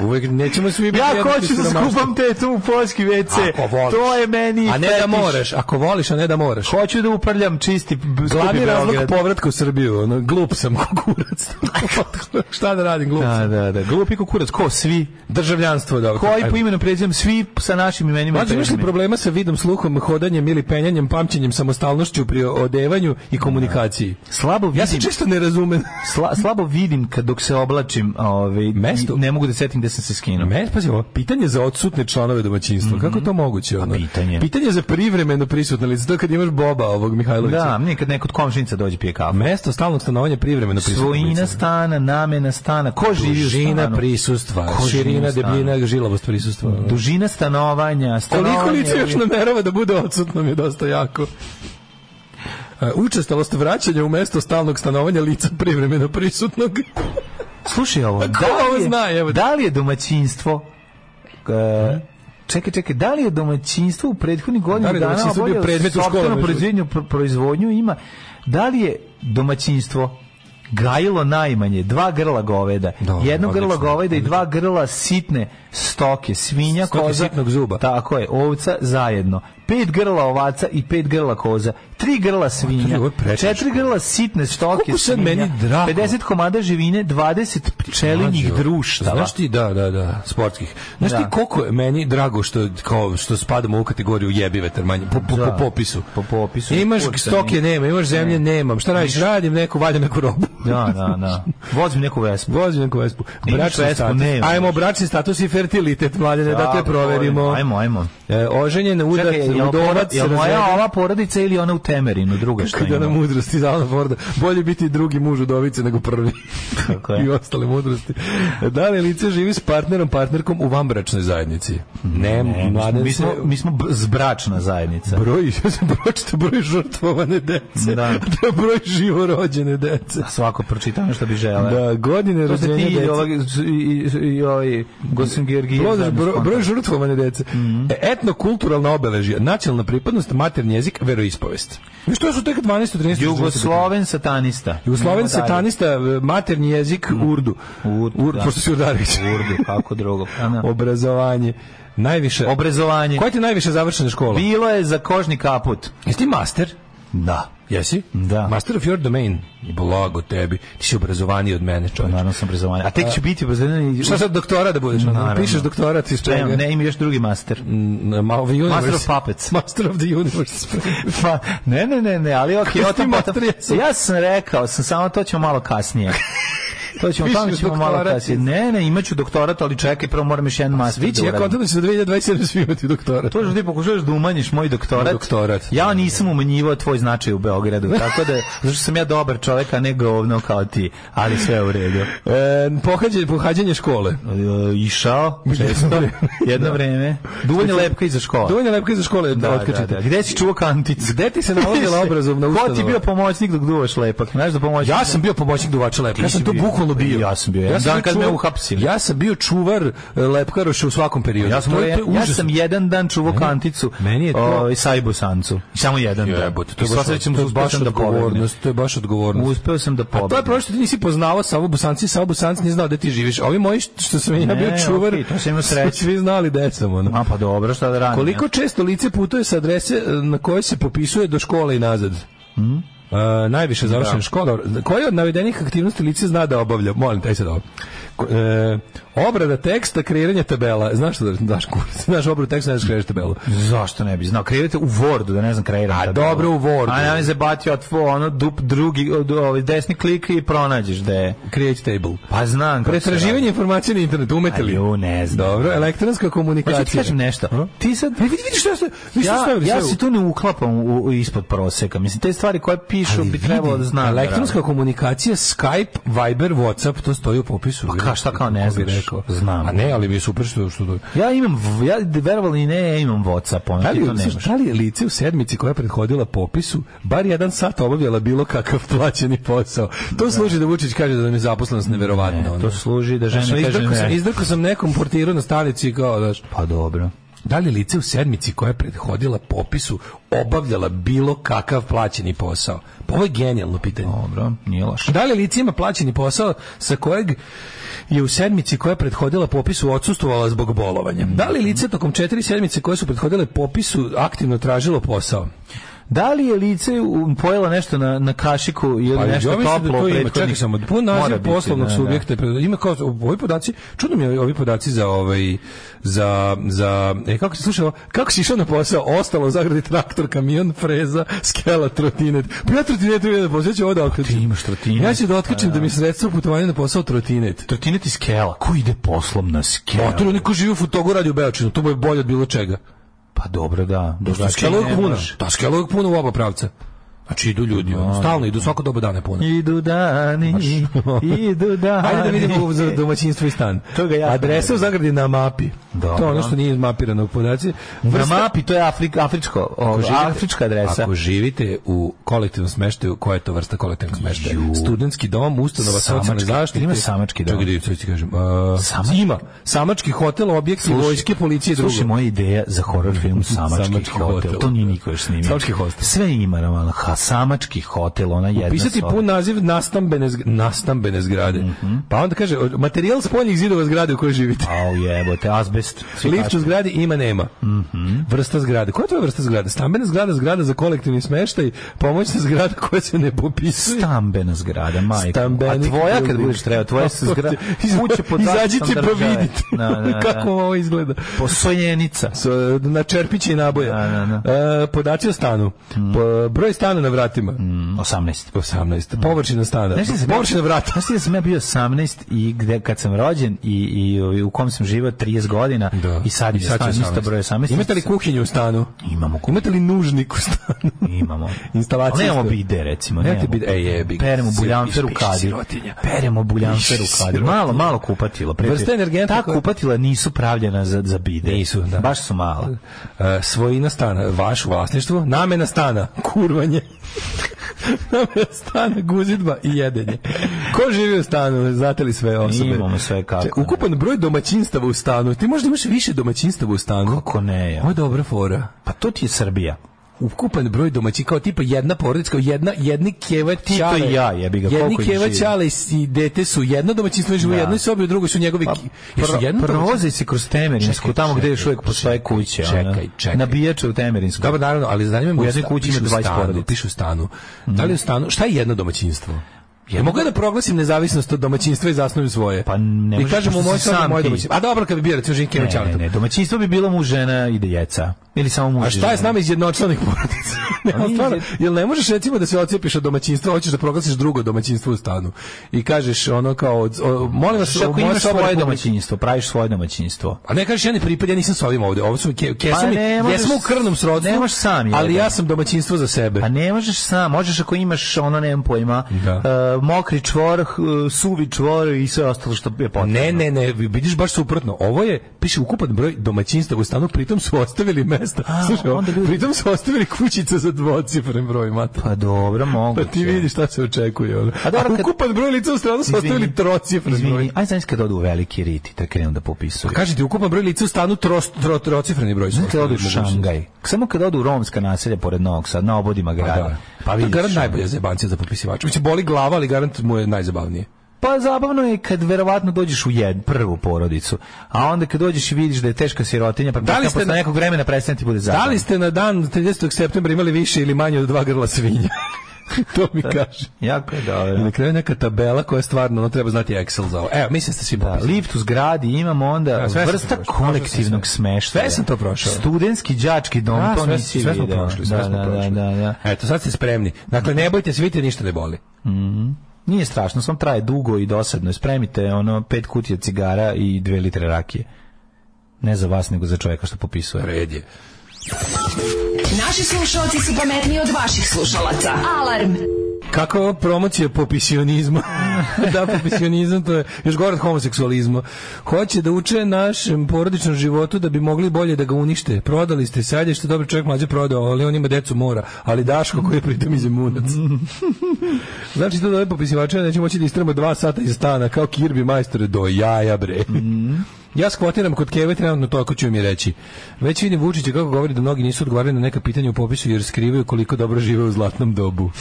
Uvek nećemo svi biti Ja jednaki hoću da siromašni. skupam tetu u poljski WC. Ako voliš. To je meni A ne da fetiš. moraš, ako voliš, a ne da moraš. Hoću da uprljam čisti b- skupi Glavni razlog Beograd. povratka u Srbiju, ono, glup sam kukurac. Šta da radim, glup Da, sam. da, da. Glupi kukurac, ko svi? Državljanstvo da. Koji po imenu prezimem svi sa našim imenima i Mađo, imaš li prezimenima. problema sa vidom, sluhom, hodanjem ili penjanjem, pamćenjem, samostalnošću pri odevanju i komunikaciji? Slabo vidim. Ja se često ne razumem. Sla, slabo vidim kad dok se oblačim, ovaj Mesto? ne mogu da setim gde sam se skinuo. Me, pazi, ovo, pitanje za odsutne članove domaćinstva. Kako je to moguće? Ono? Mhm. Pa pitanje? Pitanje za privremeno prisutne lice. To je kad imaš Boba ovog Mihajlovića. Da, nekad neko od komšinica dođe pije kafu. Mesto stalnog stanovanja privremeno prisutne Svojina lice. stana, namena stana, ko živi u Dužina stanu? prisustva, Ko Mhm. živi širina, u stanu? debljina, žilavost prisustva. Dužina stanovanja, stanovanje... Koliko lice još namerava da bude odsutno mi je dosta jako. E, Učestalost vraćanja u mesto stalnog stanovanja lica privremeno prisutnog. Slušaj ovo, Pa ko ovo zna, evo? Mhm. da li je domaćinstvo... e, Čekaj, čekaj, da li je domaćinstvo u prethodnih godinu Da li je dana domaćinstvo bio obavljalo predmet u sopstvenu školama? proizvodnju, pro- proizvodnju ima, da li je domaćinstvo gajilo najmanje dva grla goveda, Dobro, jedno grlo odlično, goveda i dva grla sitne stoke, svinja, Stoke koza, sitnog zuba. Tako je, ovca zajedno. Pet grla ovaca i pet grla koza. Tri grla svinja. ovo je preteško. Četiri grla sitne stoke Koliko sad svinja. meni drago. 50 komada živine, 20 pčelinjih Mlađo, društava. Znaš ti, da, da, da, sportskih. Znaš Da. ti koliko je meni drago što, kao, što spadamo u kategoriju jebi vetar manje, po, po, Da. po popisu. E, Po popisu. Imaš Kurca, stoke, nema, imaš zemlje, nemam. Šta radiš? Radim neku, valjam neku robu. Da, da, da. Vozim neku vespu. Vozim neku vespu. Imaš Bračni vespu, status. nemaš. Ajmo, bračni status i fertilitet, mladine, da, te Tako, proverimo. Ajmo, ajmo. E, oženjen, udat, Čekaj, je udovac jel se moja razvede. ova porodica ili ona u Temerinu, druga što Kad je ona ima. mudrost iz Alana Forda. Bolje biti drugi muž udovice nego prvi. Tako je. I ostale mudrosti. Da li lice živi s partnerom, partnerkom u vanbračnoj zajednici? Ne, ne mladen Mi smo, se- mi smo br- zbračna zajednica. broj, ja sam pročito broj žrtvovane Da. dece, da. da broj živorođene dece. Svako pročita ono što bi želeo. Da, godine To ste rođenja ti i dece. ovaj, i, i, i ovaj Gosim Georgijev Broj, zajedno Mhm. s broj, Kontom. broj žrtvovane dece. E, Etnokulturalna obeležja, nacionalna pripadnost, maternji jezik, veroispovest. I što su tek 12. 13. Jugosloven satanista. Jugosloven Idemo dalje. Mhm. satanista, e, maternji jezik, urdu. Urdu, Ur- da. Pošto si Urdarević. Urdu, kako drugo. A, da. Obrazovanje. Najviše... Obrazovanje. Koja ti je najviše završena škola? Bilo je za kožni kaput. Jesi ti master? Da. Jesi? Da. Master of your domain. Blago tebi. Ti si obrazovaniji od mene, čovječe. Naravno sam obrazovanje. A tek će biti obrazovanje... Šta sad doktora da budeš? ono? Naravno. Pišeš doktorat iz čega? Ne, ne, ima još drugi master. Mm, ma- of the universe. Master of Puppets. Master of the universe. Pa, ne, ne, ne, ne, ali okej, Kosti o tom potom. mater jesu. Ja sam rekao, sam samo to ćemo malo kasnije. To ćemo, tamo Pišeš ćemo malo doktorat kasnije. Ne, ne, imaću doktorat, ali čekaj, prvo moram još jedan master Svi će, da ja uradim. kontam da će do 2027 svi imati doktora. To što ti pokušavaš da umanjiš moj doktorat. Moj doktorat. Ja nisam umanjivao tvoj značaj u Beogradu, tako da zato što sam ja dobar čovjek, a ne govno kao ti, ali sve je u redu. E, pohađanje, pohađanje škole. E, Išao, često, jedno vreme. Duvanje lepka iza škola. Dovoljno Znači, lepka za škole da, Da, da, otkačite. da. Gde si čuo kanticu? Gde ti se nalazila obrazovna Ko ti ustanova? bio pomoćnik dok duvaš lepak? Znaš da pomoćnik? Ja sam bio pomoćnik duvača lepka. Ja Ti sam si to bio. bukvalno bio. Ja sam bio. Jedan dan kad me čuvar- uhapsili. Ja sam bio čuvar e, lepkaroša u svakom periodu. Ja sam, to, je- to je ja užasno. sam jedan dan čuvao kanticu meni je to- ovaj, sajbu sancu. Samo jedan dan. Jebote, I to je baš, sva sreća to je uspeo baš sam da pobegnem. odgovornost. To je baš odgovornost. Uspeo sam da A to je pobegnem. prošto ti nisi poznavao Savo Bosanci, Savo Bosanci nije znao da ti živiš. Ovi moji što- što sam ja Ne, bio čuvar, okej, to sam imao su sreće. svi znali da sam ono. Ma pa dobro, šta da radim? Koliko često lice putuje sa adrese e, na kojoj se popisuje do škole i nazad? E, najviše završena škola. Dobro. Koje od navedenih aktivnosti lice zna da obavlja? Molim, taj sad ovo. Ko- e, obrada teksta, kreiranje tabela. Znaš što da daš kurs? Znaš obradu teksta, znaš kreiraš tabelu. Zašto ne bi znao? Kreirate u Wordu, da ne znam kreiram. A tabelu. dobro u Wordu. A nemoj se bati od ono dup drugi, od- ovaj, desni klik i pronađeš da je. Create table. Pa znam. kako se radi. Pretraživanje informacije na internetu, umete li? A ju, ne znam. Dobro, elektronska komunikacija. Hoću ti kažem E, nešto. Ti sad... Ne, vidi, vidi što ste... Vi ste Hm? Ja, stavili ja sve u- se tu ne uklapam u, u ispod proseka. Mislim, te stvari koje pišu Ali bi vidi, trebalo da znam. Elektronska komunikacija, Skype, Viber, Whatsapp, to stoji u popisu. Pa ka, šta kao ne Kako bi znaš? Znam. A ne, ali mi je super što, što to... Ja imam, v- ja verovali ili ne, ja imam Whatsapp, ono Da ti li, to nemaš. da li je lice u sedmici koja je prethodila popisu bar jedan sat obavljala bilo kakav plaćeni posao? To služi da Vučić kaže da nam je zaposlenost neverovatna. Ne, ono. to služi da žena Znaš, ono, kaže izdrkao sam, ne. izdrkao sam nekom portiru na stanici i kao, znaš, Pa dobro. Da li je lice u sedmici koja je prethodila popisu obavljala bilo kakav plaćeni posao? Pa ovo je genijalno pitanje. Dobro, nije loše. Da li je lice ima plaćeni posao sa kojeg je u sedmici koja je prethodila popisu odsustvovala zbog bolovanja? Da li je lice tokom četiri sedmice koje su prethodile popisu aktivno tražilo posao? Da li je lice u- pojela nešto na, na kašiku ili nešto Pa, ja mislim da toplo? to ima, prethodnih- čekaj samo, pun Mora naziv biti, poslovnog da, da. subjekta, je pre- ima kao, ovi podaci, čudno mi je ovi podaci za ovaj, za, za, e, kako se slušao, kako si išao na posao, ostalo u zagradi traktor, kamion, freza, skela, trotinet, pa ja trotinet idem na posao, ja ću ovo da otkačim. Pa ti imaš trotinet. Pa Ja ću da otkačim da mi sredstvo putovanja na posao trotinet. Trotinet iz Kela. Ko ide poslom na Skela? Otvor, neko živi u Futogu, radi u Beočinu, to mu je bolje od bilo čega. Pa dobro, da. Da, znači, Drugačije skela je ne puno, može. da, skela je puno u oba pravca. Znači idu ljudi, ono, stalno idu, svako doba dana je puno. Idu dani, idu dani. Pa Ajde da vidimo za domaćinstvo i stan. To ga jako Adresa u zagradi na mapi. Dobro. To je ono što nije mapirano u podaci. Na Vrsta- mapi, to je Afrik, afričko, ovo, afrička adresa. Ako živite u kolektivnom smeštaju, koja je to vrsta kolektivnog smeštaja? Studentski dom, ustanova Samački. socijalne zaštite. Ima samački dom? Čekaj da ću ti kažem. A, Samački? Ima. Samački hotel, objekti, vojske, policije i drugo. Slušaj, moja ideja za horor film Samački, Samački hotel. hotel. To nije niko još snimio. Samački hostel. Sve ima, Roman. Ha, Samački hotel, ona jedna Pisati soba. pun naziv nastambene, zg- nastambene zgrade. Pa onda kaže, materijal spoljnih zidova zgrade u kojoj živite. Au jebote, azbest. Svi Lift kažu. u zgradi ima nema. Mhm. Vrsta zgrade. Koja je tvoja vrsta zgrade? Stambena zgrada, zgrada za kolektivni smeštaj, pomoćna zgrada koja se ne popisuje. Stambena zgrada, majka. A Stambeni tvoja kad building. bude treba, tvoja se zgrada. Iz- Kuće pod Izađite zaštitom pa države. vidite Da, da, da. kako ovo izgleda. Posojenica. S- Na čerpiće i naboje. Da, Mm. da, E, podaci o stanu. Po- broj stana na na vratima? 18. 18. Površina stana. Mm. Znaš ti Mm, da sam- Površina vrata. Znaš ti da sam ja bio 18 i gde, kad sam rođen i, i, ovi, u kom sam živao 30 godina i sad mi je stan će isto broj 18. Imate li kuhinju u stanu? Imamo kuhinju. Imate li nužnik u stanu? Imamo. Instalacije Ali nemamo isto. bide, recimo. Nemate nemamo. bide, e, jebi ga. Peremo Si- buljanfer u piši kadi. sirotinja. Peremo buljanfer Piši u kadi. Malo, malo kupatilo. Pre- Vrsta energenta Ta koja- kupatila nisu pravljena za, za bide. Nisu, da. Baš su mala. E, svojina stana, vaš vlasništvo, namena stana, kurvanje. namena stana, guzidba i jedenje. Ko živi u stanu, znate li sve osobe? Imamo sve kako. Če, ukupan broj domaćinstava u stanu. Ti možda imaš više domaćinstava u stanu. Kako ne, ja. Ovo je dobra fora. Pa to ti je Srbija. ukupan broj domaći kao tipa jedna porodica kao jedna jedni keva i ćale ja, jebi ga, jedni koliko ih keva živi? ćale i s- i dete su jedno domaćinstvo i žive u Da. jednoj sobi u drugoj su njegovi pa, jesu jedno domaćinstvo? prolazaj se kroz Temerinsku, Čekaj, tamo gde čekaj, još uvijek postoje kuće. ono. čekaj, čekaj. Nabijače u Temerinsku. Dobro, naravno, ali zanima me U Mhm. jednoj sta- kući ima piše u 20 stanu, porodica. Piše u stanu. Da li u stanu? Šta je jedno domaćinstvo? Ja mogu ja da proglasim nezavisnost od domaćinstva i zasnujem svoje. Pa ne I možeš, kažem u pošto moj si sobi sam moje ti. domaćinstvo. A dobro, kad bi bio recimo Žinke Ne, ne, ne, domaćinstvo bi bilo mu žena i djeca. Ili samo muž A i šta je s žena. nama iz jednočlanih porodica? Pa ne, ali stvarno, jel ne možeš recimo da se ocepiš od domaćinstva, hoćeš da proglasiš drugo domaćinstvo u stanu i kažeš ono kao, od- o, molim vas, Šta ako moja imaš soba svoje republika- domaćinstvo, praviš svoje domaćinstvo. A ne kažeš ja ne pripadam, ja nisam s ovim ovde. Ovo su ke, kesam, Pa ne i- možeš- jesmo u krvnom srodstvu. ne možeš sam, jebe. Ali ja sam domaćinstvo za sebe. Pa ne možeš sam, možeš ako imaš ono, nemam pojma, Da. e, mokri čvor, h- suvi čvor i sve ostalo što je potrebno. Ne, ne, ne, vidiš baš suprotno. Ovo je, piše ukupan broj domaćinstava u stanu, pritom su ostavili mesta. A, Slušaj, ovo, onda ljudi- pritom su ostavili kućice za dvocifren broj, mater. Pa dobro, moguće. Pa ti vidiš šta se očekuje. Ono. A, A dobro, kad- ukupan broj lica u stranu su Izvini, ostavili trocifren broj. Izvini, aj znaš kad odu u veliki rit i da krenu da popisuju. Kaže ti ukupan broj lica u stanu tros, tro, trocifreni broj. su Znaš kad odu u ostavili mogućnost. Šangaj? Samo kad odu u romska naselja pored Novog Sada, na obodima Pa grada. da. Pa vidiš, garant ono. najbolja zebancija za popisivača. Mislim, boli glava, ali garant mu je najzabavnije. Pa zabavno je kad verovatno dođeš u jed, prvu porodicu, a onda kad dođeš i vidiš da je teška sirotinja, pa Da li ste posle na- nekog vremena prestane ti bude zabavno. Da li ste na dan 30. septembra imali više ili manje od dva grla svinja? to mi kaže. Jako je I na dobro. kraju neka tabela koja je stvarno, ono treba znati Excel za ovo. Evo, mislim da ste svi Da, popisali. lift u zgradi imamo onda Ja, sve sam vrsta prošao, prošao sam kolektivnog sve. smeštaja. Sve sam to prošao. Studentski, đački dom, Da, to sve, nisi sve smo video. prošli, sve da, smo da, prošli. Da, da, da. Eto, sad ste spremni. Dakle, ne bojte se, vidite, ništa ne boli. Nije strašno, sam traje dugo i dosadno. Spremite ono pet kutija cigara i dve litre rakije. Ne za vas, nego za čovjeka što popisuje. Red je. Naši slušalci su pametniji od vaših slušalaca. Alarm! Kako je ovo promocija popisionizma? da, popisionizam to je još gore od homoseksualizma. Hoće da uče našem porodičnom životu da bi mogli bolje da ga unište. Prodali ste, sad je što dobro čovjek mlađe prodao, ali on ima decu mora, ali Daško koji je pritom izemunac. znači to da ove popisivače neće moći da istramo dva sata iz stana kao Kirby majstore do jaja bre. Ja skvotiram kod Keve trenutno to ako ću mi reći. Već vidim Vučića kako govori da mnogi nisu odgovarali na neka pitanja u popisu jer skrivaju koliko dobro žive u zlatnom dobu.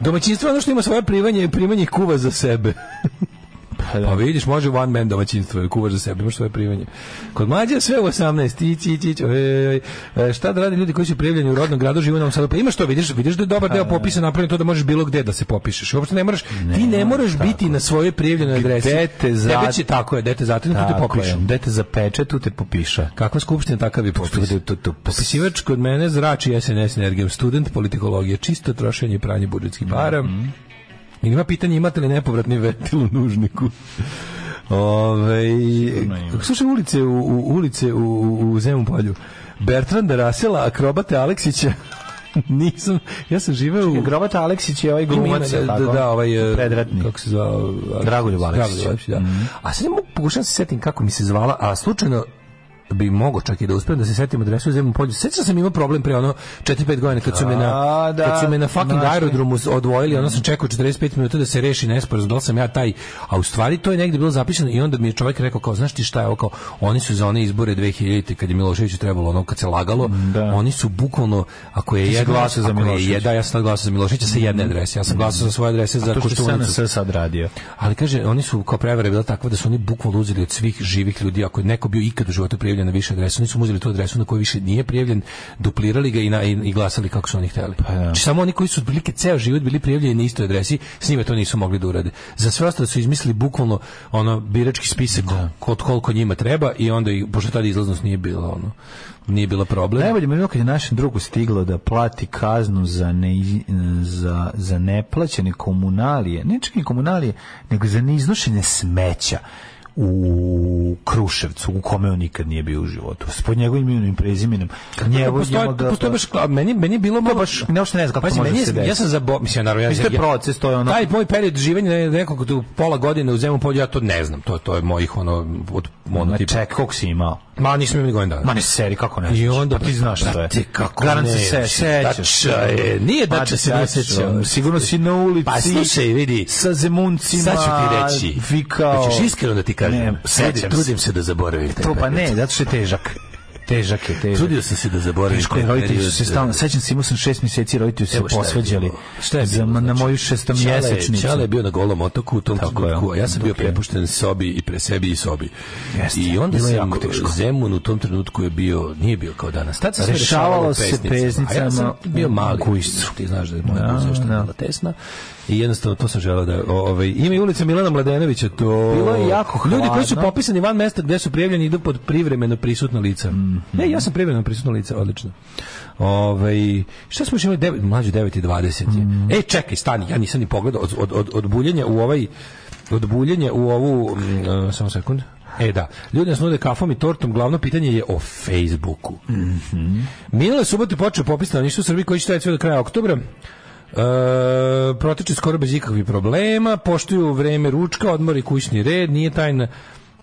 Domaćinstvo je ono što ima svoje primanje i primanje i kuva za sebe. Pa da. Pa vidiš, može one man domaćinstvo, kuvaš za sebe, imaš svoje primanje. Kod mlađe je sve u 18, ići, ići, ići, oj, oj, oj. E, Šta da rade ljudi koji su prijavljeni u rodnom gradu, žive u Novom Sadu? Pa imaš to, vidiš, vidiš da je Pa dobar deo popisa napravljen to da možeš bilo gde da se popišeš. Uopšte ne moraš, ti ne moraš biti na svojoj prijavljenoj adresi. te za- Tebe će, tako je, dete zatim te Tako popišu. je. Dete za pečetu te popiša. Kakva skupština, takav i popis. Tu, tu, tu, popis. Popisivač kod mene zrači SNS energijom, student politikologije, čisto trošenje i pranje budžetskih para. Ili ima pitanje imate li nepovratni ventil u nužniku? Ove, kako slušaj ulice u, u ulice u, u, u Zemun polju. Bertranda Rasela, akrobate Aleksića. Nisam, ja sam živeo u... Grobata Aleksić je ovaj glumac, Ima ime, je da, tako? da, da, ovaj, e, Predratni. Kako se zvao? Dragoljub Aleksić. Mhm. da. A sad ne mogu, pokušavam se setim kako mi se zvala, a slučajno bi mogo čak i da uspem da se setim adresu u zemlju polju. Sećam sam imao problem pre ono 4-5 godina kad su me na, A, da, kad su me na fucking znaš. aerodromu odvojili, ono sam čekao 45 minuta da se reši nesporazum, da li sam ja taj, a u stvari to je negdje bilo zapisano i onda mi je čovjek rekao kao, znaš ti šta je ovo kao, oni su za one izbore 2000 kad je Miloševiću trebalo ono kad se lagalo, oni su bukvalno, ako je si jedan, glasao za ako je Miloševića? jedan- da, ja sam tad glasao za Miloševića sa jedne adrese. Ja sam glasao za svoje adrese za Mm. To što je Koštunicu. SNS sad radio. Ali kaže, oni su kao prevara bila takva da su oni bukvalno uzeli od svih živih ljudi, ako je neko bio ikad u životu prijavljen prijavljen na više adresu, nisu mu uzeli tu adresu na kojoj više nije prijavljen, duplirali ga i, na, i, i glasali kako su oni hteli. Pa Znači, samo oni koji su otprilike ceo život bili prijavljeni na istoj adresi, s njima to nisu mogli da urade. Za sve ostalo su izmislili bukvalno ono birački spisak kod koliko njima treba i onda i pošto tada izlaznost nije bila ono nije bila problem. Najbolje mi je bilo kad je našem drugu stiglo da plati kaznu za, ne, za, za neplaćene komunalije, ne čak ni komunalije, nego za neiznošenje smeća u Kruševcu, u kome on nikad nije bio u životu. S pod njegovim imenom i prezimenom. Njevo, postoje, njega- postoje baš, kla- meni, meni je bilo malo... Baš, ne, uopšte ne znam kako to može meni, je- se desiti. Ja sam zabo... Mislim, naravno, ja, Mislim, to je ja- proces, to je ono- Taj moj period življenja je nekog do pola godine u zemlju polju, ja to ne znam. To, to je mojih, ono, od, ono, Ma tipa... ček, koliko si imao? Ma, nisam imao ni godinu dana. Ma Pa ne seri, kako ne? I onda pa ti znaš što je. Brate, kako Garant se se ne, sećaš. Dača je, nije Pa dača se ne dača, sećam. Sigurno si na ulici. Pa slušaj, vidi. Sa zemuncima. Sad ću ti reći. Vikao. Hoćeš iskreno da ti kažem. Ne, sećam se. Trudim- Trudim se da zaboravim. taj To pa period. ne, zato što je težak. Težak je, težak. Trudio sam se da zaboravim. Teško je, taj roditelji su period. se stalno, sećam se, imao sam šest mjeseci, roditelji su se Evo šta je posvađali bilo. Šta je za, na bilo, znači? moju Čale- šestomjesečnicu. Čale je bio na golom otoku u tom Tako trenutku, je. a ja sam bio Dok je- prepušten sobi i pre sebi i sobi. Jeste, I onda bilo je sam jako teško. Zemun u tom trenutku je bio, nije bio kao danas. Tad se sve Rešavalo se A ja sam pesnicama bio u mali. Gujscu. Ti znaš da je moja guza što je da. bila tesna. I jednostavno to sam želeo da... o- Ovaj, ima i ulica Milana Mladenovića, to... Bilo je jako Ljudi koji su hladno. popisani van mesta gde su prijavljeni idu pod privremeno prisutno lica. Mhm. Ne, ja sam privremeno prisutno lice, odlično. Ovaj šta smo još imali devet, mlađu 9 i 20 je. Mhm. E, čekaj, stani, ja nisam ni pogledao od, od, od, od buljenja u ovaj od buljenja u ovu mm, e, samo sekund. E da, ljudi nas nude kafom i tortom, glavno pitanje je o Facebooku. Mm Mhm. Minule subote počeo popis na u Srbiji koji će trajati sve do kraja oktobra. E, protiče skoro bez ikakvih problema, poštuju vreme ručka, odmor i kućni red, nije tajna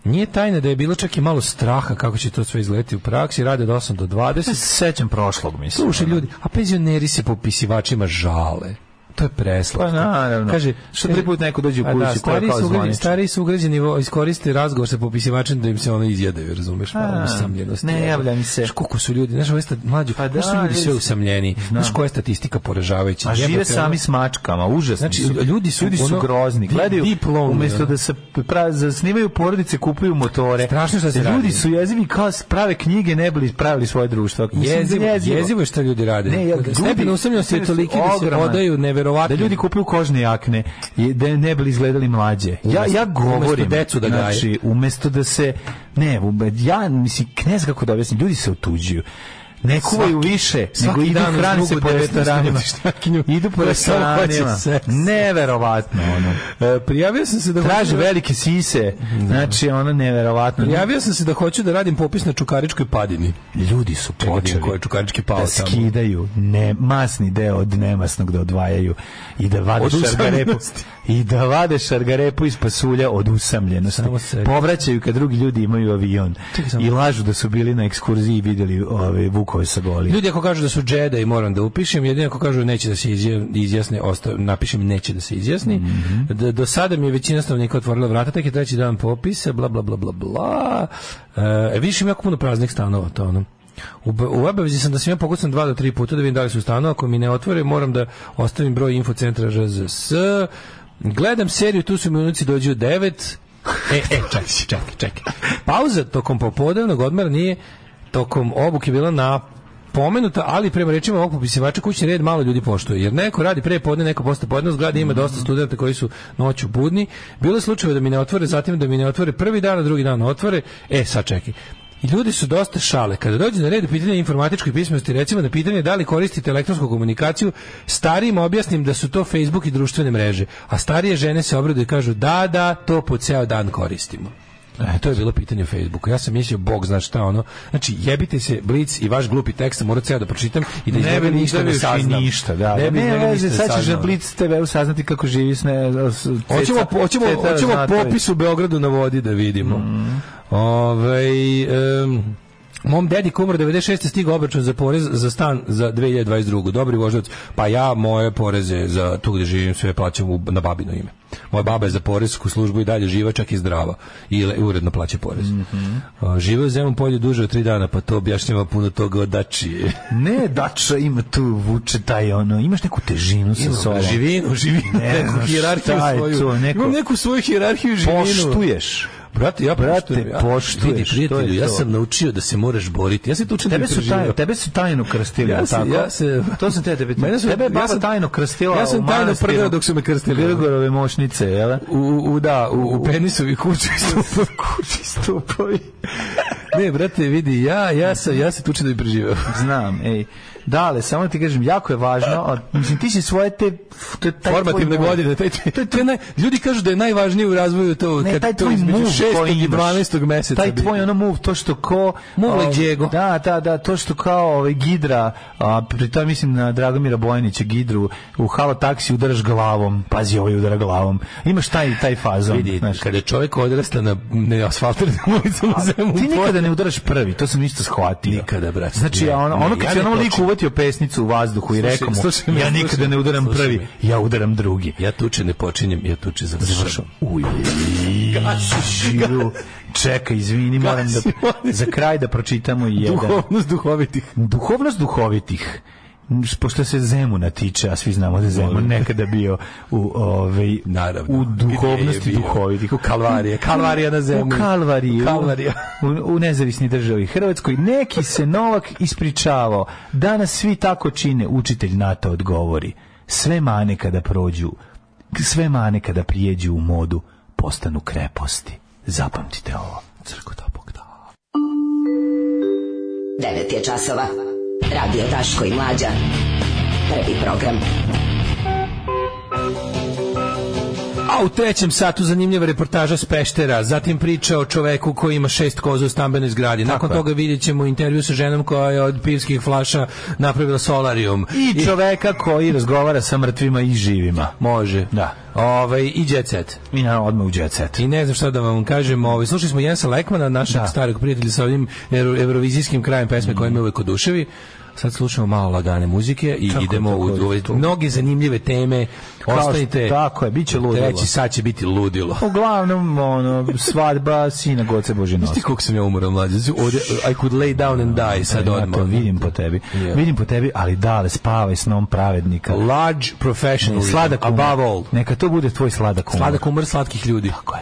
Nije tajna da je bilo čak i malo straha kako će to sve izgledati u praksi, rade od 8 do 20. Ja se sećam prošlog, mislim. ono. Slušaj ljudi, a penzioneri se popisivačima žale. To je preslatko. Pa naravno. Kaže, Što tri puta neko dođe u A kuću da, koja stariji kao su ugrađeni- zvanična. Stariji su ugrađeni vo- iskoriste razgovor sa popisivačem da im se ono izjedaju, razumeš? Malo A, usamljenost. ne jebote. javlja mi se. Znaš koliko su ljudi, znaš, ove sta, mlađu, Pa znaš su da, ljudi sve vidi se. usamljeni. Znaš koja je statistika poražavajuća. A Pa žive Jebote, ono- sami s mačkama, užasni Znači, su. ljudi su ljudi su ono- grozni. di- Gledaju, deep lonely, umjesto ono. da se pra, zasnivaju porodice, kupuju motore. Strašno šta se Ljudi radi. su jezivi kao s- prave knjige, ne bili pravili svoje društvo. Mislim, Jezivo, jezivo. jezivo je šta ljudi rade. Ne, ja- Stepen ljudi- usamljenosti je stepen su toliki da se ogroman. odaju neverovatno. da ljudi kupuju kožne jakne i da ne bili izgledali mlađe. Ja ja Umesto- umesto govorim decu da gaje. znači umesto da se ne ume- ja mislim ne znam kako da objasnim ljudi se otuđuju. Ne kuvaju više, svaki nego idu dan uz hrane se drugu po restoranima. devetnaestogodišnjakinju Idu po koja samo restoranima. hoće seks. Neverovatno ono. E, prijavio sam se da Traže velike sise. Znači ono neverovatno. Javio sam se da hoću da radim popis na Čukaričkoj padini. Ljudi su Čekaj, počeli ko je Čukarički pao da tamo? skidaju ne, masni deo od nemasnog da odvajaju i da vade Od šargarepu usamljenosti. i da vade šargarepu iz pasulja od usamljenosti. Samo se- Povraćaju kad drugi ljudi imaju avion Čekaj samo. i lažu da su bili na ekskurziji i vidjeli ove vukove sa goli. Ljudi ako kažu da su džeda i moram da upišem, jedino ako kažu neće da se izje- izjasne, osta- napišem neće da se izjasni. D- do sada mi je većina stanovnika otvorila vrata, tek je treći dan popisa, bla, bla, bla, bla, bla. E, vidiš ima jako puno praznih stanova, to ono. U, b- u obavezi sam da se ja pokucam dva do tri puta da vidim da li su u stanu, ako mi ne otvore moram da ostavim broj infocentra RZS. Gledam seriju, tu su mi unuci dođu u devet. E, e, čekaj, čekaj, čekaj. Pauza tokom popodnevnog odmora nije tokom obuke bila na pomenuta, ali prema rečima ovog popisivača kućni red malo ljudi poštuje. Jer neko radi pre podne, neko posle podne, u zgradi ima dosta studenta koji su noću budni. Bilo je slučajeva da mi ne otvore, zatim da mi ne otvore prvi dan, a drugi dan otvore. E, sad čekaj. I ljudi su dosta šale. Kada dođe na red pitanje informatičke pismenosti, recimo na pitanje da li koristite elektronsku komunikaciju, starijim objasnim da su to Facebook i društvene mreže. A starije žene se obraduju i kažu da, da, to po ceo dan koristimo. E, to je bilo pitanje u Facebooku. Ja sam mislio, bog zna šta ono. Znači, jebite se, Blic i vaš glupi tekst, sam morao ceo da pročitam i da iz njega ništa ne saznam. Ništa, da. Ne bi iz ne, njega veze, ništa ne sad ćeš na saznao. Blitz TV saznati kako živi s ne... s- s- Hoćemo, ceca- hoćemo, ceca hoćemo Raznatović. popis u Beogradu na vodi da vidimo. Mhm. Ovaj, em, Mom dedi kumar 96. stigao obračun za porez za stan za 2022. Dobri voždovac. Pa ja moje poreze za tu gde živim sve plaćam u, na babino ime. Moja baba je za porezku službu i dalje živa, čak i zdrava. I le- uredno plaća porez. Mm Mhm. Žive u zemom polju duže od tri dana, pa to objašnjava puno toga od dačije. Ne, Dača ima tu, vuče taj ono, imaš neku težinu sa sobom. Živinu, živinu, Ne neku znam hijerarhiju šta je svoju. to, neko- Imam neku svoju hijerarhiju živinu. Poštuješ. Brate, ja Brate, poštujem. ja- poštuješ, Vidi, prijatelju, to je ja to. sam naučio da se moraš boriti. Ja se tu učim Tebe su, tajno, tebe su tajno krstili, Ja ja se- tako? ja se- to sam te da bi... Mene su- tebe je baba ja sam- tajno krstila ja sam u tajno manastiru prdeo dok su me krstili. Grgorove mošnice, jel? da? u, u, da, u, u penisovi kući stupovi. kući stupovi. ne, brate, vidi, ja, ja, sam, ja se tučem da bi preživeo. Znam, ej. Dale, samo ti kažem, jako je važno, a, mislim, ti si svoje te... te taj tvoj Formativne moj- godine. Taj, taj, taj, naj, ljudi kažu da je najvažnije u razvoju to Ne, kad taj to tvoj između move 6. koji i imaš. 12. meseca. Taj bi- tvoj ono move, to što ko... Move like a, Diego. Da, da, da, to što kao ovaj, Gidra, a, pri tome mislim na Dragomira Bojanića, Gidru, u halo taksi udaraš glavom, pazi ovaj udara glavom. Imaš taj, taj fazon. vidi, znaš. kada čovjek odrasta na neasfaltiranim ulicama Zemuna, Ti nikada ne udaraš prvi, to sam isto shvatio. Nikada, brate. Znači, Ne, ono, ne, ono kad ja si ne onom liku počnem. uvatio pesnicu u vazduhu i Slušaj, rekao mu, slušaj me, ja slušaj nikada me, ne udaram slušaj prvi, ja udaram drugi. Ja tuče ne počinjem, ja tuče završavam. Uj, živu. Čekaj, izvini, moram da, Gasi, molim. za kraj da pročitamo i jedan. Duhovnost duhovitih. Duhovnost duhovitih pošto se Zemuna tiče, a svi znamo da je Zemun nekada bio u, ovaj, Naravno. u duhovnosti Gdje je bio? duhovitih. U Kalvarije. Kalvarija na U Zemunu. Kalvariju. Kalvarija. U, u nezavisni državi Hrvatskoj. Neki se Novak ispričavao. Danas svi tako čine. Učitelj NATO odgovori. Sve mane kada prođu, sve mane kada prijeđu u modu, postanu kreposti. Zapamtite ovo. Crko da Bog da. 9 je časova. Radio Daško i Mlađa. Prvi program. A u trećem satu zanimljiva reportaža s Peštera, zatim priča o čoveku koji ima šest koza u stambenoj zgradi. Nakon toga vidjet ćemo intervju sa ženom koja je od pivskih flaša napravila solarium. I čoveka koji razgovara sa mrtvima i živima. Može. Da. Ovaj, I jet set. Mi naravno odmah u jet set. I ne znam šta da vam kažem, ovaj, slušali smo Jensa Lekmana, našeg Da. starog prijatelja sa ovim euro- eurovizijskim krajem pesme koje me uvek oduševi. Sad slušamo malo lagane muzike i Tako je, idemo tako u je, ove to. mnoge zanimljive teme. Kao što- Ostanite. tako je, bit će ludilo. Treći sad će biti ludilo. Uglavnom, ono, svadba sina Goce Ti Božinovska. koliko sam ja umoran mlađe. Znači, Ovde, I could lay down and die sad Ja odmah. to vidim po tebi. Je. Vidim po tebi, ali dale, spavaj s nom pravednika. Large professional. Sladak umor. above all. Neka to bude tvoj sladak umor. Sladak umr slatkih ljudi. Tako je.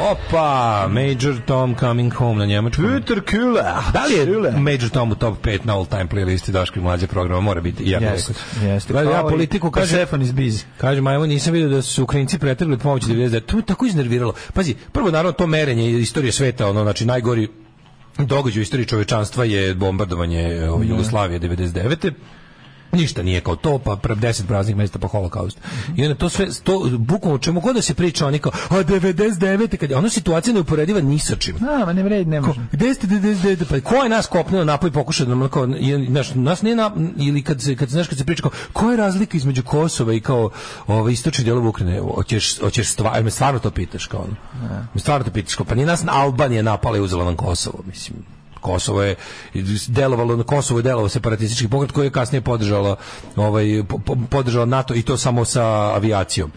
Opa, Major Tom coming home na njemačku. Peter Kula. Da li je Major Tom u top 5 na all time playlisti Daške mlađe programa? Mora biti. Ja bih Jeste, rekao. jeste. Gledaj, ja Kao i politiku kažem... Persephone iz Biz. Kažem, ajmo, nisam vidio da su Ukrajinci pretrgli pomoć 99. To me tako iznerviralo. Pazi, prvo naravno to merenje istorije sveta, ono, znači najgori događaj u istoriji čovečanstva je bombardovanje e, ove, Jugoslavije 99. Ništa nije kao to, pa pre 10 praznih mesta po holokaustu. I onda to sve, to, bukvalno o čemu god da se priča, oni kao, a 99. kad je, ono situacija neuporediva ni sa čim. Da, ma ne vredi, ne Ko, može. gde ste, gde, gde, gde, pa ko je nas kopneo napoj pokušao da nam kao, je, znaš, nas nije na, ili kad se, kad, znaš, kad se priča kao, koja je razlika između Kosova i kao ovaj, istočni dijelov Ukrajine, hoćeš, hoćeš stvar, me stvarno to pitaš kao ono, me stvarno to pitaš kao, pa nije nas Albanija napala i uzela nam Kosovo, mislim, Kosovo je delovalo na Kosovo je delovao separatistički pokret koji je kasnije podržala ovaj po- po- podržao NATO i to samo sa avijacijom.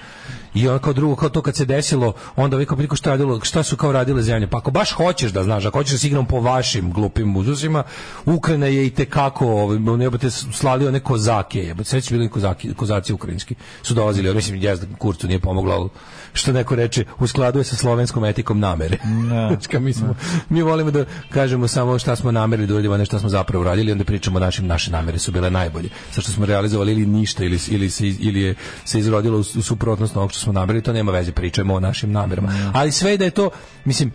I on kao drugo, kao to kad se desilo, onda vi kao priko šta, radilo, šta su kao radile zemlje. Pa ako baš hoćeš da znaš, ako hoćeš da si igram po vašim glupim uzusima, Ukrajina je i tekako, ovaj, ono jebate, slali one kozake, jebate, sve su bili kozaki, kozaci ukrajinski, su dolazili, ono, mislim, jezda, kurcu nije pomoglo, ali što neko reče, u skladu je sa slovenskom etikom namere. Znači, kao mi, smo, mi volimo da kažemo samo šta smo namerili da uradimo, a ne šta smo zapravo radili, onda pričamo o našim, naše namere su bile najbolje. Sa što smo realizovali ili ništa, ili, ili, se, iz- ili je se izrodilo u, u suprotnost onog što smo namerili, to nema veze, pričamo o našim namerama. Ali sve i da je to, mislim,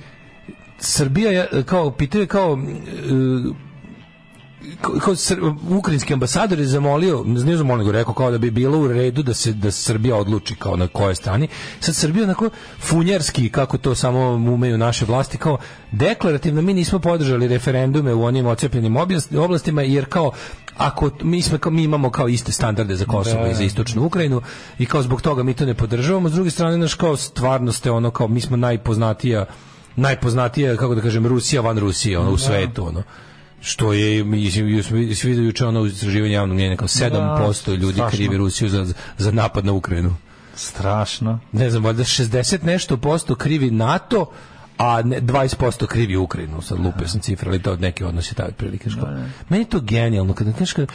Srbija je, kao, pitao je kao, e, kao- kao sr- ukrajinski ambasador je zamolio, ne znam, nije zamolio, nego rekao kao da bi bilo u redu da se da Srbija odluči kao na kojoj strani. Sad Srbija onako funjarski, kako to samo umeju naše vlasti, kao deklarativno mi nismo podržali referendume u onim ocepljenim objas- oblastima, jer kao ako mi smo kao mi imamo kao iste standarde za Kosovo i za istočnu Ukrajinu i kao zbog toga mi to ne podržavamo s druge strane naš kao stvarno ste ono kao mi smo najpoznatija najpoznatija kako da kažem Rusija van Rusije ono u svetu ono što je mislim ju smo svi vidio juče ono istraživanje javnog mnjenja kao 7% ljudi strašno. krivi Rusiju za za napad na Ukrajinu. Strašno. Ne znam, valjda 60 nešto posto krivi NATO, a ne, 20% krivi Ukrajinu, sad lupio sam cifre, ali to neki odnosi taj otprilike. Da, Meni je to genijalno, kada, znaš, kada,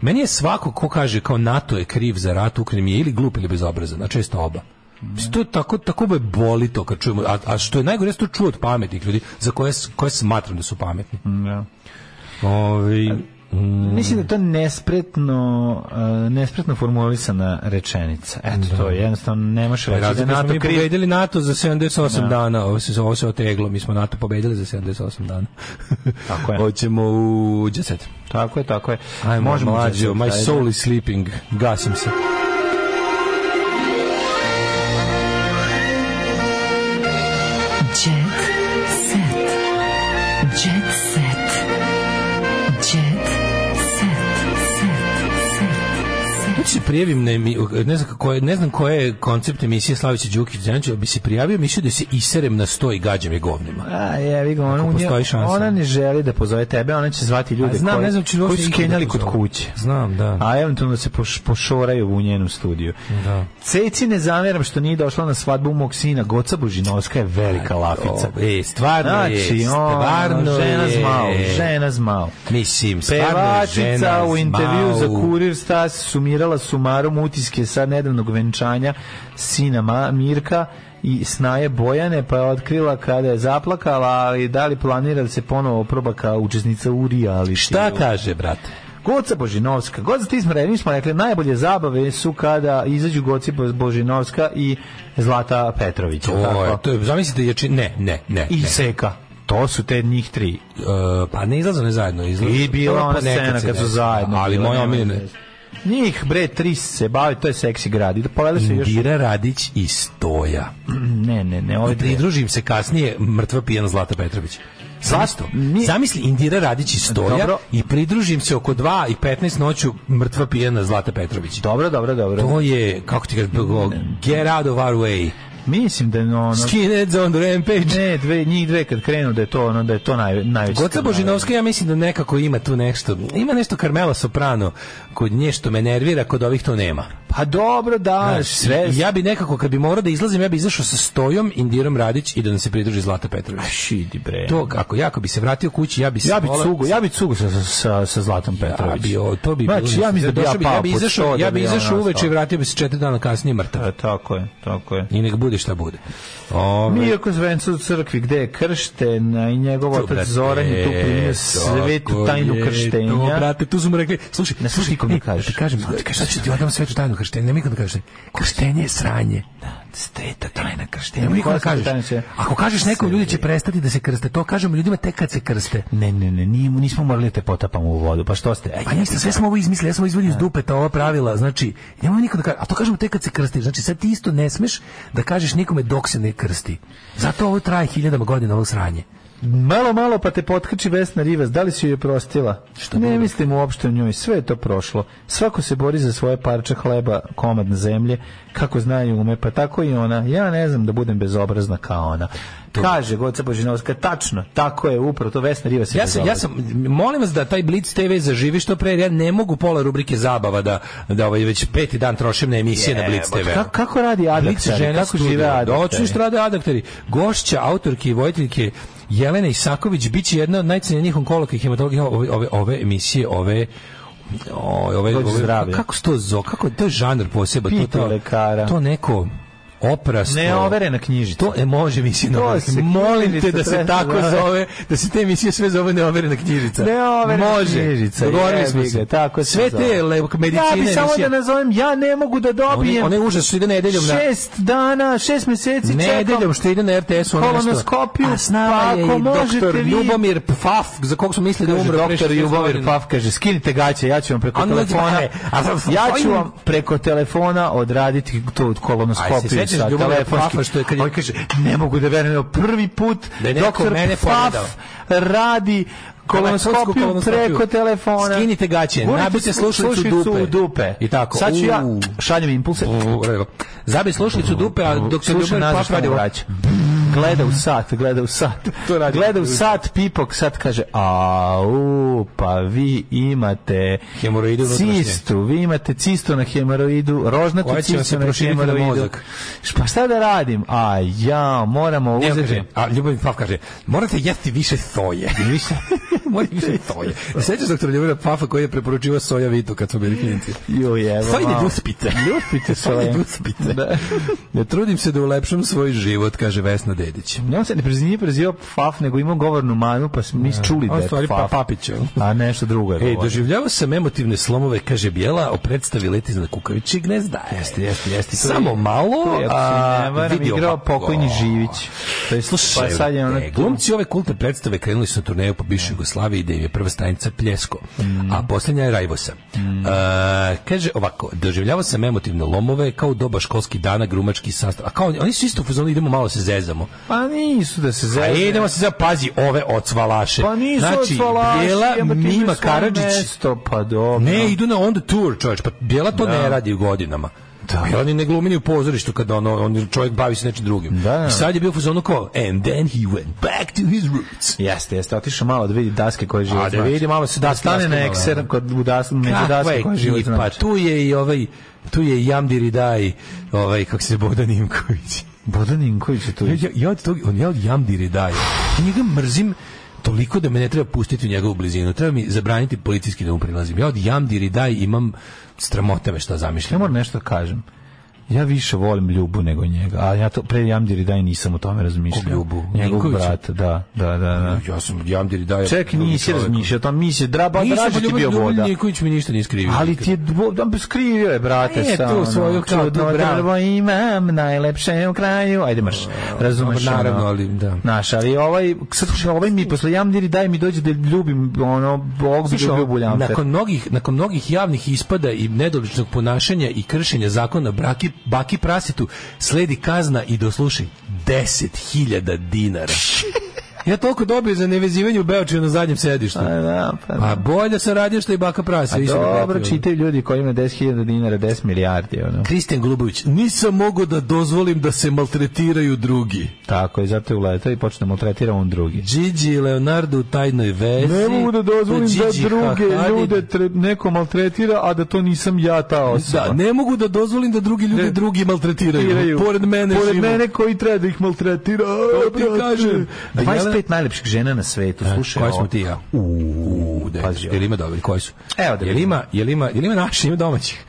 meni je svako ko kaže kao NATO je kriv za rat u Ukrajini je ili glup ili bezobrazan, a često oba. Mislim, To je tako, tako me boli to kad čujemo, a, a što je najgore, ja sam to čuo od pametnih ljudi, za koje, s- koje smatram da su pametni. Ovaj- Da. Ovi, Mislim da je to nespretno, uh, nespretno formulisana rečenica. Eto, to je jednostavno, ne možeš reći da Razlika smo NATO mi kriv. pobedili NATO za 78 dana, ovo se, ovo se oteglo, mi smo NATO pobedili za 78 dana. Tako je. Hoćemo u Jet set. Tako je, tako je. Ajmo, Možemo mlađo, sad, my ajde. soul is sleeping, gasim se. Jet set. Jet set. Jet set. Ja ću se prijavim na emi- ne znam kako je- ne znam koje je koncept emisije Slavića Đukić Đanić, bi se prijavio, mislio da se iserem na sto i gađam je govnima. A, je, vi ga, ona, u nje- postoji šansa. ona ne želi da pozove tebe, ona će zvati ljude A znam, koji, ne znam, ću li koji uopšte su ikada kenjali kod pozove. kuće. Znam, da. A eventualno se poš, pošoraju u njenom studiju. Da. Ceci ne zameram što nije došla na svadbu mog sina. Goca Božinovska je velika lafica. O, E, stvarno je, ono, stvarno žena je. zmao, žena zmao. Mislim, stvarno je Pevačica žena u intervju za zmao. Kurir Stas sumirala sumarom utiske sa nedavnog venčanja sina Ma- Mirka i snaje Bojane, pa je otkrila kada je zaplakala, ali da li planira da se ponovo proba kao učesnica u reality? Šta kaže, brate? Goca Božinovska. Goca, ti smo rekli, mi smo rekli, najbolje zabave su kada izađu Goci Božinovska i Zlata Petrović. jel To je, tako? to je, zamislite, jači, ne, ne, ne. I ne. Seka. To su te njih tri. E, pa ne izlaze ne zajedno, izlaze. I bila Dobro, ona pa nekad scena se kad su ne- zajedno. Ali bile, moje nema omiljene, veze. Njih, bre, tri se bave, to je seksi grad. I da povele se još... Indira Radić i Stoja. Ne, ne, ne, ove Ovaj dve. pridružim se kasnije mrtva pijana Zlata Petrović. Zašto? mi- Zamisli Indira Radić i Stoja Dobro. i pridružim se oko 2 i 15 noću mrtva pijana Zlata Petrović. Dobro, dobro, dobro. To je, kako ti kažem, get out of our way. Mislim da je ono... Skinheads on the rampage. Ne, dve, njih dve kad krenu da je to ono, da je to naj, najveće. Goca Božinovska ja mislim da nekako ima tu nešto. Ima nešto Carmela Soprano kod nje što me nervira, kod ovih to nema. Pa dobro, da, Znaš, sve... ja bi nekako, kad bi morao da izlazim, ja bi izašao sa Stojom, Indirom Radić i da nam se pridruži Zlata Petrović. Šidi, bre. To, ako, ja ako bi se vratio kući, ja bi se Ja bi volao- cugo, ja bi cugo sa, sa, sa Zlatom Ja Petrović. bi, o, to bi znači, bilo ja mislim da bi ja došao pao ja bi pod izašao, sto da ja bi ja izašao ono uveče i ostao. vratio bi se 4 dana kasnije mrtav. E, tako je, tako je. I nek bude šta bude. Ove, Mirko Zvencu u crkvi, gde je kršten a i njegov to, otac brate, Zoran je tu primio e, tako svetu tajnu je, To, krštenja. brate, tu su mu rekli, slušaj, Ne slušaj nikom da ej, kažeš. Ti kažem, ti kažeš, sad ću ti odam svetu tajnu krštenja, nemoj nikom da kažeš. Krštenje je sranje. Sveta tajna krštenja. Nemoj nikom da Koja sveta tajna kažeš. će- Ako kažeš nekom, ljudi će prestati da se krste. To kažemo ljudima tek kad se krste. Ne, ne, ne, nije, nismo morali da te potapamo u vodu, pa što ste? Ej, Pa ništa, sve smo ovo izmislili, ja sam ovo izvodio iz dupeta, ova pravila, znači, nemoj niko da kaže, a to kažemo tek kad se krstiš, znači sad ti isto ne smeš da kažeš nikome dok se ne krsti. Zato ovo traje hiljadama godina, ovo sranje. Malo, malo pa te potkači Vesna Rivas, da li si joj prostila? ne mislim uopšte o njoj, sve je to prošlo. Svako se bori za svoje parče hleba, komad na zemlje, kako zna i ume, pa tako i ona. Ja ne znam da budem bezobrazna kao ona. Kaže Goca Božinovska, tačno, tako je, upravo to Vesna Rivas je Ja sam, ja bezobrazna. sam, molim vas da taj Blitz TV zaživi što pre, jer ja ne mogu pola rubrike zabava da, da ovaj već peti dan trošim na emisije na Blitz TV. Ka- kako radi Blitz Adaktari, žena kako žive Adaktari? Doću što rade adaktari. Gošća, autorke i vojiteljke Jelena Isaković bit će jedna od najcenjenijih onkologa i hematologa ove, ove, ove emisije, ove o- ove, Dođe ove zdravlje. kako se to zo, kako je to je žanr poseban, to, Pitaj to, lekara. to neko oprasto. Neoverena knjižica. To e, može emisija To neoverena. se Molim te knjižica da se treba tako zove. zove, da se te emisije sve zove neoverena knjižica. Neoverena može. knjižica, Dogovorili smo jebi se. ga, tako se sve te zove. le, medicine Ja bi samo emisije. da nazovem, ja ne mogu da One, dobijem one užas što ide nedeljom na šest dana, šest meseci Nedeljom čekam. što ide na RTS-u ono nešto. Kolonoskopiju, A s nama pa je ako i doktor možete vi- Ljubomir Pfaf, za kog smo mislili da Kaže, umre pre doktor 60 Ljubomir godina. Paf kaže, skinite gaće, ja ću vam preko A ono dođe, telefona, e, a sad- ja ću vam preko telefona odraditi tu Aj, se kolonoskopiju sećaš sa Ljubomira Pafa telefonski. što je kad je- On kaže, ne mogu da verujem, evo, prvi put Da je neko doktor mene Paf pogledao. radi Telefonsku kolonoskopiju kolonoskopiju. preko telefona. Skinite gaće, Gurnite nabite slu- slušalicu u dupe. u dupe. I tako, Sad ću ja, u. šaljem impulse. U, u, u, u. Zabi slušalicu dupe, a dok se Slušaj Ljubomir nazad Pfaf šta mu radi ovo. vraća. gleda u sat, gleda u sat. To radi gleda u ljudi. sat, pipok, sad kaže, au, pa vi imate Hemoroide unutrašnje." cistu, vi imate cistu na hemoroidu, rožnatu Koja će vam se cistu na proširiti na hemoroidu. mozak. Pa šta da radim? A ja, moramo Ne, on kaže, uzeti... a Ljubav Paf kaže, morate jesti više soje. Više. morate više soje. Sećaš doktor Ljubav Pafa koji je preporučivao soja vitu kad smo bili klinici? Jo, evo. Sojne malo. ljuspite. Ljuspite Sojne svoje. ljuspite. Da. Ne trudim se da ulepšam svoj život, kaže Vesna Dedić. Ja on se ne prezivio, prezivao Faf, nego imao govornu manu, pa smo mi čuli da On je stvari pa Faf. Papić. jel? A nešto drugo je Ej, govorio. doživljavao sam emotivne slomove, kaže Bijela, o predstavi Leti iznad kukavičeg gnezda. Jeste, jeste, jeste. To je- Samo malo, to je, ako se ne a varam, vidio igrao ovako. pokojni Živić. To je Slušaj, pa sad je ono e, glumci ove kultne predstave krenuli su na turneju po bivšoj Jugoslaviji gde im je prva stanica Pljesko, Mm. a posljednja je Rajvosa. E, kaže ovako, doživljavao sam emotivne lomove kao u doba školskih dana grumački sastav. A kao oni- oni su isto u fazonu idemo malo se zezamo. Pa nisu da se A zajedno. idemo se za pazi ove ocvalaše. Pa nisu znači, otvalaši, Bijela, jebote, imaju Mima svoje Karadžić, mesto, pa dobro. ne, idu na on the tour, čovječ, pa Bijela to Da. ne radi godinama. Da. Bijela ni ne glumi ni u pozorištu kada ono, on čovjek bavi se nečim drugim. Da, da. I sad je bio u fazonu kao, and then he went back to his roots. Jeste, jeste, otišao malo da vidi daske koje život A, da znači. vidi malo se daske stane na daske ekser malo. kod u das, među Kakva daske je koje život ekipa? Pa znači. Tu je i ovaj, tu je i Jamdir Idaj, ovaj, kako se Bodan Imković. Bodan Inković je tu. Ja, ja od tog, on ja od Jamdiri daje. Ja njega mrzim toliko da me ne treba pustiti u njegovu blizinu. Treba mi zabraniti policijski da mu prilazim. Ja od Jamdiri daj imam stramote me šta Ja zamišljam. moram nešto da kažem. Ja više volim Ljubu nego njega, a ja to pre Jamdiri daj nisam o tome razmišljao. Kog Ljubu? Njegovog Ninkovića? brata, da, da, da. da. Ja sam Jamdiri daj. Ček, nisi razmišljao, tamo mi se draba, Nisam draži ti poljubio Pa bio voda. Niković mi ništa nije skrivio. Ali ti je, dvo- da, skrivio je, brate, A je sa tu ono, svoju kao čudno tu bravu. drvo imam, najlepše u kraju. Ajde, marš, razumeš. dobro, naravno, ono. ali da. Znaš, ali ovaj, sad slušaj, ovaj mi posle Jamdiri daj mi dođe da ljubim, ono, ovog bi Slušaj, ljubio Ljamfer. nakon mnogih, nakon mnogih javnih ispada i nedoličnog ponašanja i kršenja zakona braki, baki prasitu sledi kazna i dosluši 10.000 dinara. Ja toliko dobio za nevezivanje u Beočiju na zadnjem sedištu. A, da, pa, Pa bolje sam radio što i baka prasi. A više ga dobro, pratio. čitaju ljudi koji imaju 10.000 dinara, 10 milijardi, ono. Kristijan Golubović, nisam mogao da dozvolim da se maltretiraju drugi. Tako je, zato je uletao i počne da maltretira on drugi. Gigi i Leonardo u tajnoj vezi. Ne mogu da dozvolim To Gigi da druge Hahani- ljude tre, neko maltretira, a da to nisam ja ta osoba. Da, ne mogu da dozvolim da drugi ljudi Ne. drugi maltretiraju. maltretiraju. Pored mene Pored živo. mene koji treba da ih maltretira. a, ti brate. kažem. A 25 Jelena- najlepših žena na svetu, slušaj. E, Koji ovo. smo ti i ja? Uuu, Pazi ovo. jel ima dobri, koji su? Evo da jel vidimo. ima, jel ima, jel ima naši, ima domaćih?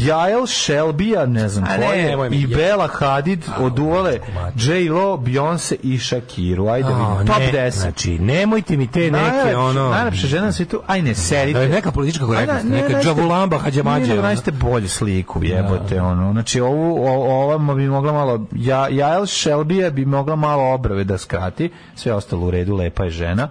Jael Shelby, a ne znam A ko ne, je, nemoj mi. i Bela Hadid od Uvale, mater. J-Lo, Beyoncé i Shakiru. Ajde, vidimo. A, top ne, 10. Znači, nemojte mi te neke, Najlepša- ono... Najlepša žena na svetu, aj ne, sedite. Da je neka politička korektnost, neka džavulamba, hađamađe, Nije ono. nađete bolju sliku, jebote, ono. Znači, ovu, o, ova bi mogla malo, ja, Jael Shelby bi mogla malo obrave da skrati, sve ostalo u redu, lepa je žena.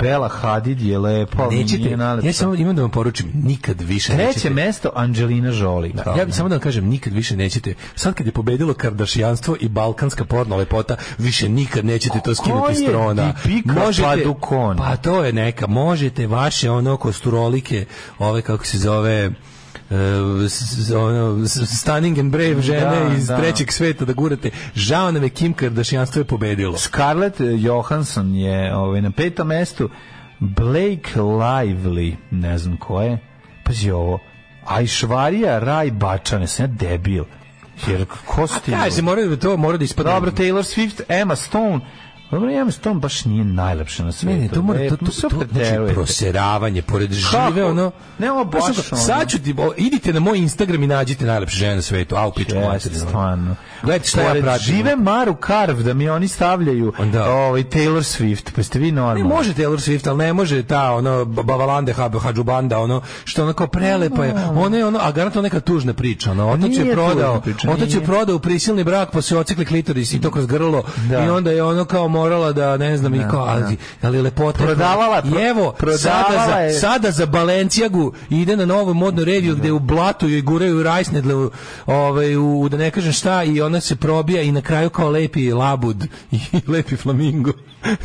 Bela Hadid je lepa, ali Pa Nećete, nije nalepša. ja samo imam da vam poručim, nikad više Treće nećete. mesto, Angelina Jolie. Da, Pa, ja bih samo da vam kažem, nikad više nećete. Sad kad je pobedilo kardašijanstvo i balkanska porno lepota, više nikad nećete to skinuti s je trona. Deepika Padukone? pa to je neka. Možete vaše ono kosturolike, ove kako se zove, e, s- s- ono, s- stunning and brave žene Da, iz da. trećeg sveta da gurate. Žao nam je Kim Kardashianstvo je pobedilo. Scarlett Johansson je ovaj, na petom mestu. Blake Lively, ne znam ko je. Pazi ovo. Aishwarya Raj Bačane, sam ja debil. Jer ko su ti Kaže, ljudi? mora da to mora da ispadne. Dobro, Taylor Swift, Emma Stone. Dobro, Emma Stone baš nije najlepša na Ne, svijetu. ne, to mora, E, to, to, sve to, znači preterujete. proseravanje, pored žive, ono... Ne, ovo baš, Znaš, ono. Sad ću ti, o, idite na moj Instagram i nađite najlepše žene na svetu, au, pičku Jeste, materinu. stvarno. Gledajte ono. šta ja Pored pratim. ono. Žive Maru Karv, da mi oni stavljaju Da. ovaj, Taylor Swift, pa ste vi Ne normalni. može Taylor Swift, ali ne može ta ono ba- Bavalande Hab- Hadžubanda, ono što ona kao prelepa je. Ona je ono, a garantno neka tužna priča, ono. Otac nije je tužna prodao, priča, otac je nije. prodao u prisilni brak, pa se ocikli klitoris i to kroz grlo Da. i onda je ono kao morala da ne znam i kao, ali, ali lepota. je- Prodavala- pro- I evo, prodavala sada, je- za, sada za Balenciagu ide na novu modnu reviju gde u blatu joj guraju rajsnedle u, ovaj, u, da ne kažem šta i ona se probija i na kraju kao lepi labud i lepi flamingo.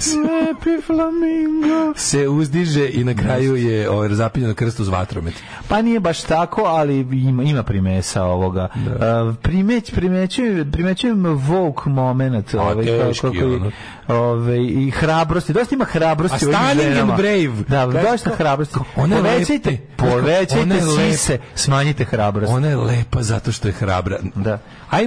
lepi flamingo. Se uzdiže i na kraju je ovaj, zapiljeno krst uz vatromet. Pa nije baš tako, ali ima, ima primesa ovoga. Da. Primeć, primećujem, primećujem Vogue moment. ovaj, kao- Pa, teški, kako je, ono. ovaj, I hrabrosti. Dosta ima hrabrosti. A u ovim stunning and ženama. brave. Da, Kaže dosta kao- hrabrosti. Ona je povećajte, lepa. Ona povećajte je lepa. sise, smanjite hrabrost. Ona je lepa zato što je hrabra. Da. Aj,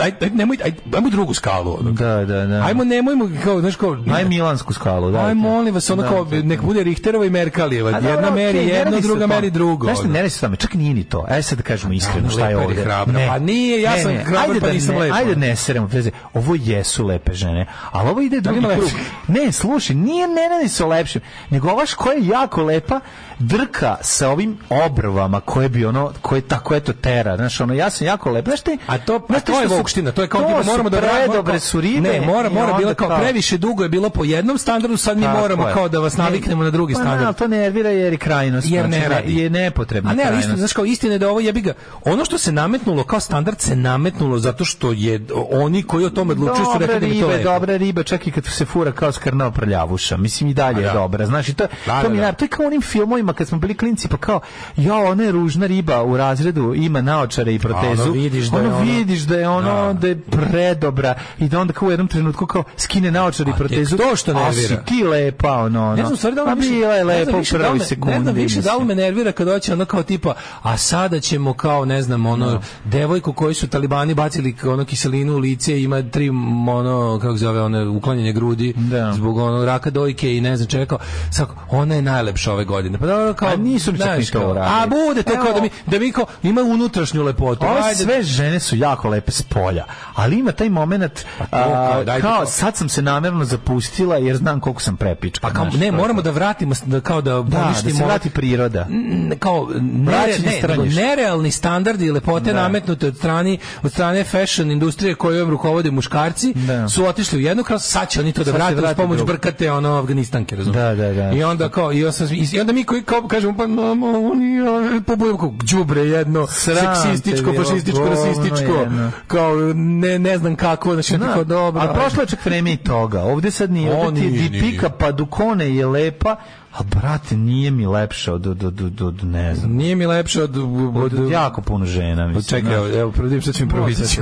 aj, aj, nemoj, aj, ajmo drugu skalu. ono. Da, da, da. Ajmo, nemojmo, kao, znaš, kao, Aj Milansku skalu, da. Aj, molim vas, ono kao, nek bude Richterova i Merkalijeva. A Pa dobro, Jedna okej, meri ne jedno, radi se o druga tome. meri drugo. Znaš šta, ono. ne radi se o tome, čak nije ni to. Ajde sad da kažemo iskreno ono, šta je lepa je ovde. hrabra. Pa nije, ja sam hrabar, ajde pa da nisam ne, lepa. Ajde ne seremo veze. Ovo jesu lepe žene, ali ovo ide drugi ima krug. lepših? Ne, slušaj, nije ne radi se o lepšim, nego ova koja je jako lepa drka sa ovim obrvama koje bi ono, koje tako eto tera. Znaš, ono, ja sam jako lepa. Znaš te, A to, a znaš te to je što su- vukština, to je kao to bilo, su moramo da vratimo- predobre su ribe. Ne, mora, i mora onda bilo kao, previše dugo je bilo po jednom standardu, sad mi Tako moramo je. kao da vas naviknemo na drugi pa, standard. Pa ali to nervira jer je krajnost. jer znači, ne radi. Je nepotrebna A ne, ali krajnost. istina, znaš kao istina je da ovo jebi ga. Ono što se nametnulo kao standard se nametnulo zato što je oni koji o tome odlučuju su rekli da im je to riba, je lepo. dobra riba, čak i kad se fura kao skrnao prljavuša. Mislim i dalje A je da. dobra. Znaš, i to, Da, to da, mi da. nar- to je kao u onim filmovima kad smo bili klinci, pa kao, ja, ona je ružna riba u razredu, ima naočare i protezu. ono vidiš da je Ono ono- vidiš da je ono, da. je predobra i da onda kao u jednom trenutku kao skine naočare i A tek protezu. to što "A, nervira." si ti lepa, ono, ono. Ne znam, u stvari da li Pa me više- bila je ne znam lepa u više da li prvoj me- sekundi. Ne znam više da li mislim. me nervira kad hoće ono kao tipa, a sada ćemo kao, ne znam, ono, devojku koju su talibani bacili k- ono kiselinu u lice, ima tri, m, ono, kako se zove, ono, uklanjanje grudi Da. zbog ono, raka dojke i ne znam čega, kao, sad, ona je najlepša ove godine. Pa dobro, kao, A nisu mi čak znaš, ni to kao, uradili. A bude to kao da mi, da mi kao, ima unutrašnju lepotu. Ove ajde, sve žene su jako lepe s polja, ali ima taj moment a, kao, dajte kao Pa to. sad sam se namjerno zapustila jer znam koliko sam prepička. Pa kao, znaš, ne, to je moramo to. da vratimo, s- da, kao da da, da se poništimo- vrati priroda. n- kao nere, Vraćanje ne, nego straništa. nerealni standardi lepote nametnute od strane od strane fashion industrije kojom rukovode muškarci Da. su otišli u jednu krasu, sad će oni to da Sad će vrate uz vrati pomoć drugu. brkate ono Afganistanke, razumiješ? Da, da, da. I onda kao i, osam- i onda mi koji kao kažemo pa mamo, oni a, pobujamo kao đubre jedno, Sram te seksističko, bilo, fašističko, govno rasističko, jedno. kao ne ne znam kako, znači Da, tako dobro. ali prošlo je čak vreme i toga. Ovde sad nije, O, ovde ti je nije, nije. Dipika Padukone je lepa, a brate, nije mi lepša od, od, od, od, od ne znam, Nije mi lepše od, od, od, jako puno žena. Mislim, Čekaj, znaš. evo, evo, prvo da vidim šta ću mi prvo izaći.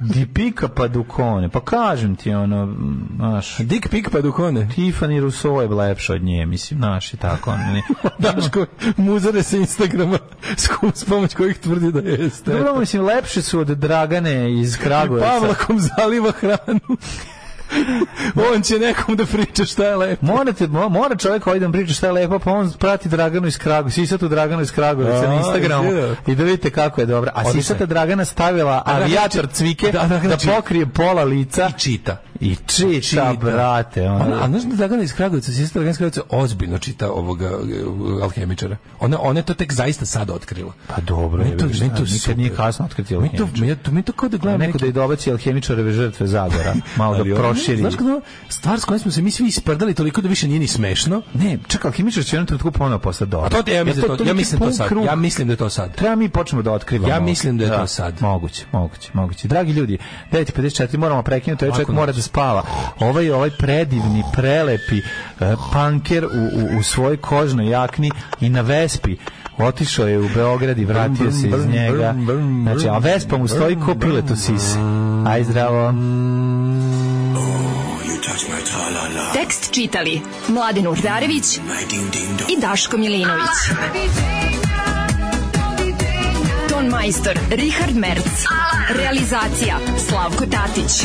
Dipika Padukone, pa kažem ti ono, mm, znaš, Dick pic pa dukone. Tiffany Rousseau je lepša od nje, mislim, znaš i tako. ono, ne- Daško, muzare sa Instagrama s, ko- s pomoć kojih tvrdi da jeste. Pa Dobro, mislim, lepše su od Dragane iz Kragujevca. Pavlakom zaliva hranu. On će nekom da priča šta je lepo. Morate, mo- mora čovjek ovaj da vam priča šta je lepo, pa on prati Draganu iz Kragujevca, sisatu Draganu iz Kragujevca na A, Instagramu izgleda. i da vidite kako je dobra. A Odlično je. sisata Dragana stavila Dragana avijator čita- cvike Da, Dragana da čita. pokrije pola lica I čita. i čita, Čita. brate. ono. Ona, a znaš da Dragana iz Kragovica, sestra Dragana iz Kragovica ozbiljno čita ovoga e, alhemičara. Ona, ona je to tek zaista sad otkrila. Pa dobro, Meni to- je, vidiš, meni to nikad super. nije kasno otkriti Mi to, alhemičar. mi, to, mi to kao da gledam Neko da je dobaci alhemičareve žrtve Zagora, malo Ali da ono, proširi. Znaš kada, stvar s kojom smo se mi svi isprdali toliko da više nije ni smešno. Ne, čekaj, alhemičar će u jednom trenutku ponovo postati A dobar. to, ja, mislim, Jer to, ja neki mislim to pun sad. krug. Ja mislim da je to sad. Treba mi počnemo da otkrivamo. Ja mislim da je to sad. Moguće, moguće, moguće. Dragi ljudi, 9.54 moramo prekinuti, ovaj čovjek Lako mora da spava. Ovaj, ovaj predivni, prelepi eh, panker u, u, u svojoj kožnoj jakni i na vespi otišao je u Beograd i vratio se iz njega. Znači, a vespa mu stoji ko pilet u sisi. Aj, zdravo. Tekst čitali Mladin Urdarević i Daško Milinović. Ton majstor Richard Merc. Realizacija Slavko Tatić.